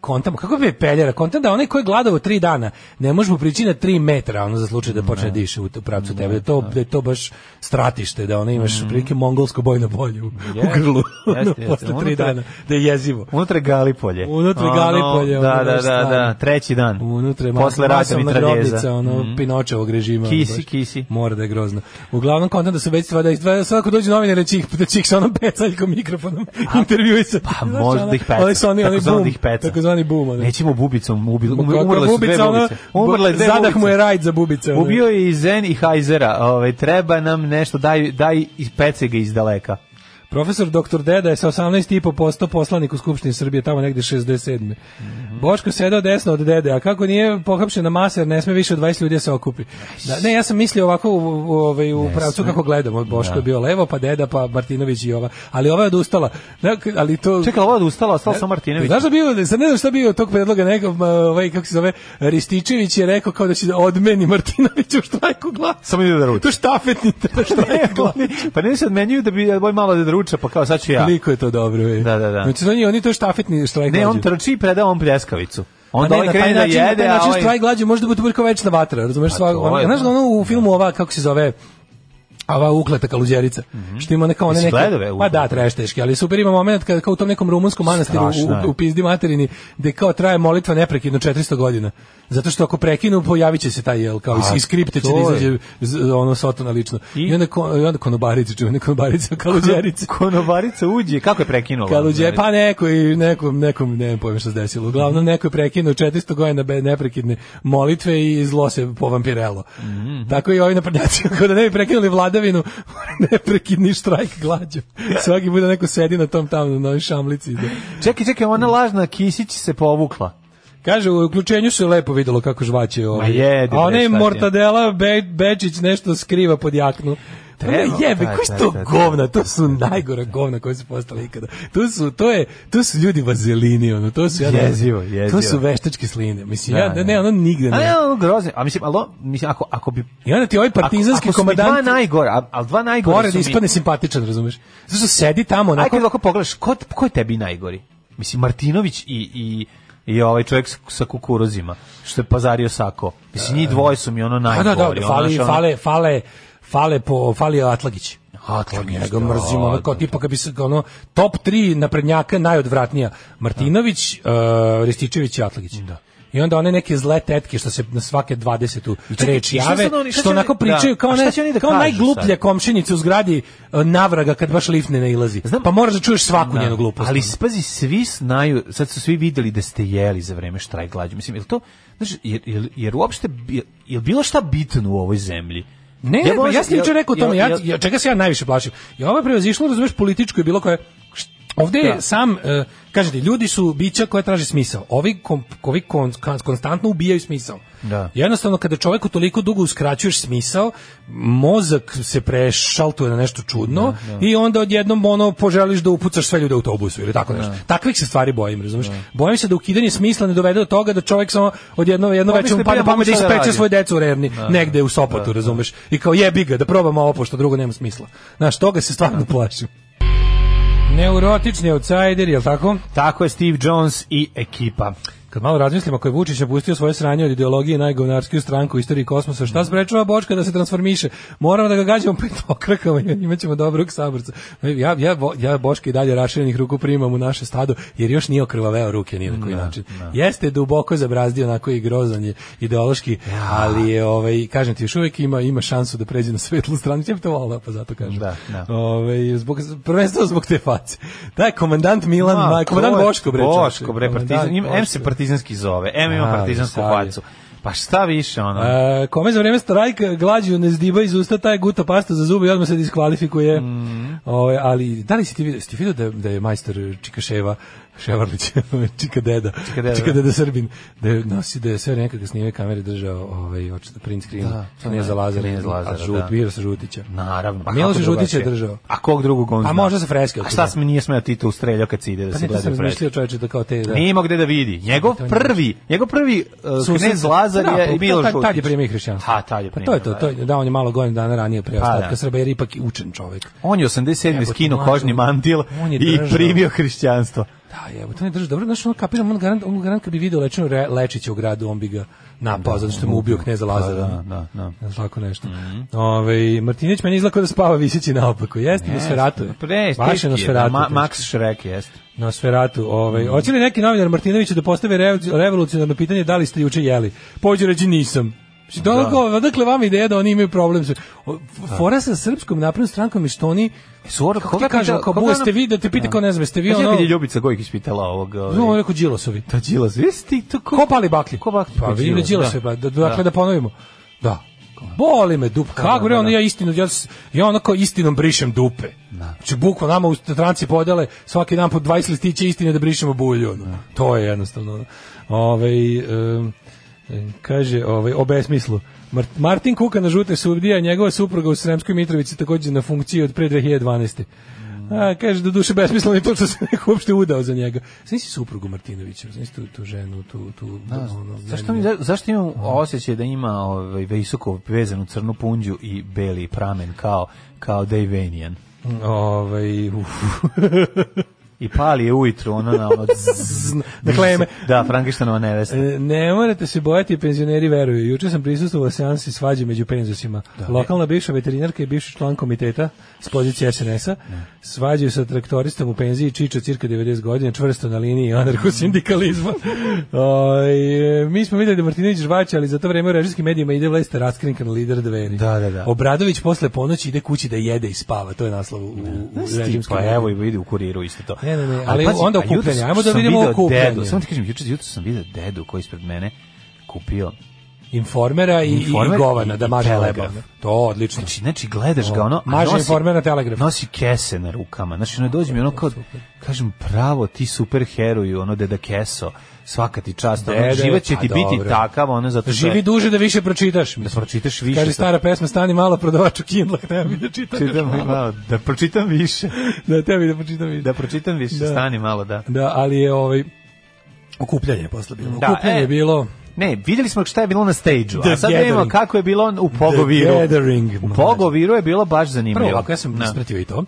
Kontam, kako bi peljera? Kontam da onaj ko je gladovo tri dana, ne može mu prići na tri metra, ono za slučaj da počne diše u u pravcu tebe. Da je to, da je to baš stratište, da ono imaš prilike mongolsko bojno polje u, u
Mm. Jeste,
grlu. (laughs) ono,
jeste, Ono jeste.
Posle tri
Unutra-
dana, da je jezivo.
Unutra je Galipolje.
Unutra je
Ono,
Galipolje, ono,
Da, da,
baš
da, da,
stvarno.
treći dan.
Unutra je
Posle
mas-
rata
masalna grobnica,
mitraljeza. Mhm.
ono, Pinočevog režima. ono,
Kisi,
baš.
kisi.
Mora da je grozno. Uglavnom, kontent da su već sva da izdvaja, svako dođe novinare čih, da čih sa onom pecaljkom mikrofonom intervjuje se.
Pa
Znaš,
možda
ono,
da ih peca.
Oni su oni, oni
Takozvani
boom,
da ih peca.
takozvani boom. ono.
Nećemo bubicom, ubili,
Kako
umrle su dve
bubica, ono,
bubice. Umrle
bu-
dve
Zadah
bubice.
mu je rajd za bubice. ono.
Ubio je i Zen i Hajzera. Ove, treba nam nešto, daj, daj iz pece ga iz daleka.
Profesor dr. Deda je sa 18,5 posto poslanik u Skupštini Srbije, tamo negde 67. Boško sedao desno od Dede, a kako nije pohapšen na maser, ne sme više od 20 ljudi da se okupi. Da, ne, ja sam mislio ovako u, u, ovaj, u pravcu kako gledamo. Boško je bio levo, pa Deda, pa Martinović i ova. Ali ova je odustala. Ne, ali to...
Čekaj, ovo je odustalo, ostalo sam Martinović.
Znaš da bio, sad ne znam šta bio od tog predloga nekog, ma, ovaj, kako se zove, Rističević je rekao kao da će da odmeni Martinović u štrajku glasa.
Samo ide da (laughs) ruča.
To je štafetni štrajk glasa.
pa ne se odmenjuju da bi da boj malo da ruča, pa kao sad ću ja.
Koliko je to dobro, ej.
Da, da, da.
Znači, oni, oni to štafetni štrajk
Ne, on
glađu.
trči i preda on pljeskavicu. Onda
Pa
ovaj
na taj
krene da
način- na taj
jede, a
način
ovaj...
štrajk glađu može da bude buljka večna vatra, razumeš?
Pa
sva,
to je,
ona, znaš
da.
da ono u filmu ova, kako se zove, a ova ukleta kaluđerica,
Mhm.
što ima neka one
Jesi
neke...
gledao, be,
pa
Ukleta?
da, trešteški, ali super ima moment kada kao u tom nekom rumunskom manastiru
Strašno je.
u, u, u pizdi materini, gde kao traje molitva neprekidno 400 godina. Zato što ako prekinu, pojavit će se taj jel, kao
A,
iz, iz kripte će
to
da
je.
izađe z- ono sotona lično.
I?
I, onda, ko, i onda konobarice, čuvene (laughs) konobarice, kaluđerice.
Konobarica uđe, kako je prekinula?
Kaluđe, pa neko i nekom, nekom, ne znam pojma što se desilo. Uglavnom, neko je prekinuo 400 godina bez neprekidne molitve i zlo se povampirelo. Tako i ovi naprnjaci, (laughs) ako da ne bi prekinuli vladavinu, neprekidni štrajk glađu. Svaki bude neko sedi na tom tamo, na ovoj šamlici. Da.
Čekaj, čekaj, ona lažna Kisić se povukla.
Kaže, u uključenju se lepo videlo kako žvaće ovo.
jedi,
A
bre, šta
onaj
ti je?
Mortadela Be Bečić nešto skriva pod jaknu.
Treba,
Treba, jebe,
da,
koji
da,
su to
da, da.
govna, to su najgora govna koje su postale ikada. To su, to je, to su ljudi vazelini, ono, to su, ja ne znam,
Jezivo, jezivo.
to su veštačke sline, mislim,
Da,
ja, ne,
da.
ne, ono nigde
A ne,
ne.
ono grozno. A mislim, alo, mislim, ako, ako bi...
I onda ti ovaj
Ako,
partizanski
ako su mi dva
komandant
najgore, a- ali dva najgore
pored
su mi...
ispadne simpatičan, razumeš? Zato što sedi tamo,
Ajde
onako,
kad ovako pogledaš, ko, ko je tebi najgori? Mislim, Martinović i, i, i ovaj čovjek s- sa kukuruzima, što je pazario sako. Mislim, njih dvoje su mi ono
A
najgori.
da, da,
ono,
fali,
znaš, ono-
fale, fale, fale po, fali Atlagić.
Atlagić,
Njega
da,
mrzimo, ono kao
da.
tipa kad bi se, ono, top 3 naprednjaka najodvratnija. Martinović, uh, Rističević i Atlagić. Da. I onda one neke zle tetke što se na svake 20.
čekaj,
reč
i šta
jave,
sad oni- šta
što
će
onako
oni- da.
pričaju kao,
A šta
ne,
će oni da
kao
kažu
najgluplja
sad?
komšinica u zgradi uh, navraga kad baš lift ne nailazi.
Znam-
pa moraš da čuješ svaku
Da,
njenu glupost.
Ali
ono.
spazi, svi znaju, sad su svi videli da ste jeli za vreme štrajk glađu. Mislim, je to, znaš, jer, jer, jer uopšte, bi- je bilo šta bitno u ovoj zemlji?
Ne,
Jel
ne, pa
može-
ja sam
jel-
juče rekao o tome,
jel-
ja,
jel-
ja, čega se ja najviše plašim. I ovo je prevazišlo, razumeš, političko i bilo koje... št- Ovde je
Da.
sam, e, kažete, ljudi su bića koja traže smisao. Ovi, kom, ovi kon, kon- konstantno ubijaju smisao.
Da.
Jednostavno, kada čoveku toliko dugo uskraćuješ smisao, mozak se prešaltuje na nešto čudno i onda odjednom ono, poželiš da upucaš sve ljude u autobusu ili tako nešto. Takvih se stvari bojim, razumeš? Bojim se da ukidanje smisla ne dovede do toga da čovek samo odjednom jedno
Pomisli,
večer mu
ja
pada
mogu
pamet da
šta da
ispeče
radim.
svoje decu u revni, negde u Sopotu, razumeš? I kao jebi ga, da probam ovo, pošto drugo nema smisla. Znaš, toga se stvarno (laughs) plašim. Neurotični outsider, jel tako?
Tako je Steve Jones i ekipa.
Kad malo razmislimo, ako je Vučić napustio svoje sranje od ideologije i najgovnarskiju stranku u istoriji kosmosa, šta sprečava Bočka da se transformiše? Moramo da ga gađamo pet okrakama i (laughs) imaćemo dobrog saborca. Ja, ja, Bo- ja Boška i dalje raširenih ruku primam u naše stado, jer još nije okrvaveo ruke ni na koji način. Jeste duboko zabrazdio, onako i grozan je ideološki, ali je, ovaj, kažem ti, još uvijek ima, ima šansu da pređe na svetlu stranu. Ja bi to volao, pa zato kažem.
Da, da.
Ovaj, zbog, prvenstveno zog te face. Taj komandant Milan, Ma, komandant
to je
Boško bre. čoveče.
Boško bre, pa
Komandant
partizan. Im, M
Boško.
se partizanski zove, M ima
Da,
partizansku
stavi.
facu. Pa šta više, ono?
E, kome za vreme strajka glađu ne zdiba iz usta, taj guta pasta za zube i odmah se diskvalifikuje. Mm. Ove, ali da li si ti vidio, si ti vidio da, je- da je majstor Čika Ševa, Ševarlić, (laughs) Čika Deda, Čika
Deda.
Deda, Srbin, da je, nosi, da je sve nekakve snime kamere držao ovaj, očito print screen,
Da,
da,
to
Kneza
je
Lazara,
Knez Lazara,
a žut,
da.
Mirosa Žutića.
Naravno.
Pa Miloš
kako
Žutić je
drugačije?
držao.
A kog drugog on
A
zna?
možda sa freske
A
od
šta
toga.
smo nije smeo Tito u streljao kad se ide da
Pa
se
ne, to
gleda
sam
freske?
razmišljao čoveče da kao te... Da. Pa
Nije imao gde da vidi. Njegov
to nije
prvi, njegov prvi uh,
Susret-
knez Lazar
Da,
je
pa,
Miloš
tad-
Žutić.
Tad je primio hrišćanstvo.
Ha, tad je
Pa
primio.
to je to, to je, da, on je malo godinu dana ranije pre ostatka
Pa da.
Srba, jer je ipak učen čovek.
On je 87.
Jebote,
skinuo
mlađo.
kožni mantil
On je
i
držao.
primio hrišćanstvo.
Da, je, to ne drži dobro, znači on kapiram, on garant, on garant kad bi video lečenu re, Lečića u gradu, on bi ga napao, zato što mu ubio kneza Lazara.
da, da, da. Mhm.
Znaš, tako nešto. Ovaj Martinić meni izlako da spava visići naopako. Jeste, na sferatu. je.
Pre,
Baš je na
stiski je,
sferatu.
Ma, Mhm. Max Šrek jeste.
na sferatu. Ovaj. Hoće li neki novinar Martinović da postave revo- revolucionarno pitanje da li ste juče jeli? Pođe reći nisam. Mislim, Da. Odakle, odakle vam ideja da oni imaju problem? sa- O, f- Fora sa srpskom naprednom strankom je što oni
Sora,
Kako ti kažu, kao bu,
ono-
jeste vi, da te pita kao ne znam, jeste vi ono...
Ja je Ljubica Gojkić pitala ovog...
No, on je
ovaj,
Ono, rekao Đilasovi.
Ta Đilas, vi ste ti to ko...
Ko pali baklje?
Ko baklje?
Pa vi ne
Đilas,
Đilasovi,
da.
ba- da, dakle da. ponovimo. Da. Boli me dup. Kako bre, ono ja istinu, ja, s- ja onako istinom brišem dupe. Znači, bukva nama u stranci podele svaki dan po 20 listića istine da brišemo bulju. Ono. To je jednostavno. ono. Ovaj, em, em, kaže, ovaj, o besmislu. Mar- Martin Kuka na žute sudija, njegova supruga u Sremskoj Mitrovici takođe na funkciji od pre 2012. A, kaže, do duše besmisleno i to što se (laughs) neko uopšte udao za njega. Znaš si suprugu Martinovića, znaš tu, tu ženu, tu... tu ono,
Zašto, mi, za- zašto imam osjećaj da ima ovaj, Vejsukov vezanu crnu punđu i beli pramen kao, kao Dejvenijan?
Ovaj, uf.
I pali je ujutru, ono na ono... zzz,
Na kleme.
Da, Frankištanova
(laughs)
nevesta.
E, Ne morate se bojati, penzioneri veruju. Juče sam prisustvovao seansi svađe među penzusima. Lokalna bivša veterinarka i bivši član komiteta s pozicije SNS-a svađaju sa traktoristom u penziji Čičo cirka 90 godina, čvrsto na liniji
(laughs)
anarcho-sindikalizma. Oj, e, mi smo videli da Martinović žvaća, ali za to vreme u režijskim medijima ide vleste raskrinkan lider dveri.
Da, da, da.
Obradović posle ponoći ide kući da jede i spava. To je naslov u, u, u
Ti,
režimskim
pa
medijima.
evo i vidi u kuriru isto to.
Ne, ne, ne, ali onda
a jutros
okupljanje, ajmo da
sam
vidimo
video
okupljanje.
Dedu, samo ti kažem, juče jutro sam video dedu koji ispred mene kupio.
Informera i,
Informer
i govana,
i-
da
i
maže leba.
Telegraf.
To, odlično.
Znači, znači gledaš ga ono, a
Maže
nosi-
informer na telegraf.
Nosi kese na rukama. Znači, ono dođe mi ono kao, kažem, pravo, ti super heruju, ono deda keso, svaka ti čast, ono,
Dede,
život će
pa
ti biti
dobro.
takav, ono, zato što je-
Živi duže da više pročitaš. mislim.
pročitaš više,
Kaže
sad.
stara pesma, stani malo prodavaču kindlak, tebi da čitaš.
Čitam malo, da pročitam više.
Da, tebi da pročitam više.
Da pročitam više,
Da.
stani malo, da.
Da, ali je ovaj okupljanje je posle bilo.
Da,
Okupljanje
e.
je bilo
Ne, vidjeli smo šta je bilo na stage-u,
The
a sad vidimo
Gathering.
kako je bilo on u Pogoviru.
Gathering,
U
mlađe.
Pogoviru je bilo baš zanimljivo.
Prvo, ovako, ja sam
Da.
ispratio i to.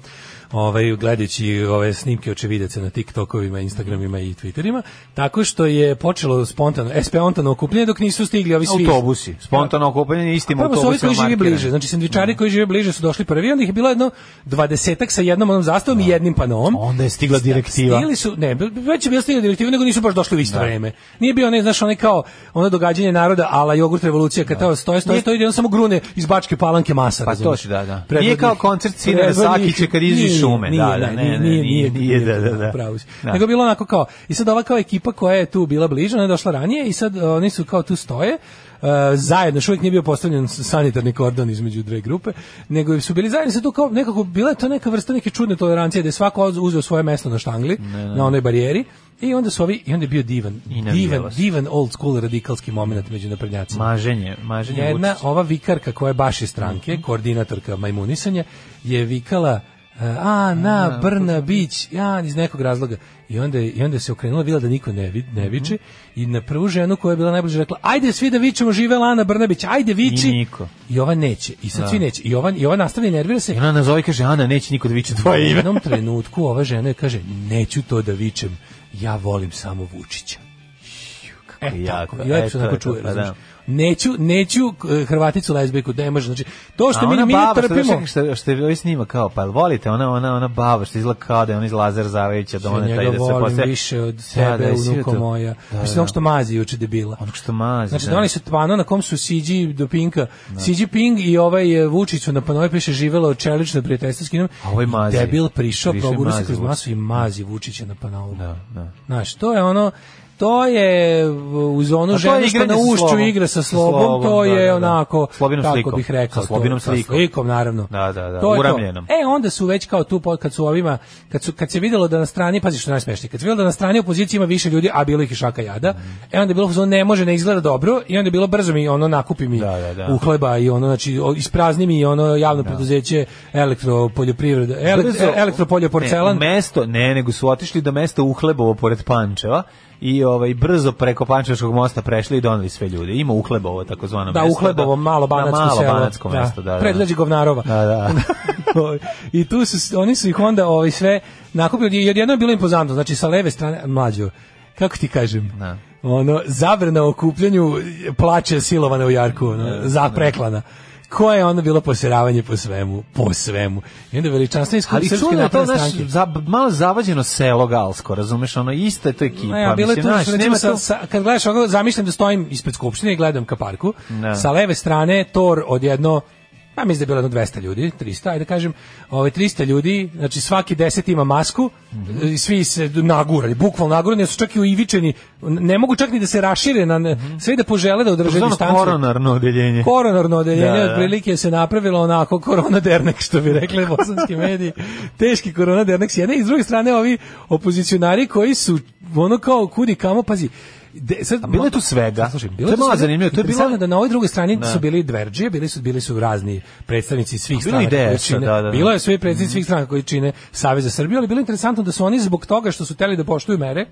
Ovaj, gledajući ove snimke očevidaca na TikTokovima, Instagramima i Twitterima, tako što je počelo spontano, e, spontano okupljanje dok nisu stigli ovi svi.
Autobusi, spontano okupljanje istim
Prvo su ovi
autobusima.
koji živi
markirani.
bliže, znači sendvičari koji žive bliže su došli prvi, onda ih je bilo jedno dvadesetak sa jednom onom zastavom i jednim panom.
Onda je stigla direktiva.
Stili su, ne, već je bila stigla direktiva, nego nisu baš došli u isto vreme. Nije bio, ne, znaš, onaj kao ono događanje naroda, ala jogurt revolucija, kad tamo stoje, stoje, stoje, i onda samo grune iz bačke palanke masa.
Pa
razumeš?
to da, da. Nije
Predvodnih-
kao koncert Sine
predvodnih-
Sakića kad izi
nije,
šume.
Nije,
da, da,
ne,
ne, ne,
nije, nije,
nije, da, da, da.
pravo si.
Da.
Nego bilo onako kao, i sad ova kao ekipa koja je tu bila bliže, ona je došla ranije i sad uh, oni su kao tu stoje, uh, zajedno, što uvijek nije bio postavljen s- sanitarni kordon između dve grupe, nego su bili zajedno, sad tu kao nekako, bila je to neka vrsta neke čudne tolerancije, da je svako uz- uzeo svoje mesto na štangli, na onoj barijeri, I onda su ovi, i onda je bio divan,
I
divan,
navijalo se.
divan old school radikalski moment među naprednjacima.
Maženje, maženje
Jedna
Vučića.
ova vikarka koja je baš iz stranke,
Mhm.
koordinatorka majmunisanja, je vikala e, a na Brnabić, ja iz nekog razloga. I onda je- i onda se okrenula bila da niko ne vi, ne
Mhm.
viče i na prvu ženu koja je bila najbliže rekla: "Ajde svi da vičemo živela Ana Brnabić, ajde viči."
I niko.
I ova neće. I sad svi neće. I ova i ova nastavlja i nervira se.
I ona nazove i kaže, Ana, neće niko da viče tvoje
U
ime.
jednom trenutku ova žena je kaže: "Neću to da vičem. Ja volim samo Vučića." E,
jako,
tako,
e,
i lepo se
to
tako
je to,
čuje,
pa
razumiješ.
da.
Neću, neću eh, Hrvaticu lezbijku, ne može, znači, to što
A
mi,
ona
mi ne
baba što
trpimo,
došla- Što, što je ovaj snima kao, pa jel volite, ona, ona, ona baba što izgleda kao da je on iz Lazar Zarevića doneta
njega
i da se
volim
posle...
više od
Da, da,
sebe,
jesi
unuko
vidio to?
moja.
Da,
Mislim,
da.
ono što mazi juče debila.
Onog što mazi.
Znači,
da.
doneli su pano na kom su Siđi do Pinka. Siđi Ping i ovaj eh, Vučić su na panovi piše živelo čelično prijateljstvo s Kinom.
A ovaj
I
mazi.
Debil prišao,
Više
proguru se
mazi
kroz
Vučića.
masu i mazi Vučića na panovu.
Da, da.
Znaš, to je ono, stoje uz
A
onu
to je
ženu što
igranje
na
sa
ušću
slobom.
igra sa
Sa
slobom,
slobom,
to
da,
je
da, da.
onako,
Slobinom
kako
slikom.
bih rekao,
Sa slobinom
to,
slikom.
Sa slikom, naravno.
Da, da, da,
To je to.
uramljenom.
E, onda su već kao tu, pod- kad su ovima, kad, su, kad se videlo da na strani, pazi što je najsmešnije, kad se videlo da na strani opozicije ima više ljudi, a bilo ih i šaka jada, e onda je bilo, u fazonu, ne može, ne izgleda dobro, i onda je bilo brzo mi ono nakupi mi
Da, da, da.
uhleba i ono, znači, o- isprazni mi ono javno preduzeće elektropoljoprivreda,
Brzo-
ele, elektropoljoporcelan.
Ne, u mesto, ne, nego su otišli do mesta Uhlebovo pored Pančeva i ovaj brzo preko Pančevačkog mosta prešli i doneli sve ljude. Ima Uhlebovo takozvano
Da,
Pa mesto.
u Hlebovom, malo banatsko
da, malo
selo.
banatsko mesto, da, da.
Predgrađe Govnarova.
Da, da.
(laughs) I tu su, oni su ih onda ovaj, sve nakupili, jer jedno je bilo impozantno, znači sa leve strane, mlađo, kako ti kažem,
Da.
ono, zabrana o kupljanju plaće silovane u jarku, ono, zapreklana. Koje je ono bilo poseravanje po svemu, po svemu. I onda veličanstveni skup
Ali
srpske
čudno je to
napredne
naš
stranke.
za, malo zavađeno selo galsko, razumeš, ono isto je to ekipa.
Ne, a bilo je
mislim,
tu,
znaš,
recimo,
nema
sa,
tu-
sa, kad gledaš ovako, zamišljam da stojim ispred skupštine i gledam ka parku,
Da.
sa leve strane tor od jedno, ja mislim da je bilo jedno 200 ljudi, 300, ajde kažem, ovaj 300 ljudi, znači svaki 10 ima masku,
Mhm.
i svi se nagurali, bukvalno nagurani, su čak i uivičeni, ne mogu čak ni da se rašire, na,
Mhm.
sve da požele da održe
Ono
distancu.
koronarno odeljenje.
Koronarno odeljenje
Da, da.
otprilike se napravilo onako korona dernek što bi rekli bosanski mediji. Teški korona dernek s jedne i s druge strane ovi opozicionari koji su ono kao kudi kamo pazi. De, sad,
bilo je tu svega.
Sad, Pa, Slušaj, bilo
To je
tu
malo
svega
zanimljivo, to je
i
bilo-
interesantno da na ovoj drugoj strani
Da.
su bili dverđije, bili su bili su razni predstavnici svih
bilo je
stranaka.
i
koje
DS-a,
čine-
da, da, Mhm. da.
Bilo je svi predstavnici svih stranaka koji čine Savez za Srbiju, ali bilo je interesantno da su oni zbog toga što su teli da poštuju mere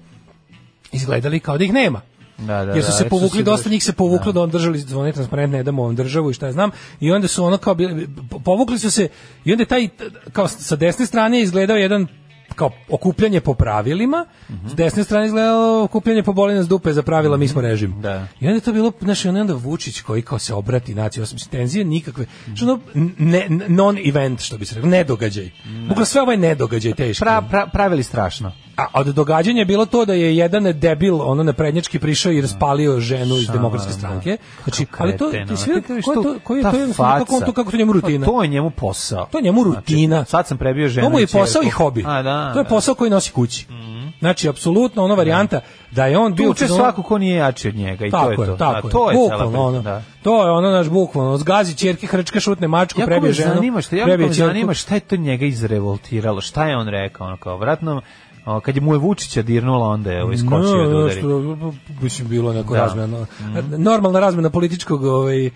izgledali kao da ih nema.
Da, da,
jer su
da,
se
jer su
povukli,
se
dosta
došli-
njih se povuklo da on držali zvone transparentne, ne damo ovom državu i šta ja znam, i onda su ono kao, bili- povukli su se, i onda je taj, kao sa desne strane je izgledao jedan kao okupljanje po pravilima, s desne strane je izgledalo okupljanje po boli nas dupe za pravila, mi smo režim.
Mhm. Da.
I onda je to bilo, znaš, i onda je onda Vučić koji kao se obrati naciji, osim tenzije, nikakve, što ono, ne, non-event, što bi se rekao, nedogađaj. Bukla sve ovaj nedogađaj teški.
Pra, pra, pravili strašno.
A od događanja je bilo to da je jedan debil ono na prednjački prišao i raspalio ženu iz demokratske stranke. Znači, ali to
Kreten,
ti
ono.
svi ko je
kažeš,
to ko je to
ta
jednostavno, kako on
faca. Pa,
to kako to njemu rutina.
To je njemu posao.
To je njemu rutina.
Znači, sad sam prebio ženu.
To mu je
i ćerku.
posao i hobi.
A, da. Mhm.
to je posao koji nosi kući. Znači, apsolutno ona varijanta da je on bio
Tuče
čudno-
svako ko nije jači od njega i
Tako
to je to.
tako
da, to je cela
Bukvalno
priča,
ono.
da.
To je ono naš bukvalno. Zgazi ćerke, hrčka, šutne mačku,
Jako
prebije
me
ženu.
zanima, što, jako
prebije
me
ćerku.
zanima šta je to njega izrevoltiralo, šta je on rekao, ono kao, vratno, o, kad je mu je Vučića dirnula, onda je ovo iskočio da udari.
Što, mislim, bilo neko
Da. Mm.
razmena. Normalna razmena političkog ovaj, e,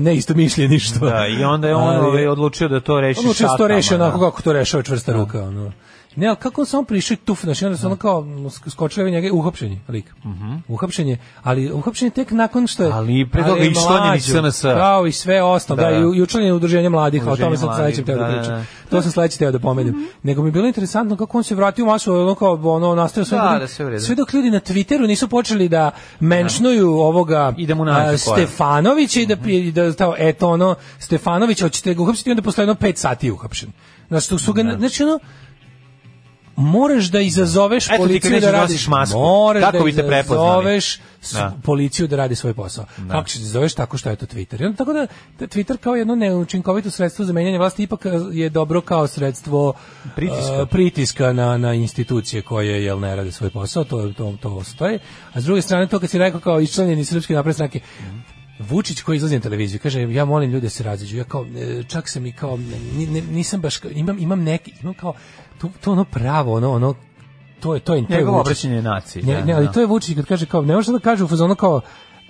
ne isto mišljeništva.
Da, i onda je on
Ali-
ovaj, odlučio da to reši
Odlučio se to
šatama,
reši
da.
onako kako to rešava čvrsta ruka. Ono. Ne, ali kako on samo prišao i tuf, znači onda su ono kao sk- skočili ovi njega i uhapšenje, lik. Uhapšenje, ali uhapšenje tek nakon što je...
Mhm. Ali pre toga
ali je
i članjen iz
mlađo,
SNS.
Kao i sve ostalo, da,
Da,
i,
da.
u- i učlanjen u udruženje mladih, a o tome
Udruženje
sam
mladih,
sledećem teo da,
da, da,
pričam.
da. Mhm.
To sam sledeći teo da pomenem. Nego mi je bilo interesantno kako on se vratio u masu, ono kao ono, nastavio sve,
Da,
dok-
da, sve u redu.
sve dok ljudi na Twitteru nisu počeli da menšnuju ovoga
I da mu nađu
a,
ko je. Mhm.
Stefanović i da pri- da tao eto ono Stefanović hoćete ga uhapsiti i onda posle jedno 5 sati je uhapšen. Znači tu su ga znači ono moraš da izazoveš
Eto ti kad
policiju
nećeš
da
da
radi
nosiš masku.
moraš
Kako
da
biste prepoznali?
izazoveš s-
Da.
policiju da radi svoj posao. Kako ćeš da izazoveš tako što je to Twitter. I onda tako da da Twitter kao jedno neučinkovito sredstvo za menjanje vlasti ipak eh, je dobro kao sredstvo
Pritiska.
eh, pritiska na, na institucije koje jel ne rade svoj posao, to to to stoji. A s druge strane to kad si rekao kao isčlanjeni srpske napredne stranke, Vučić koji izlazi na televiziju kaže ja molim ljude da se raziđu. Ja kao e, čak sam i kao ni- ni- nisam baš kao- imam imam neki imam kao to, to ono pravo, ono ono to je to je to je
Njegovo
Vučić.
obraćanje naciji.
Ne,
da,
ne, ali
da.
to je Vučić kad kaže kao, ne može da kaže u fazonu kao,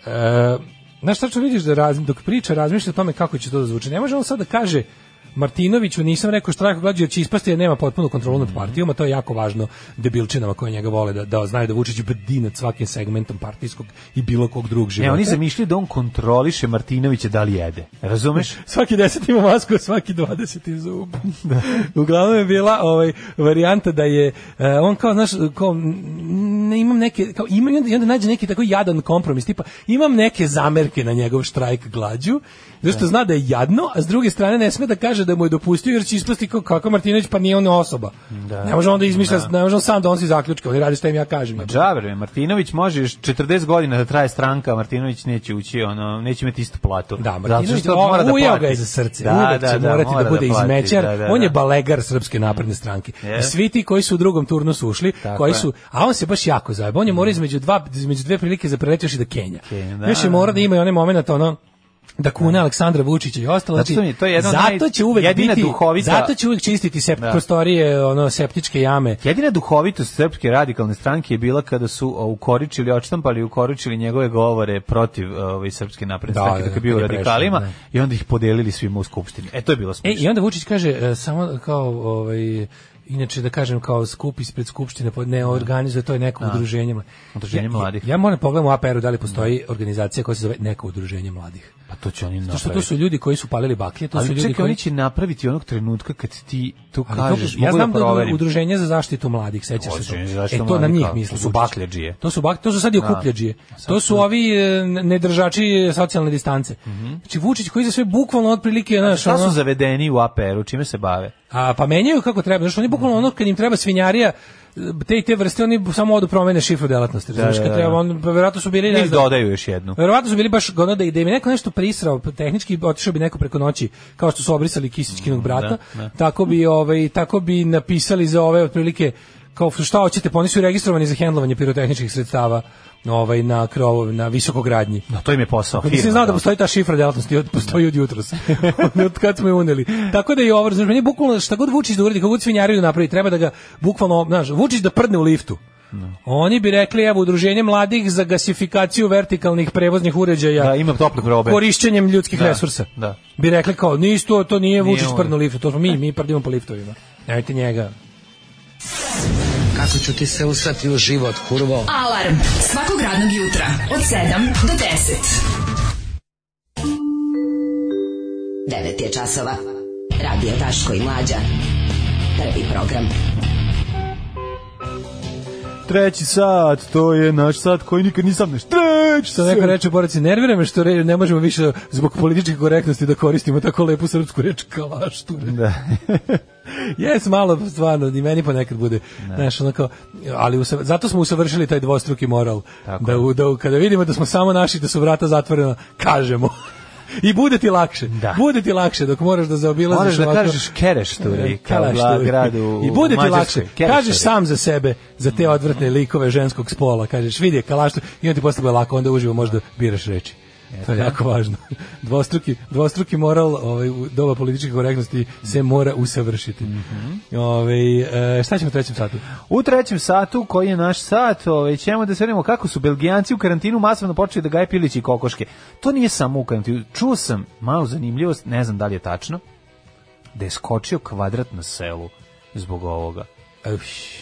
e, znaš šta što vidiš da razmi, dok priča razmišlja o tome kako će to da zvuči. Ne može on sad da kaže, Martinoviću nisam rekao štrajk glađu jer će ispasti jer nema potpunu kontrolu nad partijom, a to je jako važno debilčinama koje njega vole da, da znaju da Vučić brdi nad svakim segmentom partijskog i bilo kog drugog života.
Ne, E, oni zamišljaju da on kontroliše Martinovića da li jede. Razumeš?
svaki 10 ima masku, a svaki 20 je zub. Uglavnom je bila ovaj varijanta da je e, on kao znaš kao n- ne imam neke kao ima i onda, i onda nađe neki tako jadan kompromis tipa imam neke zamerke na njegov štrajk glađu zato što zna da je jadno, a s druge strane ne sme da kaže da mu je dopustio jer će ispasti kao kako Martinović pa nije on osoba. Ne može on da Pa izmišlja, ne može on sam da on si zaključka, on radi šta im ja kažem.
Džaver, me, Martinović može još 40 godina da traje stranka, a Martinović neće ući, ono, neće imati istu platu.
Da,
Zato
Martinović
što
o,
mora da
ujeo
plati.
ga je za srce.
Da,
Uvek
da,
će
da,
morati
mora
da bude
plati,
izmećar.
da, da,
On je
da.
balegar Srpske napredne stranke.
Je.
I svi ti koji su u drugom turnu su ušli,
Tako
koji
je. Mm.
su, a on se baš jako zajebo. On je morao između, dva, između dve prilike za preletioš i da Kenja.
Kenja, da.
da. Još je morao da ima i onaj moment, ono, da kune Aleksandra Vučića i ostalo.
Zato što mi je to jedno od naj-
zato će uvek
jedina
biti,
duhovita-
zato će uvek čistiti sep,
Da.
prostorije, ono, septičke jame.
Jedina duhovitost srpske radikalne stranke je bila kada su o, ukoričili, odštampali i ukoričili njegove govore protiv ovaj, srpske napredne
Da,
stranke
da,
dok je bio u
kad je prešao,
radikalima
da.
i onda ih podelili svima u skupštini. E, to je bilo
E,
smiješno.
i onda Vučić kaže, e, samo kao, ovaj, inače da kažem, kao skup ispred skupštine, pa ne organizuje, to je neko udruženje. mla-
Udruženje
Ja-
mladih.
Ja, ja moram pogledam u APR-u da li postoji organizacija koja se zove neko udruženje mladih.
Pa to će oni
Zato što to
napraviti.
su ljudi koji su palili baklje, to su
Ali
ljudi
čekaj,
koji...
oni će napraviti onog trenutka kad ti to
Ali
kažeš,
to, ja
mogu
znam
da
da,
proverim.
udruženje za zaštitu mladih, sećaš se
Udruženje za
to. E,
zaštitu
to na
mladih,
njih
kao,
misli.
to su
Vučić.
bakledžije.
To su bak, to su sad i okupljađije. To su ovi e, nedržači socijalne distance. Znači Vučić koji za sve bukvalno otprilike, znaš,
Šta Mhm. Znači, su
ono,
zavedeni u APR-u, čime se bave?
a pa menjaju kako treba. Znači oni bukvalno ono kad im treba svinjarija te i te vrste oni samo odu promene šifru delatnosti. Znači
da,
kad
da.
treba on pa verovatno su bili ne
Ili
znam,
dodaju još jednu.
Verovatno su bili baš ono da i da im je neko nešto prisrao, pa tehnički otišao bi neko preko noći, kao što su obrisali Kisićkinog brata,
Mm, da, da.
tako bi ovaj tako bi napisali za ove otprilike kao šta hoćete, pa oni su registrovani za hendlovanje pirotehničkih sredstava ovaj na krovu na visokogradnji.
No, Pa to im je posao.
Ako nisam
firma,
znao Pa da
da.
postoji ta šifra djelatnosti, od, postoji od jutros. (laughs) od kad smo je uneli. Tako da i ovo, znači, meni bukvalno šta god Vučić da uradi, kako god svinjariju da napravi, treba da ga bukvalno, znaš, Vučić da prdne u liftu. Oni bi rekli, evo, udruženje mladih za gasifikaciju vertikalnih prevoznih uređaja
Da, ima tople probe.
korišćenjem ljudskih
Da,
resursa.
da.
Bi rekli kao, nis to, to nije, Vučić
on.
prdno u liftu, to smo mi, mi prdimo po liftovima. Nemojte
(laughs)
njega.
Kako ću ti se usrati u život, kurvo?
Alarm svakog radnog jutra od 7 do 10.
9 je časova. Radio Daško i Mlađa. Prvi program.
Treći sat, to je naš sat koji nikad nisam neš. Treći
Što neko reče, boraci, nervira me što re- ne možemo više zbog političke korektnosti da koristimo tako lepu srpsku reč kalašture.
Da.
(laughs) Jes malo stvarno i meni ponekad bude. Znaš, onako, ali usav- zato smo usavršili taj dvostruki moral.
Tako
Da, u- da u- kada vidimo da smo samo naši da su vrata zatvorena, kažemo. (laughs) I bude ti lakše.
Da.
Bude ti lakše dok moraš da zaobilaziš
Moraš da
ovako-
kažeš kereš tu
E,
kao
kalašturi.
gla- gradu
I bude
u
ti
Mađarskoj,
lakše.
kereš
Kažeš
tu.
sam za sebe, za te odvratne likove ženskog spola. Kažeš, vidi je kalaštu. I onda ti postane lako, onda uživo možda biraš reči.
E,
To je jako važno. (laughs) Dvostruki, dvostruki moral ovaj, u doba političke korektnosti se mora usavršiti.
Mhm.
ovaj, e, šta ćemo u trećem satu?
U trećem satu, koji je naš sat, ovaj, ćemo da se vidimo kako su Belgijanci u karantinu masovno počeli da gaje pilići i kokoške. To nije samo u karantinu. Čuo sam malu zanimljivost, ne znam da li je tačno, da je skočio kvadrat na selu zbog ovoga.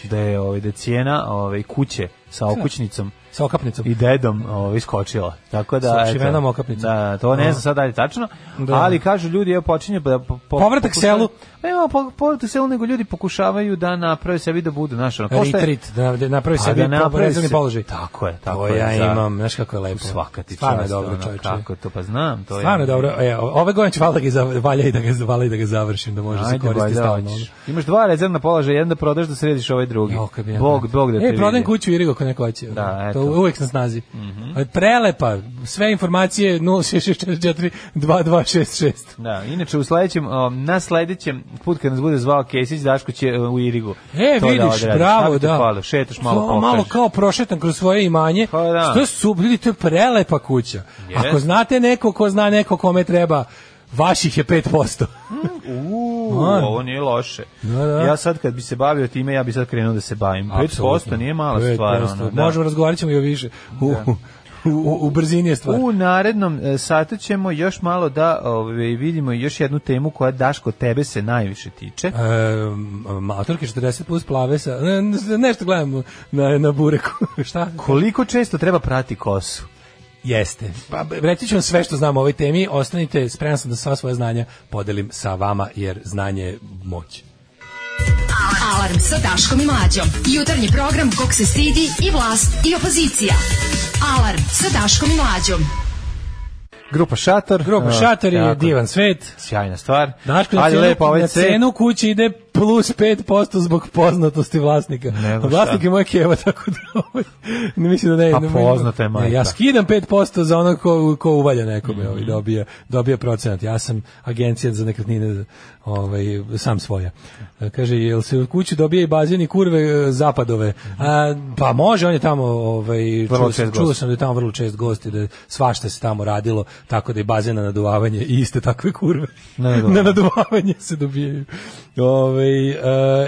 Da je, ovaj, da je cijena ovaj, kuće sa okućnicom
Sa okapnicom.
i dedom ovaj, skočila. Tako da,
Sa šivenom okapnicom.
Da, to ne znam sad dalje tačno,
Da.
ali kažu ljudi, evo počinje da... Po, po-
Povratak
pokušaju-
selu.
Ne, evo, po, povratak selu, nego ljudi pokušavaju da naprave sebi da budu, znaš, ono, kao što je-
Retreat, da da napravi
A
sebi
da napravi
proizvodni
se-
položaj.
Tako je, tako
To
je,
ja
za-
imam, znaš kako je lepo.
Svaka ti
Stvarno je
čast,
dobro,
ono,
čovječe.
Kako to, pa znam. To
Stvarno je dobro. E, ove godine će valjda ga i za- valja i da ga valja i da ga završim da može se
Ajde,
koristiti
valjda
stalno.
hoćeš. Imaš dva rezervna položaja, jedan da prodaš da središ ovaj drugi.
Jo, kad bi ja
Bog,
znao.
Bog da te
E, prodajem
vidi.
kuću u Irigu ako neko hoće. ono,
Da, eto. Mhm.
To uvek na snazi. Ali Prelepa, sve informacije 0664 2266.
Da, inače u sledećem, um, na sledećem put kad nas bude zvao Kesić, Daško će uh, u Irigu.
E,
to da
vidiš,
odradiš.
bravo,
Kako ti
da.
Hvala, šetaš malo,
To, malo
pokažeš.
kao prošetam kroz svoje imanje.
Pa da.
Što su, ljudi, to je prelepa kuća.
Jest.
Ako znate neko ko zna neko kome treba, vaših je 5%.
Uuu,
Man.
ovo nije loše.
Da, da.
Ja sad kad bi se bavio time, ja bi sad krenuo da se bavim. 5% nije mala stvar. Ono, da.
Možemo, razgovarat ćemo i o više. U, u, u, u brzini je stvar.
U narednom e, satu ćemo još malo da ovaj, vidimo još jednu temu koja Daško tebe se najviše tiče.
E, maturke 40 plus plave sa... Ne, ne- nešto gledam na, na bureku. (laughs) Šta?
Koliko često treba prati kosu?
Jeste. Pa, b- reći ću vam sve što znam o ovoj temi. Ostanite, spreman sam da sva svoja znanja podelim sa vama, jer znanje je moć.
Alarm sa Daškom i Mlađom. Jutarnji program kog se stidi i vlast i opozicija. Alarm sa Daškom i Mlađom.
Grupa Šator.
Grupa
E,
Šator je
tako.
divan svet.
Sjajna stvar.
Daško na
Ali
cenu,
lepo ovaj
na
set.
cenu kući ide plus 5% zbog poznatosti vlasnika.
Nego
A Vlasnik
šta.
je moja keva, (laughs) tako da ovaj, ne mislim da ne.
Pa
ne-
poznata je majka.
Ja skidam 5% za ono ko, ko uvalja nekome, ovaj, dobija, dobija procenat. Ja sam agencija za nekretnine, ovaj, sam svoja. E, Kaže, jel se u kući dobija i bazen i kurve e, zapadove? A, pa može, on je tamo, ovaj,
Vrlo
čuo,
čest
sam,
gost.
čuo sam da je tamo vrlo čest gost i da je svašta se tamo radilo, tako da je bazen na naduvavanje i iste takve kurve.
Na naduvavanje.
(laughs) na naduvavanje se dobijaju. Ovaj, e,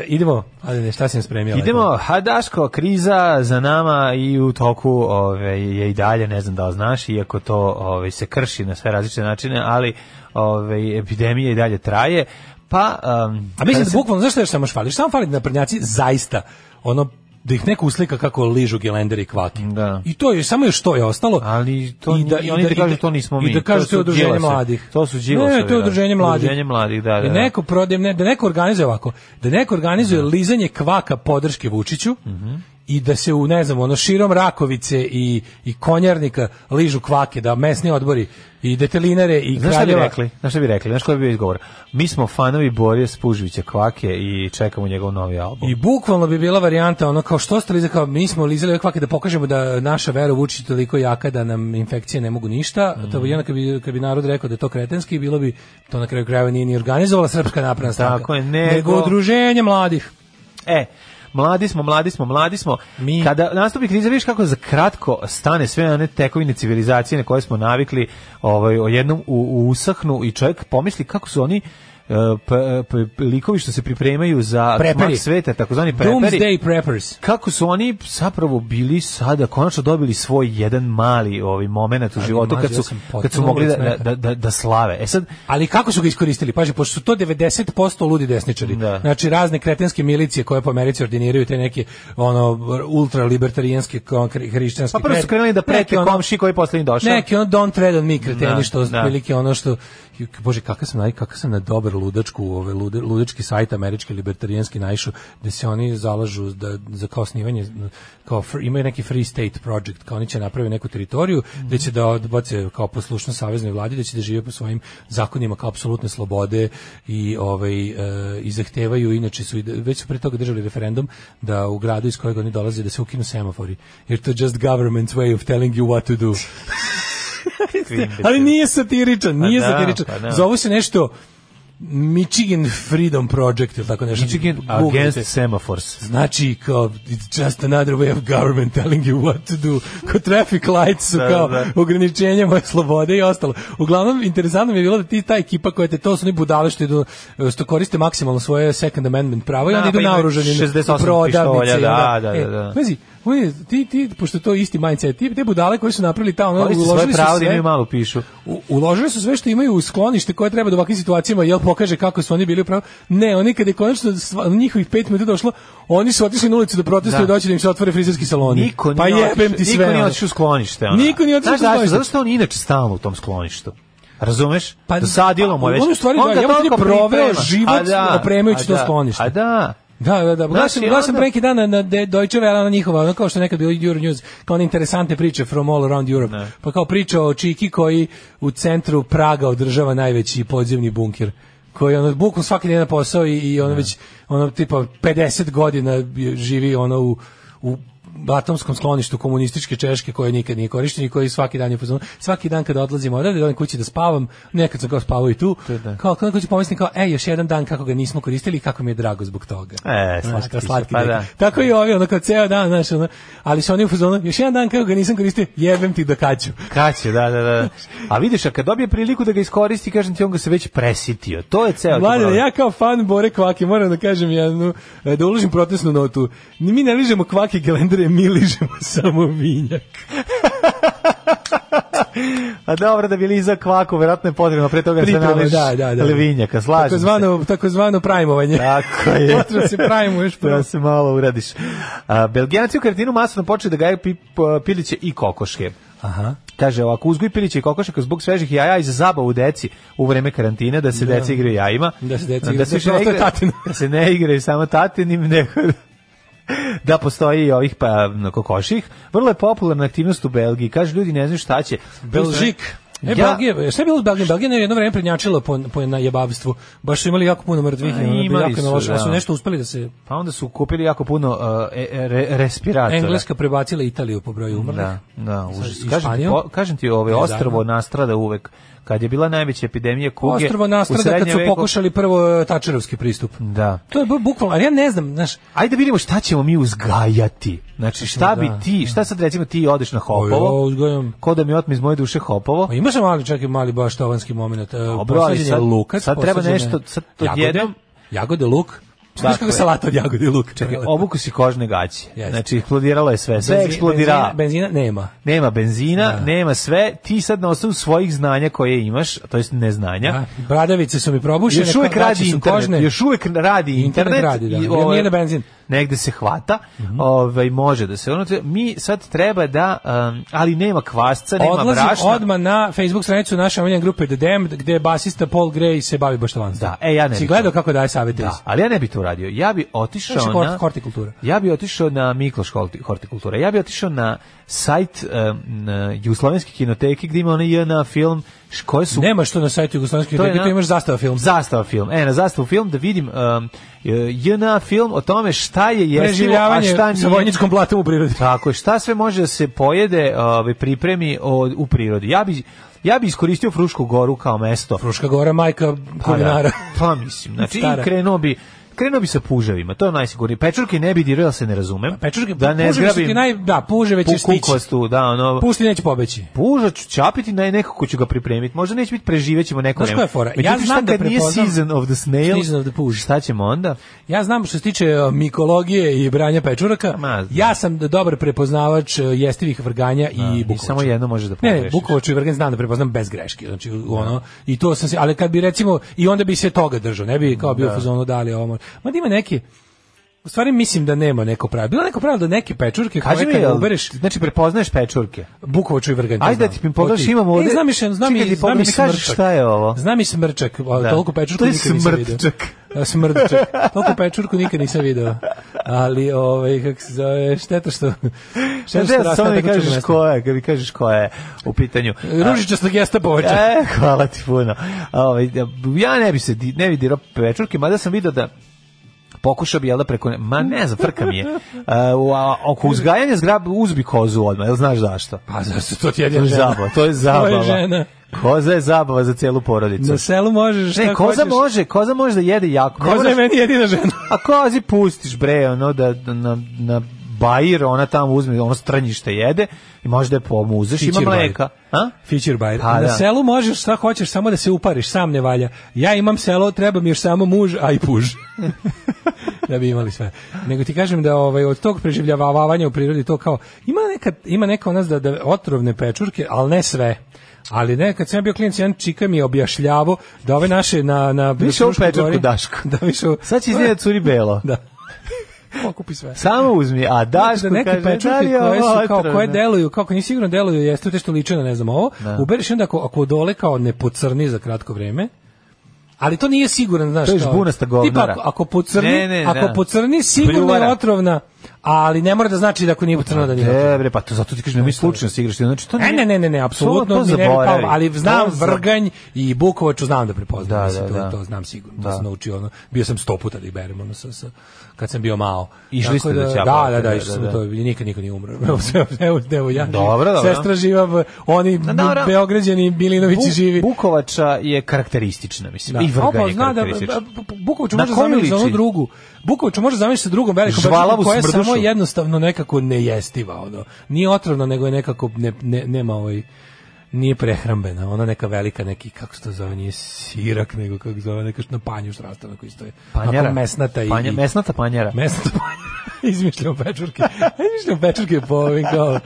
idemo, ali šta si nam spremio? Lepo?
Idemo, Hadaško, kriza za nama i u toku ove, je i dalje, ne znam da li znaš, iako to ove, se krši na sve različite načine, ali ove, epidemija i dalje traje. Pa, um,
A mislim da bukvalno, zašto još samo fališ? Samo fali da naprednjaci zaista, ono, da ih neko uslika kako ližu gelenderi i kvaki.
Da.
I to je, samo još to je ostalo.
Ali to
I da-
nije-
i
oni
da-
ti
i da-
kažu to nismo mi.
I da kažu
To
to je
su
udruženje
Đilasovi.
mladih.
To su Đilasovi,
Ne, to je
da.
udruženje mladih.
Udruženje mladih, da, da,
I
da.
neko prodaje, ne, da neko organizuje ovako, da neko organizuje lizanje kvaka podrške Vučiću,
Mhm.
i da se u, ne znam, ono, širom Rakovice i, i Konjarnika ližu kvake, da mesni odbori i detelinare i
Znaš šta bi
kraljeva.
rekli? Znaš šta bi rekli? Znaš koji bi bio izgovor? Mi smo fanovi Borija Spužvića Kvake i čekamo njegov novi album.
I bukvalno bi bila varijanta ono kao što ste lizali, kao mi smo lizali ove kvake da pokažemo da naša vera u Vučića je toliko jaka da nam infekcije ne mogu ništa. To bi i onda kad bi, kad bi narod rekao da je to kretenski, bilo bi to na kraju krajeva nije ni organizovala Srpska napredna stranka.
Tako je, nego-
udruženje mladih.
E, mladi smo, mladi smo, mladi smo.
Mi-
Kada nastupi kriza, vidiš kako za kratko stane sve one tekovine civilizacije na koje smo navikli, ovaj o jednom u, u usahnu i čovjek pomisli kako su oni e, p- p- likovi što se pripremaju za
Preperi.
tmak sveta, takozvani preperi.
Doomsday preppers.
Kako su oni zapravo bili sada konačno dobili svoj jedan mali ovaj momenat u životu
mlađe,
kad
ja
su
sam
kad su
potpuno
mogli
bez
da,
smeha.
da, da, da slave. E sad
Ali kako su ga iskoristili? Paži, pošto su to 90% ludi desničari.
Da.
Znači razne kretenske milicije koje po Americi ordiniraju te neke ono ultra libertarijanske hrišćanske.
pa prvo su
krete-
krenuli da prete
neke ono-
komši koji je poslednji došao.
Neki ono don't tread on me kreteni
Da,
što
da.
otprilike ono što Ju, bože kakav sam naj kakav sam na dobar ludačku ove lude, ludački sajt američki libertarijanski naišao da se oni zalažu da za kao osnivanje kao fr- imaju neki free state project kao oni će napraviti neku teritoriju
Mhm.
gde će da odbace kao poslušno saveznoj vladi da će da žive po svojim zakonima kao apsolutne slobode i ovaj e, i zahtevaju inače su i da- već su pre toga držali referendum da u gradu iz kojeg oni dolaze da se ukinu semafori jer to je just government's way of telling you what to do ali nije satiričan,
Pa
nije
da,
satiričan.
pa da.
Zovu se nešto Michigan Freedom Project ili tako nešto.
Michigan
Googlite.
against semaphores.
Znači, kao, it's just another way of government telling you what to do. Kao traffic lights su
Da,
kao
da.
ograničenje moje slobode i ostalo. Uglavnom, interesantno mi je bilo da ti ta ekipa koja te, to su oni budale što, idu, što koriste maksimalno svoje second amendment pravo i
Da,
onda idu
pa imaju
naoružani na
68
u prodavnice.
pištolja,
i onda-
da, da,
E,
da, da.
pazi, on je- ti, ti, pošto je to isti mindset, ti, te budale koji su napravili ta, ono,
Oni su svoje
uložili su
pravo da
sve,
imaju malu pišu.
U- uložili su sve što imaju u sklonište koje treba da u ovakvim situacijama jel pokaže kako su oni bili upravo. Ne, oni kad je konačno sva- njihovih pet minuta došlo, oni su otišli na ulicu da protestuju
Da.
da. doći da im se otvore frizerski saloni.
Niko
pa
nije
jebem
otišao-
ti sve.
Niko nije
ono.
otišao u sklonište. ono.
Niko nije otišao
Znaš zašto?
u sklonište.
Zato što on inače stalno u tom skloništu. Razumeš?
Pa-
Dosadilo mu je
a,
već.
on u stvari
On
da,
ga
ja mu
toliko
ti proveo
priprema.
život
A da,
opremajući
a
to
da,
sklonište.
A da.
Da, da, da. Gledao sam,
i
gledao sam
onda-
pre neki dana na De, Deutsche Welle, ona njihova, ono kao što je nekad bilo Euro News, kao one interesantne priče from all around Europe. Pa kao priča o Čiki koji u centru Praga održava najveći podzemni bunker koji ono bukom svaki dan na posao i, i ono već ono tipa 50 godina živi ono u, u atomskom skloništu komunističke Češke koje nikad nije korišćen i koji svaki dan je pozvan. Svaki dan kada odlazim odavde, dođem kući da spavam, nekad sam kao spavao i tu. Kao kako ću pomislim kao ej, još jedan dan kako ga nismo koristili i kako mi je drago zbog toga.
E,
Znaš,
slatka
kao
ti se,
slatki
pa
neki.
da.
Tako i ovi, ono kao ceo dan, znaš, ono, ali su oni u fazonu, još jedan dan kako ga nisam koristio, jebem ti do kaću.
Kaće, da, da, da. A vidiš, a kad dobije priliku da ga iskoristi, kažem ti, on ga se već presitio. To je ceo.
Mladen,
problem.
ja kao fan Bore Kvake moram da kažem jednu, e, da uložim protestnu notu. Ni Mi ne ližemo kvake gelendere, mi ližemo (laughs) samo vinjak.
(laughs) A dobro, da bi Liza kvaku, verovatno je potrebno pre toga da se
Priprema,
naleš
da, da, da.
levinjaka, slažem se.
Takozvano, takozvano prajmovanje. (laughs)
Tako je.
Potrebno se pravimo još prvo.
(laughs) Da se malo uradiš. A, Belgijanci u karantinu masovno počeli da gaje pi, p- piliće i kokoške.
Aha.
Kaže ovako, uzgoj piliće i kokošaka zbog svežih jaja i za zabavu deci u vreme karantine, da se
Da.
deca igraju jajima.
Da se deca igraju- da
više ne
postoje
igraju-
tatine.
da se ne igraju samo tatinim, (laughs) nego da postoji i ovih pa, kokoših. Vrlo je popularna aktivnost u Belgiji. Kaže, ljudi ne znaju šta će.
Belžik. E,
Ja-
Belgija, šta je bilo s Belgijom? Belgija je jedno vreme prednjačila po, po najebavstvu. Baš su imali jako puno mrtvih.
A,
i ono,
imali
jako
su,
na loše, ali su
da.
nešto uspeli da se...
Pa onda su kupili jako puno uh, e, e, re, respiratora.
Engleska prebacila Italiju po broju umrlih.
Da, da, užas.
i
Kažem ti,
Španijom.
po- kažem ti ovo
Nezadno.
ostrvo nastrada uvek. Kad je bila najveća epidemija kuge,
Ostrvo
u
nastrada kad
srednjem
su
veku-
pokušali prvo e, Tačerovski pristup.
Da.
To je bu- bukvalno, ali ja ne znam, znaš,
Ajde vidimo šta ćemo mi uzgajati. Znači šta bi
Da.
ti, šta sad recimo ti odeš na
Ovo
hopovo,
uzgojam.
ko da mi otme iz moje duše hopovo,
Pa imaš mali čak i mali baš tavanski moment. e,
Dobro, ali sad- sad treba nešto, sad
jagode,
odjednom-
jagode, luk. Znaš
Dakle.
kako salata od jagode i luk.
Čekaj, obuku si kožne gaće.
Jeste.
Znači, eksplodiralo je sve. Sve eksplodira.
Benzina, benzina nema.
Nema benzina, nema sve. Ti sad na osnovu svojih znanja koje imaš, to jest neznanja,
Da, bradavice su mi probušene,
još uvek
kotači
radi
su
internet.
kožne.
Još uvek radi internet.
Internet radi, da.
i,
Nije-
ovaj,
nije na benzin. Mhm.
Negde se hvata. ovaj, može da se ono... Mi sad treba da... um, ali nema kvasca, nema
Odlazim
brašna.
odmah na Facebook stranicu naše omiljene grupe The Damned, gde basista Paul Gray se bavi baštovanstvom.
Da, e, ja ne
Si
bi
gledao
to.
kako daje savete?
Da, ali ja ne bih to uradio. Ja bi otišao
Znači, hort-
na...
hortikultura.
Ja bi otišao na Mikloš horti- hortikultura. Ja bi otišao na sajt um, na Jugoslovenske kinoteke gdje ima onaj JNA film š- koje su...
Nema što na sajtu Jugoslovenskih
To je
republika,
na-
imaš zastava film.
Zastava film. E, na zastavu film da vidim um, e, JNA film o tome šta je jestivo, a
Preživljavanje
šta
sa
nije.
vojničkom blatom u prirodi.
Tako je, šta sve može da se pojede, ovaj pripremi od, u prirodi. Ja bi ja bi iskoristio Frušku goru kao mesto.
Fruška gora, majka
Pa da,
kulinara.
Pa mislim, znači
Stara.
i krenuo bi krenuo bi sa puževima, to je najsigurnije. Pečurke ne bi dirao, se ne razumem.
(laughs) Pečurke,
da ne
puževi su ti
zgrabim
naj, da, puževe će stići.
kukostu, da, ono...
Pušti neće pobeći.
Puža ću čapiti, naj nekako ću ga pripremiti. Možda neće biti preživećemo neko
Znaš koja je fora? Ja
Međutim,
znam
šta
da
kad nije
prepoznam-
season of the snail,
Season of the puž.
šta ćemo onda?
Ja znam što se tiče e, mikologije i branja pečuraka,
Ma, znam.
ja sam d- dobar prepoznavač e, jestivih vrganja i
I
bukovača.
samo jedno može da
Ne, ne,
pogrešiš.
bukovaču i vrgan znam da prepoznam bez greške. Znači, u- ono, i to sam se, ali kad bi recimo, i onda bi se toga držao, ne bi kao bio da. fazonu dali ovo. može. Ma da ima neki, u stvari mislim da nema neko pravo. Bilo je neko pravo da neke pečurke
Kaži
koje
mi,
ovaj kad
jel,
ubereš,
znači prepoznaješ pečurke.
bukovaču i vrgan. to
Ajde da
znam.
ti mi pogledaš,
To ti-
imam ovde-
E, znam i, šem- znam
Čekaj, ti
i, znam
pogledaj
i
mi kažeš
smrčak.
šta je ovo?
Znam i smrčak, a, toliko pečurku
To je
nikad nisam vidio.
smrčak.
A, smrdčak. Toliko pečurku nikad nisam video. Ali, ovaj, kako se zove, šteta što... Šteta što
Ne,
raste
E, samo
na
mi
tako čudno
kažeš
mesto.
ko je, kad mi kažeš ko je u pitanju.
Ružičasto gesta povača.
E, hvala ti puno. Ovaj, ja ne bi se di- ne bi dirao pečurke, mada sam video da pokušao bi jel da preko ne- ma ne znam frka mi je uh, oko uzgajanja zgrab uzbi kozu odmah jel znaš zašto
Pa zašto to ti
to je
jedina žena?
zabava to je zabava
žena.
koza je zabava za celu porodicu
Na selu možeš šta
ne koza
hoćeš.
može koza može da jede jako Ne
Koza je
moraš-
meni jedina žena.
a kozi pustiš bre, ono da da na, na bajir, ona tamo uzme, ono stranjište jede i možda je pomuzeš, ima
Fićir bajir.
mleka. A?
Feature buyer.
Pa,
na
da.
selu možeš šta hoćeš, samo da se upariš, sam ne valja. Ja imam selo, treba mi još samo muž, a i puž. (laughs) da bi imali sve. Nego ti kažem da ovaj od tog preživljavavanja u prirodi to kao ima neka ima neka od nas da, da otrovne pečurke, ali ne sve. Ali ne, kad sam ja bio klinac, jedan čika mi je objašnjavo da ove naše na... na
Više ovu
Fruškoj
pečurku
gori-
Daško.
(laughs) Da, više ovu-
Sad
(laughs)
će izgledati curi belo.
Da. Okupi sve.
Samo uzmi, a daš
da
mu
neke
kaže, da li
pečurke
je
koje
ovo
su kao koje
otrovno?
deluju, kako ni sigurno deluju, jeste te što liče na ne znam ovo. Ubereš i onda ako ako dole kao ne pocrni za kratko vrijeme. Ali to nije siguran, znaš
To je
kao-
žbunasta govnara.
Tipa ako, ako pocrni,
Ne, ne,
ako
da.
pocrni sigurno
Bljuvara.
je otrovna, ali ne mora da znači da ako nije pocrnila da nije. otrovna.
E, bre, pa to zato ti kažem, mi slučajno se igraš. Znači, to
Ne, ne,
nije-
ne, ne, ne,
to-
apsolutno
to
mi ne bi palo,
zaboravi.
ali znam
To za-
vrganj i bukovaču znam da prepoznam,
Da,
mislim,
da,
to,
da.
to znam sigurno, to
Da.
sam naučio, ono, bio sam sto puta da ih berem, ono, sa, sa, kad sam bio malo.
Išli ste
Tako
da
Da,
ćapate,
da, da,
da,
išli
da,
sam
da.
to, i nikad niko nije umro, (laughs) evo, sve- evo, evo, ja,
Dobro, dobro.
sestra živa, v- oni,
Da, dobro.
Beograđani, Milinovići
Bu-
živi.
Bukovača je karakteristična, mislim. I
Opa,
vrganje je
zna da
karakteristično.
Bukovaču
Na
može
koju
zamisliti za onu
liči?
drugu. Bukovaču može zamisliti sa drugom velikom
Žvalavu
brčkom koja je
smrdušu.
samo jednostavno nekako nejestiva ono. Nije otrovna nego je nekako ne, ne, nema ovaj nije prehrambena, ona neka velika neki kako se to zove, nije sirak nego kako se zove, neka što na panju štrasta na koji stoji.
Panjara.
Onako mesnata i
Panja- mesnata panjara.
mesnata (laughs) panjara. izmišljamo pečurke. (laughs) Izmišljamo pečurke po ovim kao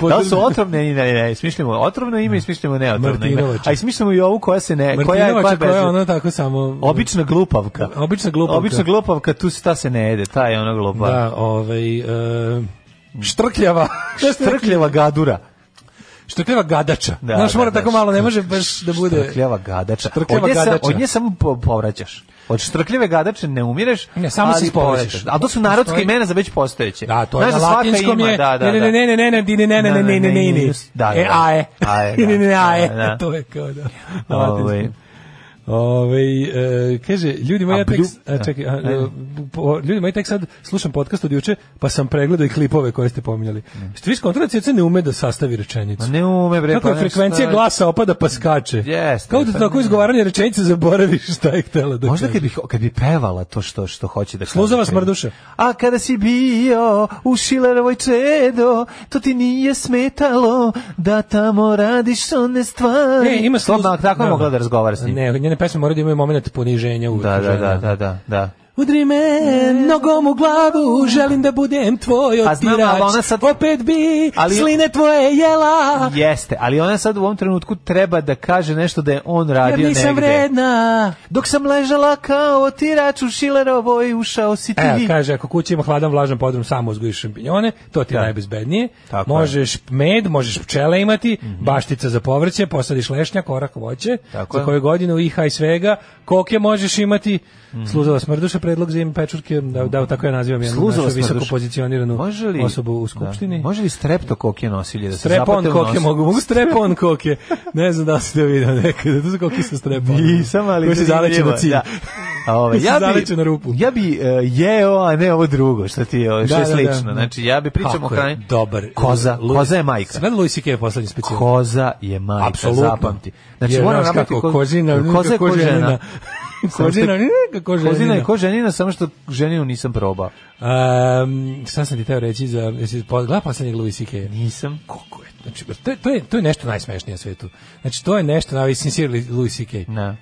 po-
Da li su otrovne ili ne, ne, smišljamo otrovno ime i smišljamo neotrovno ime.
Martinovača.
A i smišljamo i ovu koja se ne, koja je, koja
Martinovača
je
koja je
bez-
ono tako samo
Obična glupavka.
Obična glupavka.
Obična glupavka, tu se ta se ne jede, ta je ona glupava.
(laughs) Da, ovaj, e, štrkljava.
Štrkljava gadura.
Što kljeva gadača.
Da,
Znaš, mora
da,
tako
da,
malo, ne
štr-
može baš da bude...
Štrkljava gadača.
Štrkljava
od nje
gadača.
Sa, od nje samo po- povraćaš. Od štrkljave gadače ne umireš,
Ne, samo
ali
se ispovraćaš.
povraćaš. A to su narodska
Postoji-
imena za već postojeće.
Da, to je
Znaš
na
svaka
latinskom
ima,
je.
Da, da,
ne, ne,
da.
ne, ne, ne, ne, di, ne, ne, ne, ne, ne, ne, ne, ne.
Da,
E,
da.
a e.
A e,
(laughs) Ni, ni,
da.
ni, a e.
Da.
To je kao da. na
Ovaj,
latinskom. Ovaj e, kaže, ljudi moji,
A
ja tek,
blju-
a, čekaj, a,
Ajde.
e, po- ljudi moji, tek sad slušam podcast od juče, pa sam pregledao i klipove koje ste pominjali. Ste vi skontrolali, Ceca ne ume da sastavi rečenicu.
Ma ne ume bre,
Kako je
pa
frekvencija
šta-
glasa opada pa skače.
Jeste,
Kao da
pa
tako
ne.
izgovaranje rečenice zaboraviš šta je htela da
Možda
kaže.
kad bi, kad bi pevala to što što hoće da kaže.
Sluzava smrduša.
A kada si bio u Šilerovoj čedo, to ti nije smetalo da tamo radiš one stvari.
Ne, ima sluz-
Slobodna, tako je
Da.
mogla E, da razgovara s njim.
Ne, njene pesme moraju da imaju moment poniženja uvek.
Da, da,
žena.
da, da, da, da.
Udri me nogom u glavu, želim da budem tvoj
Pa znam, ali
otirač.
ona sad-
Opet bi
Ali-
sline tvoje jela.
Jeste, ali ona sad u ovom trenutku treba da kaže nešto da je on radio
Jer nisam
negde.
vredna.
Dok sam ležala kao otirač u Šilerovoj, ušao si ti.
Evo, kaže, ako kući ima hladan vlažan podrum, samo uzgojiš šampinjone, to ti je
Da.
najbezbednije.
Tako Mhm.
možeš med, možeš pčele imati, baštica za povrće, posadiš lešnja, korak voće,
Tako
za
je.
koju godinu iha i svega, koke možeš imati,
Mhm.
sluzava smrduša, predlog za ime pečurke, da, da, tako ja nazivam jednu
Sluzava
našu visoko
smrduša.
pozicioniranu
Može li-
osobu u skupštini.
Da. Može li streptokoke nosilje da se
Strepon
zapate u
koke
nos?
mogu, mogu strepon koke. Ne znam da li ste to video nekada, to su koke sa streponom.
Nisam, ali
Koje se
zanimljivo
zaleće na
je,
cilj.
Da. A Ove,
(laughs) Koji se
ja
zaleće
bi,
na rupu.
Ja bi e, jeo, a ne ovo drugo, što ti je, ovo, što
Da,
je
da,
slično.
da.
Znači, ja bi pričam o
Kako je
hrani.
Dobar.
Koza,
Lu-
koza je majka.
Gledali Louis C.K. poslednji specijal.
Koza je majka,
Apsolutno.
zapamti. Znači,
Jer,
moram
znaš
napraviti
kako,
ko-
kozina,
koza je ko
(laughs)
žena. Samo što je-
Kožina, ne, kako žena.
Kozina je ko ženina, samo što ženinu nisam probao.
Um, sad sam ti teo reći za... Jesi gledala poslednjeg Louis C.K.
Nisam.
Kako je? Znači, to je, to je, to je nešto najsmešnije na svetu. Znači, to je nešto, na sincere Louis C.K.
Ne.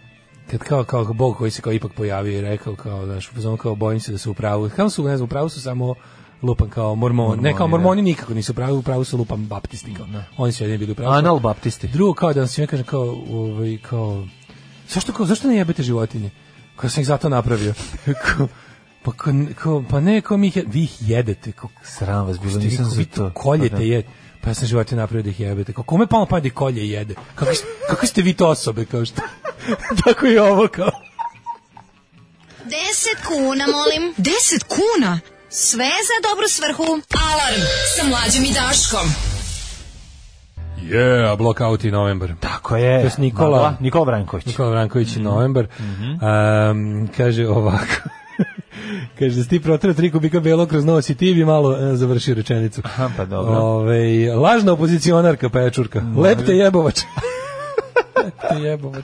kad kao kao bog koji se kao ipak pojavio i rekao kao znaš, znam kao bojim se da su u pravu. Kao su, ne znam, u pravu su samo lupan kao mormon. ne kao
da.
mormoni nikako nisu u pravu, u pravu su lupan baptisti kao. Oni su jedini bili u pravu.
Anal baptisti.
Drugo kao da vam svima kažem kao, ovaj, kao, zašto, kao, zašto ne jebete životinje? Kao sam ih zato napravio. (laughs) Kao, pa, kao, kao, pa ne, kao mi ih, je- vi ih jedete. Kao,
Sram vas bilo,
ste vi-
nisam za
vi
to. Pa da.
Koljete je pa ja sam životinje napravio da ih jebete. Kao, kome palo pa da ih kolje i jede? Kako, kako ste vi to osobe? Kao što? (laughs) Tako i ovo kao.
10 kuna, molim. 10 kuna? Sve za dobru svrhu. Alarm sa mlađom i Daškom.
Yeah, blockout i novembar.
Tako je.
To je s Nikola-
Nikola, Nikola Branković.
Nikola Branković
Mhm.
i novembar. Em, kaže ovako. (laughs) kaže, da si ti protira tri kubika belo kroz nos i ti bi malo e, završio rečenicu.
Aha, pa dobro.
Ovaj, lažna opozicionarka pečurka. Lepte jebovač. (laughs) Lepte jebovač.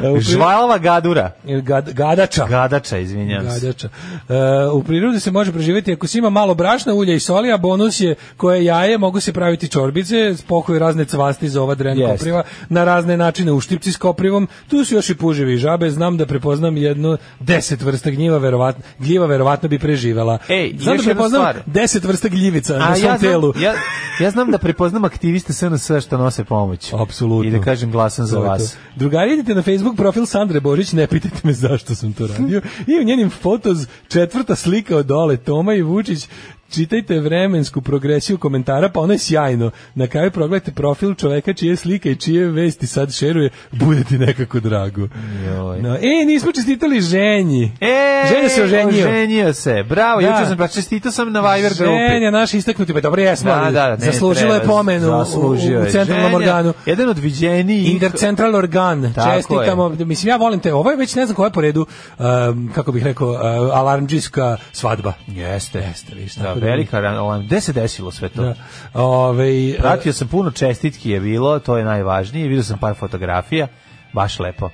E, u pri-
Žvalava gadura.
Gad- gadača.
Gadača, izvinjam se.
Gadača. E, u prirodi se može preživjeti ako se ima malo brašna, ulja i soli, a bonus je koje jaje, mogu se praviti čorbice, pokoju razne cvasti za ova dren
Jeste.
kopriva, na razne načine uštipci s koprivom, tu su još i puževi i žabe, znam da prepoznam jedno deset vrsta gnjiva, verovatno, gljiva verovatno bi preživela.
Ej,
znam da
još jedna
prepoznam
stvar.
deset vrsta gljivica
A
na svom
ja znam,
telu.
Ja, ja znam da prepoznam aktiviste SNS što nose pomoć.
Apsolutno.
I da kažem glasam za
To je
vas.
to. Drugari, idite na Facebook profil Sandre Božić, ne pitajte me zašto sam to radio. I u njenim fotos četvrta slika od dole, Toma i Vučić, čitajte vremensku progresiju komentara, pa ono je sjajno. Na kraju progledajte profil čoveka čije slike i čije vesti sad šeruje, bude ti nekako drago.
Joj.
No, e, nismo čestitali ženji.
E,
Ženja se oženio.
Oženio se. Bravo,
Da.
da. juče sam pa čestitao sam na Viber grupi.
Ženja, naš istaknuti, pa dobro jesmo,
Da,
ali
da, ne,
zaslužila je
treba,
pomenu u- u,
zaslužio
u
je.
centralnom
Ženja,
organu.
Jedan od viđenijih.
Intercentral organ,
Tako
čestitamo. Mislim, ja volim te, ovo je već ne znam koja je po redu, um, kako bih rekao, uh, alarmđijska svadba.
Jeste.
Jeste, vidiš,
Da,
tako da
velika ran- ovaj, Gde se desilo sve to?
Da. Ove,
Pratio sam puno čestitki je bilo, to je najvažnije. Vidio sam par fotografija. Baš lepo.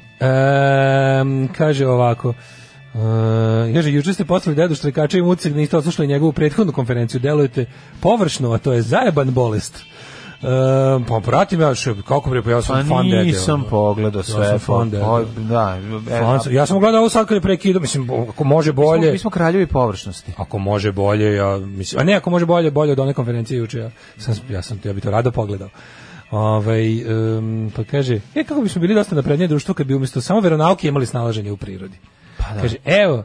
um, kaže ovako, Uh, kaže, juče ste poslali dedu Štrekača i Mucek, niste odslušali njegovu prethodnu konferenciju, delujete površno, a to je zajeban bolest. Um, pa pratim ja, še, kako bre, pa ja sam
Pa
fan dede.
nisam
ono.
pogledao sve.
Ja sam
pa-
fan dede.
oj, Da, e,
Fan sam- ja sam gledao ovo sad kad je prekidao, mislim, ako može
Mi smo-
bolje.
Mi smo kraljevi površnosti.
Ako može bolje, ja mislim, a ne ako može bolje, bolje od one konferencije juče. Ja sam ja sam ja bi to rado pogledao. Ovaj em, pa kaže, e kako bismo bili dosta naprednije društvo kad bi umjesto samo veronauke imali snalaženje u prirodi. Pa Kaže, evo,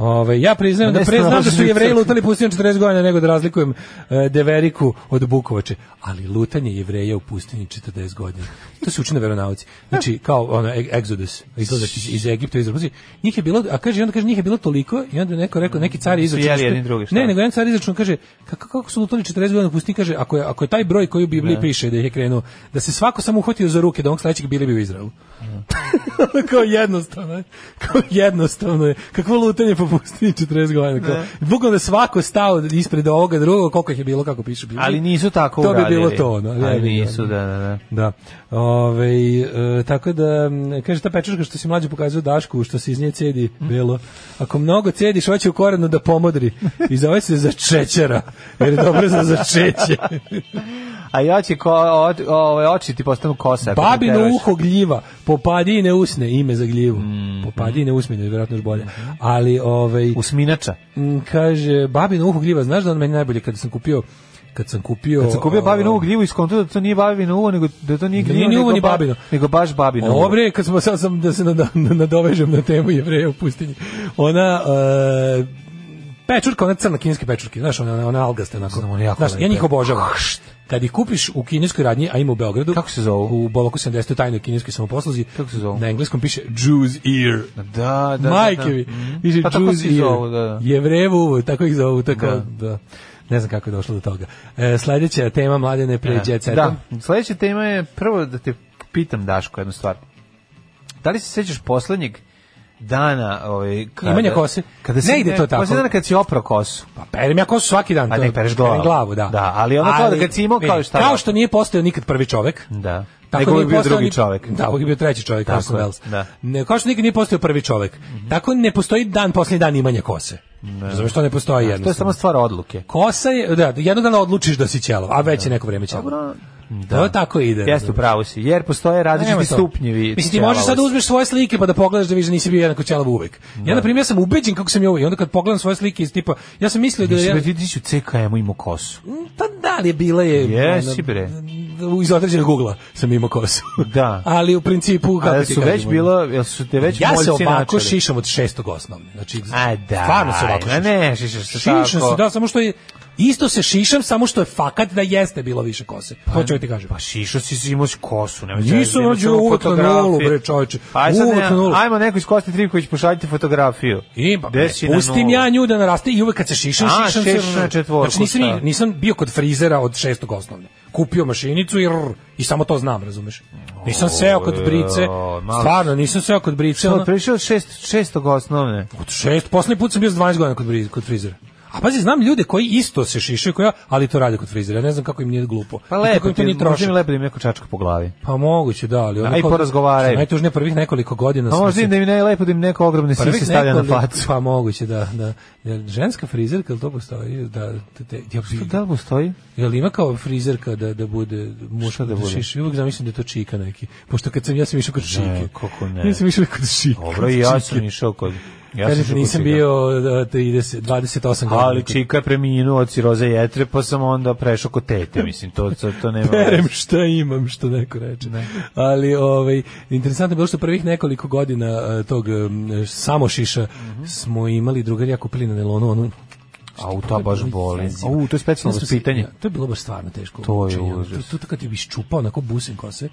Ove, ja priznajem da
Ne
pre znam da su
strašni
jevreji
crkvi.
lutali pustinjom 40 godina nego da razlikujem e, Deveriku od Bukovače, ali lutanje jevreja u pustinji 40 godina. To se uči na veronauci. Znači, kao ono, e- Exodus, izlazak iz, iz Egipta, iz Rusije. Njih je bilo, a kaže, i onda kaže, njih je bilo toliko, i onda je neko rekao, neki car je
Su
izračun.
jeli
što-
jedni druge, šta?
ne, nego jedan car izračun kaže, kako, kako su lutali 40 godina u pustinji, kaže, ako je, ako je taj broj koji u Bibliji piše da ih je krenuo, da se svako samo uhvatio za ruke, da on sledećeg bili bi u Izraelu. Ono kao jednostavno je. Kao jednostavno je. Kakvo lutanje po pustinji 40 godina. Kao, bukvalno je svako stao ispred ovoga drugog, koliko ih je bilo, kako piše. Bilo.
Ali nisu tako
To bi
uradili.
bilo to, ono,
Ali
jebi ga,
nisu,
ono.
da, da, da.
Da. Ove, e, tako da, m, kaže ta pečurka što si mlađe pokazuje Dašku, što se iz nje cedi belo. Ako mnogo cediš, hoće u korenu da pomodri. I zove se za čećera, jer je dobro za začeće.
A ja će ko, o, ovaj, oči ti postanu kose. ako
(laughs) Babino
preteraš.
uho gljiva, popadine usne, ime za gljivu.
Mhm.
Popadine usmine, vjerojatno još bolje. Ali, ovaj...
Usminača.
Mm, kaže babino uho gljiva znaš da on meni najbolje kada sam kupio kad sam kupio
Kad sam kupio babinu uvu gljivu i skonto da to nije babino uvo, nego da to nije
Da
gljivo,
nije ni uvo,
nego,
ni
ba-
babino.
nego baš babino uvo.
Dobre, kad smo sad sam da se nada- nadovežem na temu jevreja u pustinji. Ona e, pečurka, ona crna kineske pečurke, znaš, ona, ona algaste, onako.
one jako
znaš, ja
lepe.
njih obožavam. Kad ih kupiš u kineskoj radnji, a ima u Beogradu,
Kako se zovu?
u Boloku 70. u tajnoj kineskoj samoposluzi,
Kako se zovu?
na engleskom piše Jew's Ear.
Da, da, da.
Majkevi.
da. Mhm.
Piše
Pa tako
Jew's
se
Ear.
zovu, da, da.
Jevrejevo uvo, tako ih zovu, tako, da. Ne znam kako je došlo do toga. E, sledeća tema, mladene, pre Jet Setom.
E, Da, sledeća tema je prvo da te pitam Daško jednu stvar. Da li se sećaš poslednjeg dana ovaj kada
Imanja kose?
Kada si,
Ne ide to tako.
Poslednji dan kad si oprao kosu.
Pa perem ja kosu svaki dan.
A
to-
ne, pereš
perem
glavu.
glavu, da.
Da, ali ono kao da kad si imao,
vidi,
kao šta?
Kao što nije postao nikad prvi čovek.
Da.
Tako
Nego
nije
je bio
postao
drugi
ni-
čovek.
Da, uvijek je bio treći čovek,
Tako
Orson
je,
Welles.
da. Mhm.
Ne, kao što nikad nije postao prvi čovek. Tako ne postoji dan, posljednji dan imanja kose. Razumeš, to ne postoji
To je samo
jednostavno.
stvar odluke.
Kosa je, da, jednog dana odlučiš da si ćelav, a već je neko vreme ćelav. Dobro, da. To tako ide.
Jeste u pravu si, jer postoje različiti
Nema to.
Znači, stupnjevi.
Mislim, ti možeš sad da
ćelavosti.
uzmeš svoje slike pa da pogledaš da vidiš da nisi bio jednako ćelav uvek. Ja, na primjer, sam ubeđen kako sam ja uvek. I onda kad pogledam svoje slike iz tipa, ja sam mislio da...
Mislim,
ja-
bre, ti si u CKM-u imao kosu.
Pa da, ali je bila je...
Jesi,
ono,
bre.
Iz određenog ugla sam imao kosu. (laughs)
Da.
ali u principu, kako
Kada
ti
su već
kažemo,
bilo, jel su te već
Ja se
moljci
ovako
načeli?
šišam od šestog osnovne. Znači,
A da.
stvarno se ovako
ma
šišam.
Ne, šišaš se
Šišam
tako.
se, da, samo što je... Isto se šišam, samo što je fakat da jeste bilo više kose. To ću ti kažem.
Pa šišo si si imaš kosu, nema veze.
Nisam
imaš
rođen
samo
uvek na
fotografije.
nulu, bre, čovječe.
Aj sad,
Uvek
ne,
na nulu.
ajmo neko iz Kosti Trivković, pošaljite fotografiju.
Ima,
Gde si na
pustim
nulu?
ja nju da naraste i uvek kad se šišam,
A,
šišam
šišaš na četvorku,
Znači nisam,
šta?
nisam bio kod frizera od šestog osnovne. Kupio mašinicu i, rr, i samo to znam, razumeš? Nisam seo kod brice,
O, malo-
stvarno, nisam seo kod brice.
Što,
ono-
prešao od Pa šest, šestog osnovne.
od šest, poslednji put sam bio s 12 godina kod, briz, kod frizera. A pazi, znam ljude koji isto se šišaju kao ja, ali to rade kod frizera. Ja ne znam kako im nije glupo.
Pa
I kako
lepo,
im to
ti,
nije
možda
trošak.
mi lepo da im neko čačka po glavi.
Pa moguće, da, ali... ono
Aj,
kao-
porazgovaraj.
što je Najtužnije prvih nekoliko godina
A
sam
Pa možda
se-
im da im ne lepo da im neko ogromne
Prvih
sise stavlja na
nekoliko-
facu.
Pa moguće, da, da. Jer ženska frizerka, ili to postoji? Da, te, te, ja, bi-
Pa Da li mu stoji?
Jel ima kao frizerka da da bude muš
Šta da
da
bude?
šiši? Uvek zamislim da je to čika neki. Pošto kad sam ja sam išao kod čike.
kako ne.
Ja sam išao kod čike.
Dobro, i ja sam išao kod... Ja sam
Kažete,
išao kod
nisam
čika.
bio da, 30, 28 godina.
Ali
(laughs)
Čika je preminuo od siroze jetre, pa sam onda prešao kod tete, mislim, to, to, to nema...
Perem šta imam, što neko reče. Ali, ovaj, interesantno je bilo što prvih nekoliko godina eh, tog eh, samošiša
Mhm.
smo imali drugari ja kupili na nelonu onu
Au, ta baš boli. Au, to
Ja
je specijalno
sam se-
pitanje.
ja, to je bilo baš stvarno teško.
To je
učenje.
užas.
To, to, kad bi iščupao onako busim kose.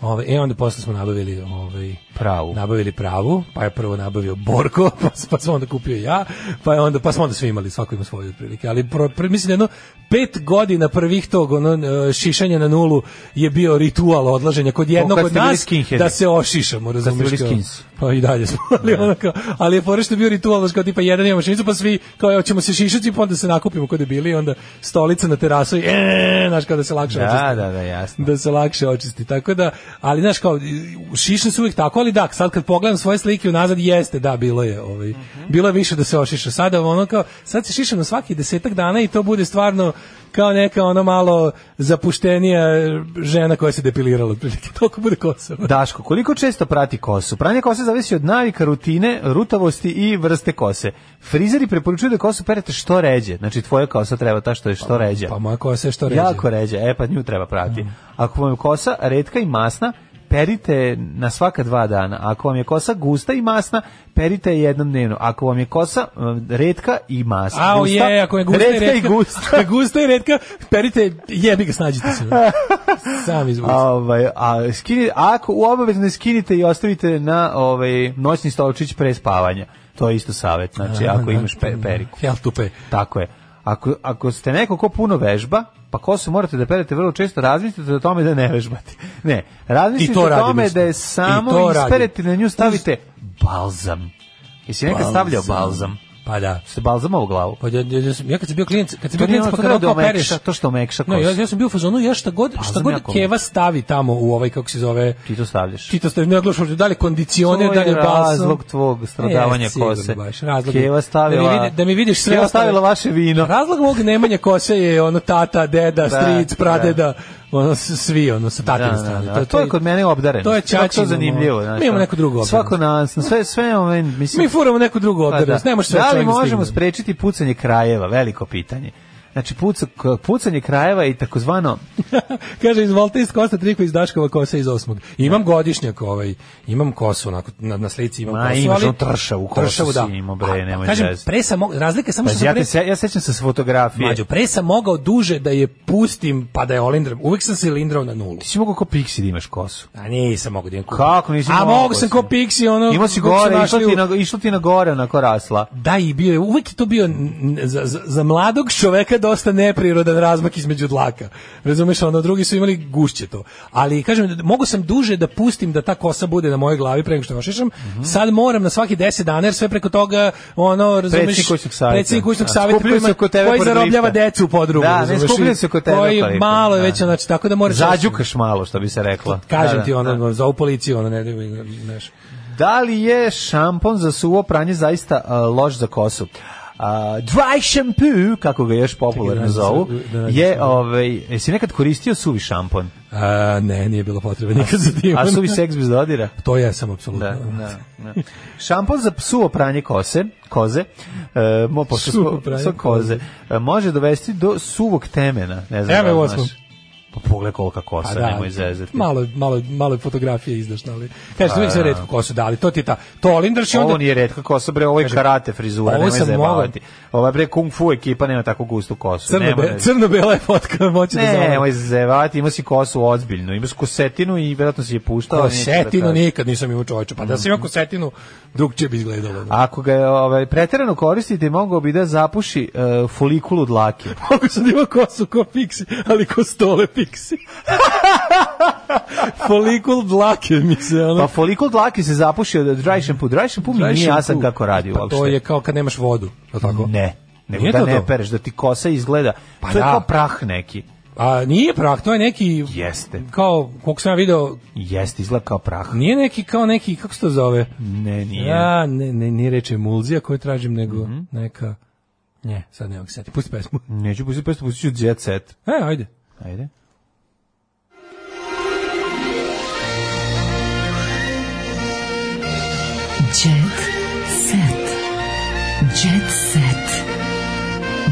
Ove, e onda posle smo nabavili ovaj
Pravu.
Nabavili pravu, pa je prvo nabavio Borko, (laughs) pa, s- pa sam onda kupio ja, pa je onda pa smo onda svi imali svako ima svoje otprilike, ali pro, pre, mislim da jedno pet godina prvih tog ono e, šišanja na nulu je bio ritual odlaženja kod jednog
kad
od
ste bili
nas
skinheadi.
da se ošišamo, razumeš?
bili
kao-
skins.
Pa i dalje smo, (laughs) ali, ono kao, ali je fore što je bio ritual, znaš, kao tipa jedan imamo šinicu, pa svi kao evo ćemo se šišati, pa onda se nakupimo kod debili i onda stolica na terasu i eee, znaš, kao da se lakše
Da,
očisti.
da, da, jasno.
Da se lakše očisti, tako da, ali znaš kao, šišan se uvijek tako, ali da, sad kad pogledam svoje slike unazad, jeste, da, bilo je, ovaj,
Mhm.
bilo je više da se ošiša. Sada ono kao, sad se šišam na svaki desetak dana i to bude stvarno kao neka ono malo zapuštenija žena koja se depilirala, otprilike, (laughs) toliko bude kosa.
Daško, koliko često prati kosu? Pranje kose zavisi od navika, rutine, rutavosti i vrste kose. Frizeri preporučuju da kosu perete što ređe. Znači, tvoja kosa treba ta što je što ređe.
Pa moja kosa je što Pa, ređe. Mm.
Jako ređe. E, pa nju treba prati. Ako vam je kosa redka i masna, perite na svaka dva dana. Ako vam je kosa gusta i masna, perite je jednom dnevno. Ako vam je kosa um, retka i masna,
A, o
gusta,
je, ako je gusta i
retka
retka.
i gusta.
ako je gusta i retka, perite, jebi ga, snađite se. Sam izvuci.
A, Ovaj, a, skini, ako u obavezno je skinite i ostavite na ovaj, noćni stolčić pre spavanja. To je isto savjet, znači ako imaš pe, periku.
Jel tupe.
Tako je. Ako, ako ste neko ko puno vežba, pa kosu morate da perete vrlo često, razmislite o tome da ne vežbate. (laughs) Ne,
I
razmislite
to
o
radim
tome
isto.
da je
I to
samo
radim.
isperete na nju stavite balzam. Jesi nekad stavljao balzam?
Pa da.
Ste balzama u glavu?
Pa ja, ja, ja, sam- ja kad sam bio klijent, kad sam bio
To nije
klijent,
ono
pa kad
to treba da
kao pereš,
omekša, to što omekša
No, ja,
kosu.
ja sam bio u fazonu, ja šta god, šta
znam
god
jako
Keva stavi tamo u ovaj, kako se zove,
Ti to stavljaš.
Ti to ste ne oglašaš da li kondicioner,
To
da li
je
je balsam.
razlog tvog stradavanja
E, sigurno
kose.
Baš, razlog
Keva
je-
stavila-
Da mi, vidi, da mi vidiš sve
Keva
ostale-
stavila vaše vino.
Razlog mog nemanja kose je ono tata, deda, stric,
da.
pradeda, ono s- svi ono sa
Da,
tatine
da,
strane.
da. To, to je kod mene obdareno.
To je
Kako
čačino,
zanimljivo.
ono.
znaš,
Mi imamo
ono.
neku drugu
Svako na, na sve, sve, ovaj, mislim,
Mi furamo neku drugu
Pa
obdarenost, ne može sve
da li
čovjek da
možemo
stigne. (laughs)
sprečiti pucanje krajeva? Veliko pitanje. Znači, puca, k- pucanje krajeva i takozvano...
Kaže, izvolite iz Kosta Triko iz Daškova kose iz osmog. Imam godišnjak ovaj, imam kosu, onako, na, na slici imam
Ma,
kosu,
imaš
ali...
onu tršavu kosu
Tršavu, da.
si imao, bre,
A,
nemoj
Kažem,
zezati.
pre sam, mog- razlika je samo što
Pazi,
sam
ja,
pre-
te, se- ja sećam se s fotografije.
Mađo, pre sam mogao duže da je pustim pa da je olindram. Uvek sam se lindrao na nulu.
Ti si mogao ko piksi da imaš kosu.
A nisam mogao da imam kuku.
Kako nisi
A
mogao
mogu sam
si?
ko piksi, ono...
Imao si
kako su
gore,
našli
išlo ti,
u-
na, išlo ti na gore onako rasla.
Da, i bio je, uvek je to bio n- n- za, za, za mladog čoveka dosta neprirodan razmak između dlaka. Razumeš, ono, drugi su imali gušće to. Ali, kažem, d- mogu sam duže da pustim da ta kosa bude na mojoj glavi pre nego što ošišam.
Mhm.
Sad moram na svaki 10 dana, jer sve preko toga, ono, razumeš...
Predsjednik kućnog savjeta.
Predsjednik kućnog
Da,
savjeta koji,
skupljaju se
ima,
kod tebe
koji
pored
zarobljava
lifta.
decu u podrumu.
Da, ne,
razumeš, i
skupljaju se kod tebe
Koji
kod lifta,
malo je
da.
već, znači, tako da moraš...
Zađukaš malo, što bi se reklo.
Kažem
Da, da,
ti, ono,
da.
za u policiju, ono, ne, ne, znaš.
Da li je šampon za suvo pranje zaista a, loš za kosu? A, dry shampoo, kako ga još popularno
Čekaj, da nađem
zovu,
sad, da nađem sad.
je, ovaj, jesi nekad koristio suvi šampon?
A, ne, nije bilo potrebe nikad za tim.
A suvi seks bez
(laughs)
dodira?
To jesam, apsolutno.
Da, da, da. Šampon za suvo pranje kose, koze, e, mo, pošto
Suvo
smo-
pranje
sa koze, e, može dovesti do suvog temena. Ne znam
Evo je
da li
u
znaš.
osmom.
Pa pogledaj kolika kosa, nemoj zezati. Pa
Malo, malo, malo je fotografije izdašno, ali kažete, uvijek se redko kosu dali, to ti je ta, to Olindraš i onda...
Ovo nije redka kosa, bre, ovo je karate frizura,
ovo
nemoj
sam
zajebavati. Ova bre, kung fu ekipa nema tako gustu kosu. nemoj
Crno-be,
da-
crno-bela je fotka, moći da
Ne,
zavljam.
nemoj zajebavati, ima si kosu ozbiljnu, ima si kosetinu i vjerojatno si je puštao. ali neće da Mm.
Kosetinu
kaže.
nikad nisam imao čoveče, pa da sam imao kosetinu, drugčije bi izgledalo. ono. (laughs)
Ako ga ovaj, preterano koristite, mogao bi da zapuši e, folikulu dlake.
Mogu sam da imao kosu ko piksi, (laughs) ali ko stole (laughs) piksi. Folikul dlake mi se, ono...
Pa folikul dlake se zapuši od dry shampoo. Dry shampoo mi
Znaš,
Pa, nije jasan
tu-
kako radi
pa
uopšte.
To je kao kad nemaš vodu, je li tako?
Ne, nego
Nije
da
to
ne
to?
pereš, da ti kosa izgleda.
Pa
to je
da.
kao prah neki.
A nije prah, to je neki...
Jeste.
Kao, koliko sam ja video,
Jeste, izgleda kao prah.
nije neki kao neki, kako se to zove?
Ne, Mhm. nije.
Ja, ne, ne, nije reč emulzija koju tražim, nego neka... Ne, sad ne mogu se setiti. Pusti pesmu.
Neću pustiti pesmu, pustit ću jet set.
E, ajde.
Ajde.
Jet set. Jet set.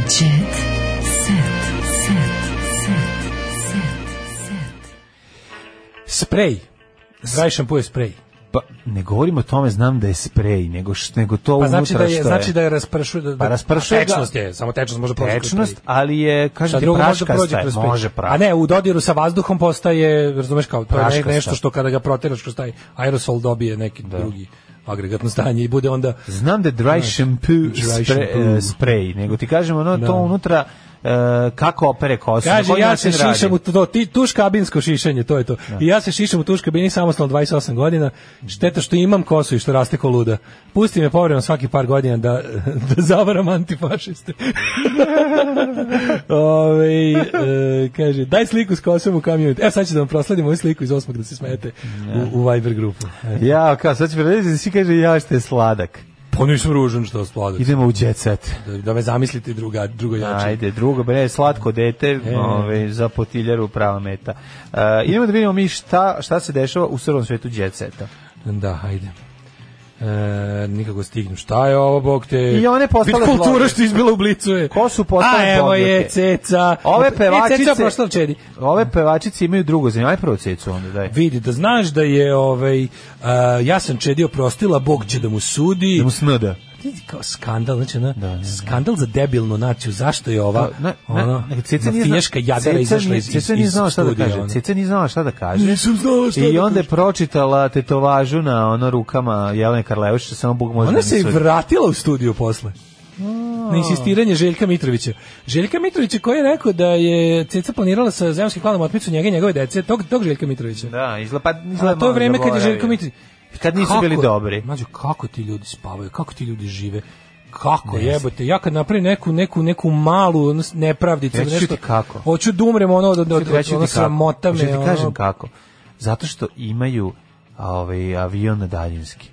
Jet set. Set. Set.
Sprej. Dry šampu je sprej.
Pa, ne govorim o tome, znam da je sprej, nego, š, nego to
Pa
unutra
znači da je,
što
znači da je raspršuje. Da,
Pa raspršuje ga.
Tečnost je, samo tečnost može proći. kroz
tečnost,
sprej.
ali je,
Šta
kažem ti,
drugo može da prođe
praškasta je,
kroz sprej.
može praškasta.
A ne, u dodiru sa vazduhom postaje, razumeš kao, to je ne-
Praškasta.
nešto što kada ga proteraš kroz taj aerosol dobije neki drugi agregatno stanje i bude onda
Znam da je dry shampoo,
Dry
spre,
shampoo.
e, sprej, nego ti kažem ono to unutra e, kako opere kosu. na
Kaže,
koji
ja se
način radi.
šišam u to, ti, tuš kabinsko šišanje, to je to. I ja se šišam u tuš kabini samostalno 28 godina, šteta što imam kosu i što raste ko luda. Pusti me povremeno svaki par godina da, (laughs) da zavaram antifašiste. (laughs) Ove, e, kaže, daj sliku s kosom u kamionu. Evo sad ću da vam prosledim ovu sliku iz osmog da se smete u, u Viber grupu. E.
Ja, kao, sad ću predvidjeti, svi kaže, ja što je sladak.
Pa nisam ružan što sladak.
Idemo u jet set.
Da, da me zamislite druga, drugo jače.
Ajde, drugo, bre, slatko dete,
E.
ove, za potiljaru prava meta. E, idemo da vidimo mi šta, šta se dešava u srvom svetu jet seta.
Da, ajde. E, nikako stignu. Šta je ovo, bog te?
I one postale
Vidi kultura
blogere.
što je izbila u blicu je.
Ko su postale
A evo je
blogere?
Ceca.
Ove
E, Ceca
pevačice-
prošla čedi.
Ove pevačice imaju drugo zanimanje. Aj prvo cecu onda, daj.
Vidi, da znaš da je ovaj, a, ja sam čedio prostila, Bog će da mu sudi.
Da mu snada.
Vidi kao skandal, znači ona, skandal za debilnu naciju, zašto je ova,
Pa, Ne, ne,
ono,
ne, Ceca nije zna-
mafijaška jadara
Ceca
izašla
nije-
iz, iz, iz
Ceca nije znala šta da
studija,
kaže.
ono.
Ceca nije znala šta da kaže.
Nisam znala šta
I
da
onda je
kažem.
pročitala tetovažu na ono rukama Jelene Karlević, što samo Bog može da
Ona
mi
se i
sudi.
vratila u studiju posle. Na insistiranje Željka Mitrovića. Željka Mitrovića koji je rekao da je Ceca planirala sa zemljskim klanom otmicu njega i njegove dece, tog, tog Željka Mitrovića.
Da, izgleda, pa
A
izgleda
na to
malo
vreme kad je
zaboravio.
Željko Mitrović...
Kad nisu
Kako-
bili dobri.
Mađo, kako ti ljudi spavaju, kako ti ljudi žive, kako jebote, ja kad napravim neku, neku, neku malu ono, nepravdicu,
Reći ću
nešto,
ti kako.
hoću da umrem ono, od, od, od,
Reći ću ti
ono
kako.
sramota
Hoćeš
me,
da ti
ono,
kažem kako. Zato što imaju a, ovaj, avion na daljinski.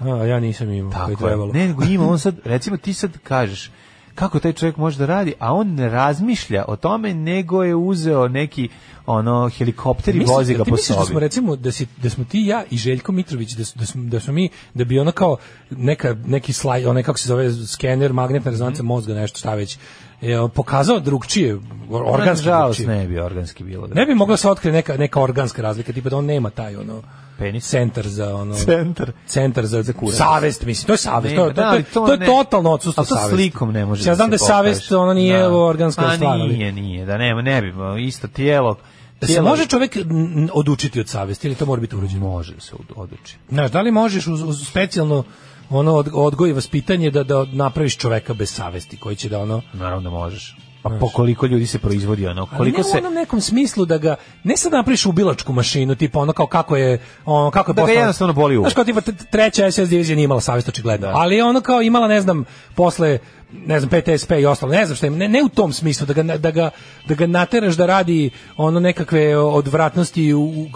a, ja nisam imao, Tako je
Tako je.
trebalo.
Ne, nego ima on sad, recimo ti sad kažeš kako taj čovjek može da radi, a on ne razmišlja o tome, nego je uzeo neki ono helikopter i
Misliš-
vozi ga
ti
po
misliš da smo
sobi.
recimo da si da smo ti i ja i Željko Mitrović da su- da smo, da smo mi da bi ono kao neka neki slaj onaj kako se zove skener magnetna rezonanca
Mhm.
mozga nešto šta već je pokazao drugčije organski
Nažalost,
drugčije.
ne bi organski bilo. Da.
Ne bi mogla se otkrije neka, neka organska razlika, tipa da on nema taj ono
Penis.
centar za ono
Centar.
centar za, za
kurac.
savest, mislim, to je savest,
Nema,
to, je- to,
da,
to, je-
ali to
to je
ne-
totalno odsustvo
A to
savesti.
slikom ne može.
Ja znam da je
se pokaže.
savest, ono nije organska
A
stvar, ali-
Nije, nije, da nema, ne bi, isto tijelo.
Da se
tijelo-
može čovjek mm, odučiti od savesti ili to mora biti urođeno?
Može se od- oduči.
Znaš, da li možeš uz, uz specijalno ono od- odgoj i vaspitanje da, da napraviš čoveka bez savesti koji će da ono
Naravno da možeš. Pa po koliko ljudi se proizvodi ono,
ali
koliko
ne
se
u onom nekom smislu da ga ne sad napraviš ubilačku mašinu tipa ono kao kako je ono kako je
Da ga
postala-
jednostavno boli uvo.
znaš kao tipa t- treća SS divizija nije imala savest očigledno
Da.
ali je ono kao imala ne znam posle ne znam PTSP i ostalo ne znam šta im ne, ne u tom smislu da ga na- da ga da ga nateraš da radi ono nekakve odvratnosti u, u-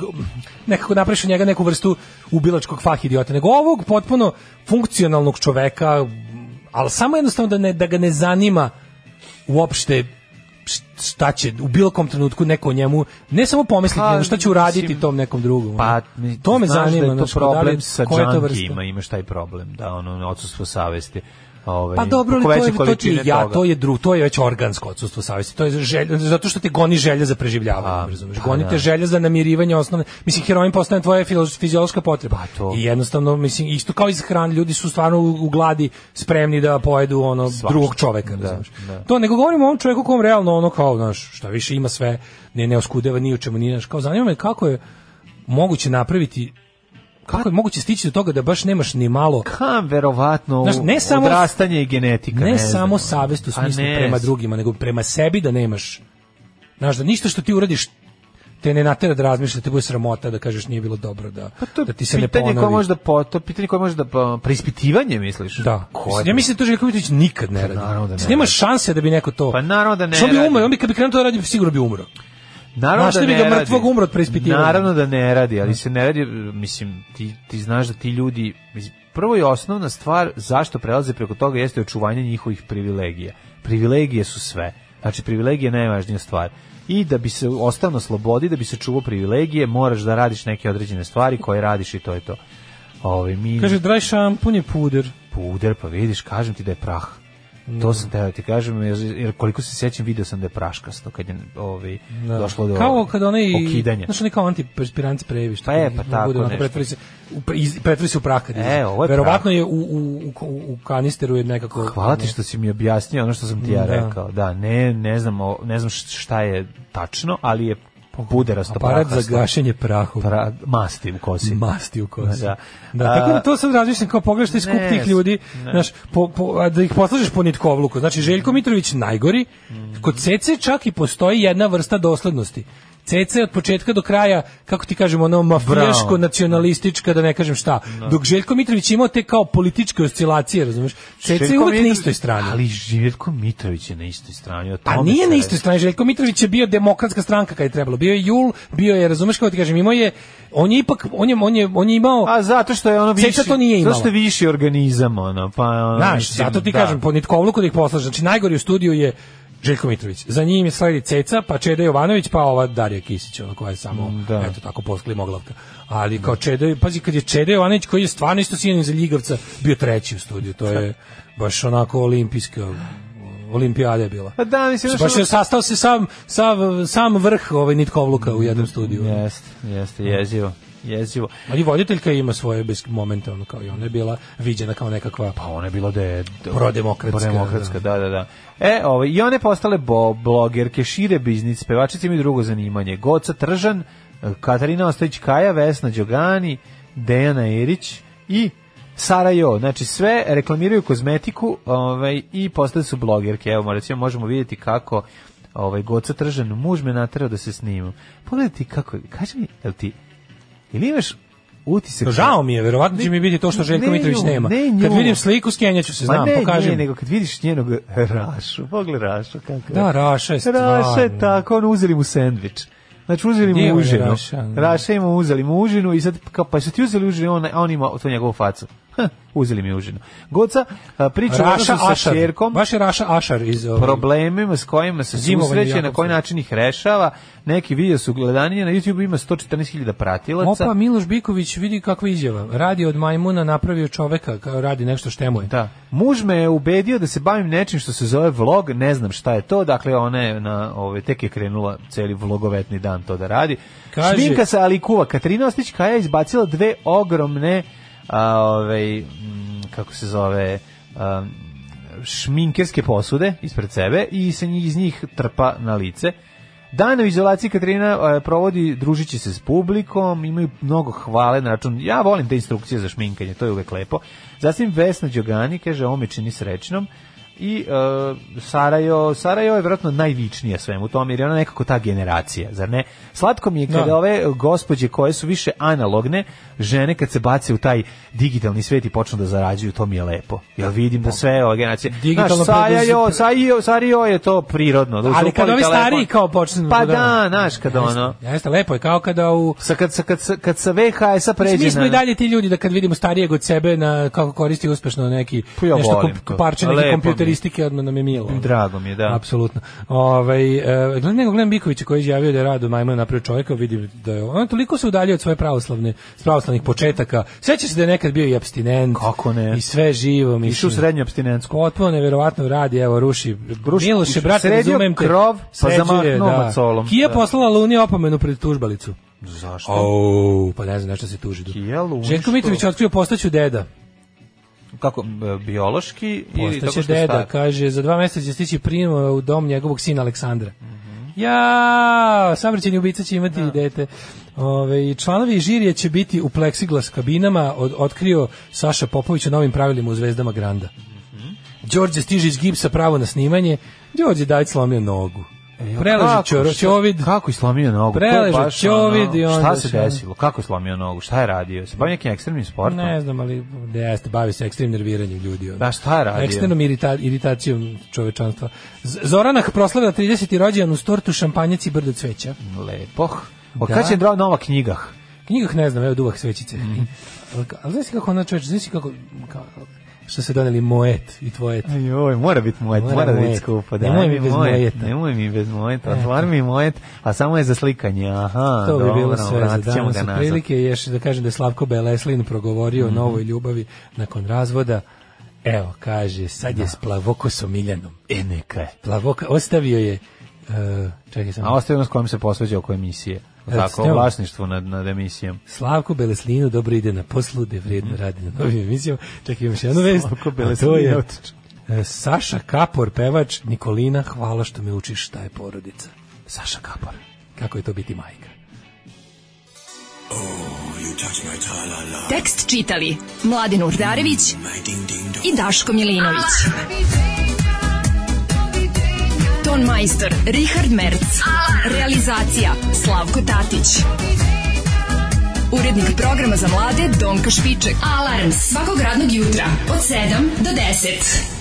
nekako napraviš od njega neku vrstu ubilačkog fah idiota nego ovog potpuno funkcionalnog čoveka ali samo jednostavno da ne da ga ne zanima uopšte šta će u bilo kom trenutku neko o njemu ne samo pomisliti
Pa,
nego šta će uraditi
mislim,
tom nekom drugom
Pa,
ono.
mi-
to me
znaš
zanima
da je
znaš,
to
kao da li-
problem sa
koja je to vrsta?
džankijima, imaš taj problem, da, ono, odsustvo savesti. Ovaj,
pa dobro ali
kako
to je
veće
to ti
količine
je ja
toga.
to je dru to je već organsko odsustvo savesti to je želja zato što te goni želja za preživljavanje
Pa,
razumeš
pa
goni
da.
te želja za namirivanje osnovne mislim heroin postane tvoja filo- fiziološka potreba
Pa, to.
i jednostavno mislim isto kao iz hrane ljudi su stvarno u u gladi spremni da pojedu ono drugog čoveka razumeš
da.
to nego govorimo o ovom čovjeku kom realno ono kao znaš šta više ima sve ne ne oskudeva ni u čemu ni znaš kao zanima me kako je moguće napraviti
Pa-
kako je moguće stići do toga da baš nemaš ni malo
Kam, verovatno,
Znaš, ne
u-
samo-
odrastanje i genetika.
ne,
Ne, znam.
samo savest u
Pa
smislu
ne
prema
znam.
drugima, nego prema sebi da nemaš. Znaš, da ništa što ti uradiš te ne natera da razmišljaš, te bude sramota da kažeš nije bilo dobro, da,
Pa to je
da ti se ne
pitanje
ponovi.
koje može da po, to je pitanje koje može da po, preispitivanje misliš?
Da.
Koje?
Mislim, ja mislim da to Željko Mitrović nikad ne radi.
Pa naravno da ne
Mislim, nema
radi.
šanse da bi neko to...
Pa naravno da ne
Što bi
radi. Hmm.
umro? On bi kad bi krenuo to da radi, sigurno bi umro.
Naravno
Našli
da
bi
ne
ga
radi.
mrtvog, umro od preispitivanja.
Naravno da ne radi, ali se ne radi, mislim, ti, ti znaš da ti ljudi, mislim, prvo i osnovna stvar zašto prelaze preko toga jeste očuvanje njihovih privilegija. Privilegije su sve. Znači, privilegije je najvažnija stvar. I da bi se ostao na slobodi, da bi se čuvao privilegije, moraš da radiš neke određene stvari koje radiš i to je to. Ove, mi
Kaže, dry šampun je puder.
puder, pa vidiš, kažem ti da je prah. To sam teo ti kažem, jer, jer koliko se sjećam, video sam da je praškasto kad je ovaj, došlo do
kao kad onaj
okidanja.
Znaš, oni kao antiperspiranci previš.
Pa je, pa tako
bude, onako,
nešto. E,
Pretvori se, u, pre- iz- pretvori se u prah. kad izlazi.
ovo je
Verovatno
prah.
je u, u, u, u kanisteru je nekako...
Hvala ti što si mi objasnio ono što sam ti ja
Da.
rekao. Da, ne, ne znam, o- ne znam š- šta je tačno, ali je buderasto
Aparat za
prahasto.
gašenje prahu.
Pra- masti u kosi.
masti u kosi. Da.
Da.
tako da
A-
to sad razmišljam kao pogledaš taj skup
Ne,
tih ljudi,
ne.
znaš, po, po, a da ih poslažeš po nitkovluku.
Mhm.
Znači, Željko Mitrović najgori, kod CC čak i postoji jedna vrsta doslednosti. CC od početka do kraja, kako ti kažemo, ono mafijaško,
Bravo.
nacionalistička, da ne kažem šta. Dok Željko Mitrović imao te kao političke oscilacije, razumeš? CC je
Željko
uvek na
Mitrović-
istoj strani.
Ali Željko Mitrović je na istoj strani. o
Pa
tome
nije
se
na
radi.
istoj strani, Željko Mitrović je bio demokratska stranka kad je trebalo. Bio je Jul, bio je, razumeš kako ti kažem, imao je, on je ipak, on je, on je, on je imao...
A zato što je ono
Ceca
viši,
to nije imala.
zato što je viši organizam, ono, pa... Ono,
Znaš,
mislim,
zato ti
da.
kažem, po nitkovluku da ih poslaš. Znači, najgori u studiju je Željko Mitrović. Za njim sledi Ceca, pa Čeda Jovanović, pa ova Darija Kisić, ona koja je samo,
da.
eto tako, posklimoglavka. Ali kao Čeda, pazi, kad je Čeda Jovanović, koji je stvarno isto sinonim za Ljigavca, bio treći u studiju, to je baš onako olimpijska olimpijada je bila.
Pa da, mislim, znaš,
baš
ono-
je sastao se sam, sam, sam vrh ovaj nitkovluka u jednom studiju.
Jeste, jeste, jezivo. Jezivo.
Ali voditeljka ima svoje bez momenta, ono kao i ona je bila viđena kao nekakva
Pa ona je bila da je...
Prodemokratska,
Prodemokratska, da, da, da. E, ovo, i one postale bo, blogerke, šire biznis, pevačice imaju drugo zanimanje. Goca Tržan, Katarina Ostojić-Kaja, Vesna Đogani, Dejana Erić i Sara Jo. Znači, sve reklamiraju kozmetiku ovaj, i postale su blogerke. Evo, recimo, možemo vidjeti kako ovaj, Goca Tržan, muž me naterao da se snimam. Pogledaj ti kako, kaži mi, jel ti, ili imaš utisak...
Žao mi je, verovatno će mi biti to što Željko
Ne
Mitrović
nju,
nema.
ne nju.
Kad vidim sliku, skenjaću se, znam,
Ma ne,
pokaži
nije,
mi.
nego kad vidiš njenog (laughs) Rašu, pogledaj Rašu kako je.
Da, Raša je
Raša je
stvarno.
tako, on uzeli mu sendvič. Znači uzeli
Nije on
mu
je
užinu.
Raša, ne.
Raša ima uzeli mu užinu i sad kao, pa su ti uzeli užinu, on, a on ima tu njegovu facu. Heh, uzeli mi užinu. Goca a, priča o
Raša
odnosu sa
Ašar.
čerkom,
Baš je Raša Ašar iz... ovaj,
problemima s kojima se
Zimovanje
susreće, na koji
Jakobsa.
način ih rešava. Neki video su gledanije, na YouTube ima 114.000 pratilaca.
Opa, Miloš Biković vidi kakva izjava. Radi od majmuna napravio čoveka, kao radi nešto štemuje.
Da. Muž me je ubedio da se bavim nečim što se zove vlog, ne znam šta je to, dakle ona je na, ove, tek je krenula celi vlogovetni dan to da radi.
Kaže-
Šminka se ali i kuva. Katarina Ostić Kaja je izbacila dve ogromne, a, ove, m, kako se zove, a, šminkerske posude ispred sebe i se njih, iz njih trpa na lice. Dan u izolaciji Katarina e, provodi družići se s publikom, imaju mnogo hvale na račun. Ja volim te instrukcije za šminkanje, to je uvek lepo. Zatim Vesna Đogani kaže, ovo me čini srećnom. I e, Sarajo, Sarajo je vjerojatno najvičnija svemu tome, jer je ona nekako ta generacija, zar ne? Slatko mi je kada
Da.
ove gospođe koje su više analogne, žene kad se bace u taj digitalni svet i počnu da zarađuju, to mi je lepo. Ja vidim da sve ove generacije...
Digitalno
Znaš, Sarajo,
preduzetnik-
Sarajo, Sarajo je to prirodno. da
Ali
upali
kad ovi
telefon.
stariji kao počnu...
Pa da, znaš, kad ono...
Jeste, jeste, lepo je, kao kada u...
Sa kad, sa, kad, sa, kad sa VHS-a pređe
Mi smo
na-
i dalje ti ljudi da kad vidimo starijeg od sebe na kako koristi uspešno neki
Pa ja
nešto
volim to.
kup, parče
Lepo mi
neke
je.
kompjuteristike odmah nam je milo.
Drago mi je, da.
Apsolutno. Ovaj e, gledam nego gledam Bikovića koji je izjavio da je rado majmuna napravio čovjeka, vidim da je on toliko se udaljio od svoje pravoslavne s pravoslavnih početaka. Seća se da je nekad bio i apstinent.
Kako ne?
I sve živo, mislim.
Išao u srednju abstinencku.
Potpuno neverovatno radi, evo, ruši.
Ruši-
ruši Miloše, brate,
sredio
razumem te.
krov, pa
Sređuje,
zamahnuo
da.
macolom.
Kija
Da.
poslala Luni opomenu pred tužbalicu.
Zašto?
Au, pa ne znam, nešto se tuži.
Kija Luni, što?
Željko Mitrović je otkrio postaću deda.
Kako, e, biološki ili tako
Postaće
što
deda,
stari?
kaže, za dva meseca će stići prim u dom njegovog sina Aleksandra.
Mhm.
Ja, savrćeni ubica će imati i dete. Ove, i članovi žirije će biti u pleksiglas kabinama, od, otkrio Saša Popović o novim pravilima u Zvezdama Granda.
Mhm.
Đorđe stiže iz gipsa pravo na snimanje, Đorđe daj slomio nogu. Preleži
E, Kako,
čoro,
šta-
ćovid.
Kako je slomio nogu? To je
Preležao
baš
ćovid
ono,
i onda
Šta se
šta?
desilo? Kako je slomio nogu? Šta je radio? Se bavi nekim ekstremnim sportom?
Ne znam, ali da jeste, bavi se ekstremnim nerviranjem ljudi. ono.
Da, šta je radio?
Ekstremnom irita, iritacijom čovečanstva. Z- Zoranah proslavila 30. rođendan uz tortu, šampanjac i brdo cveća.
Lepo. Od
Da.
kada će drao nova knjigah?
Knjigah ne znam, evo duvak svećice.
Mhm.
Ali, ka- ali znaš ti kako ona čoveč, znaš ti kako, kao, što se doneli moet i tvojet.
Joj, mora biti mojet, mora,
Mora
mora biti
mojet.
skupo.
Nemoj
daj
mi bez
mojet,
mojeta.
Nemoj mi bez mojeta, otvar mi mojet, a samo je za slikanje. Aha,
to bi
dobro,
bilo sve za
vratit ćemo
danas.
ga
Od
nazad. Mhm.
prilike još da kažem da je Slavko Beleslin progovorio o novoj ljubavi nakon razvoda. Evo, kaže, sad je s plavokosom Miljanom.
E, neka je.
Plavoka, ostavio je, uh, čekaj sam,
A ostaje ono s kojim se posveđa oko emisije.
E,
Tako,
s njom.
vlasništvu nad, nad emisijom.
Slavko Beleslinu dobro ide na poslu, da vredno radi na novim emisijama. Čekaj, imam još jednu vest.
Mhm. Slavko
a
Beleslin
to
je
je,
otišao.
e, Saša Kapor, pevač, Nikolina, hvala što me učiš šta je porodica. Saša Kapor. Kako je to biti majka?
Tekst čitali Mladin Urdarević i Daško Milinović. Ton majstor Richard Merc. Realizacija Slavko Tatić. Urednik programa za mlade Donka Špiček. Alarms svakog radnog jutra od 7 do 10.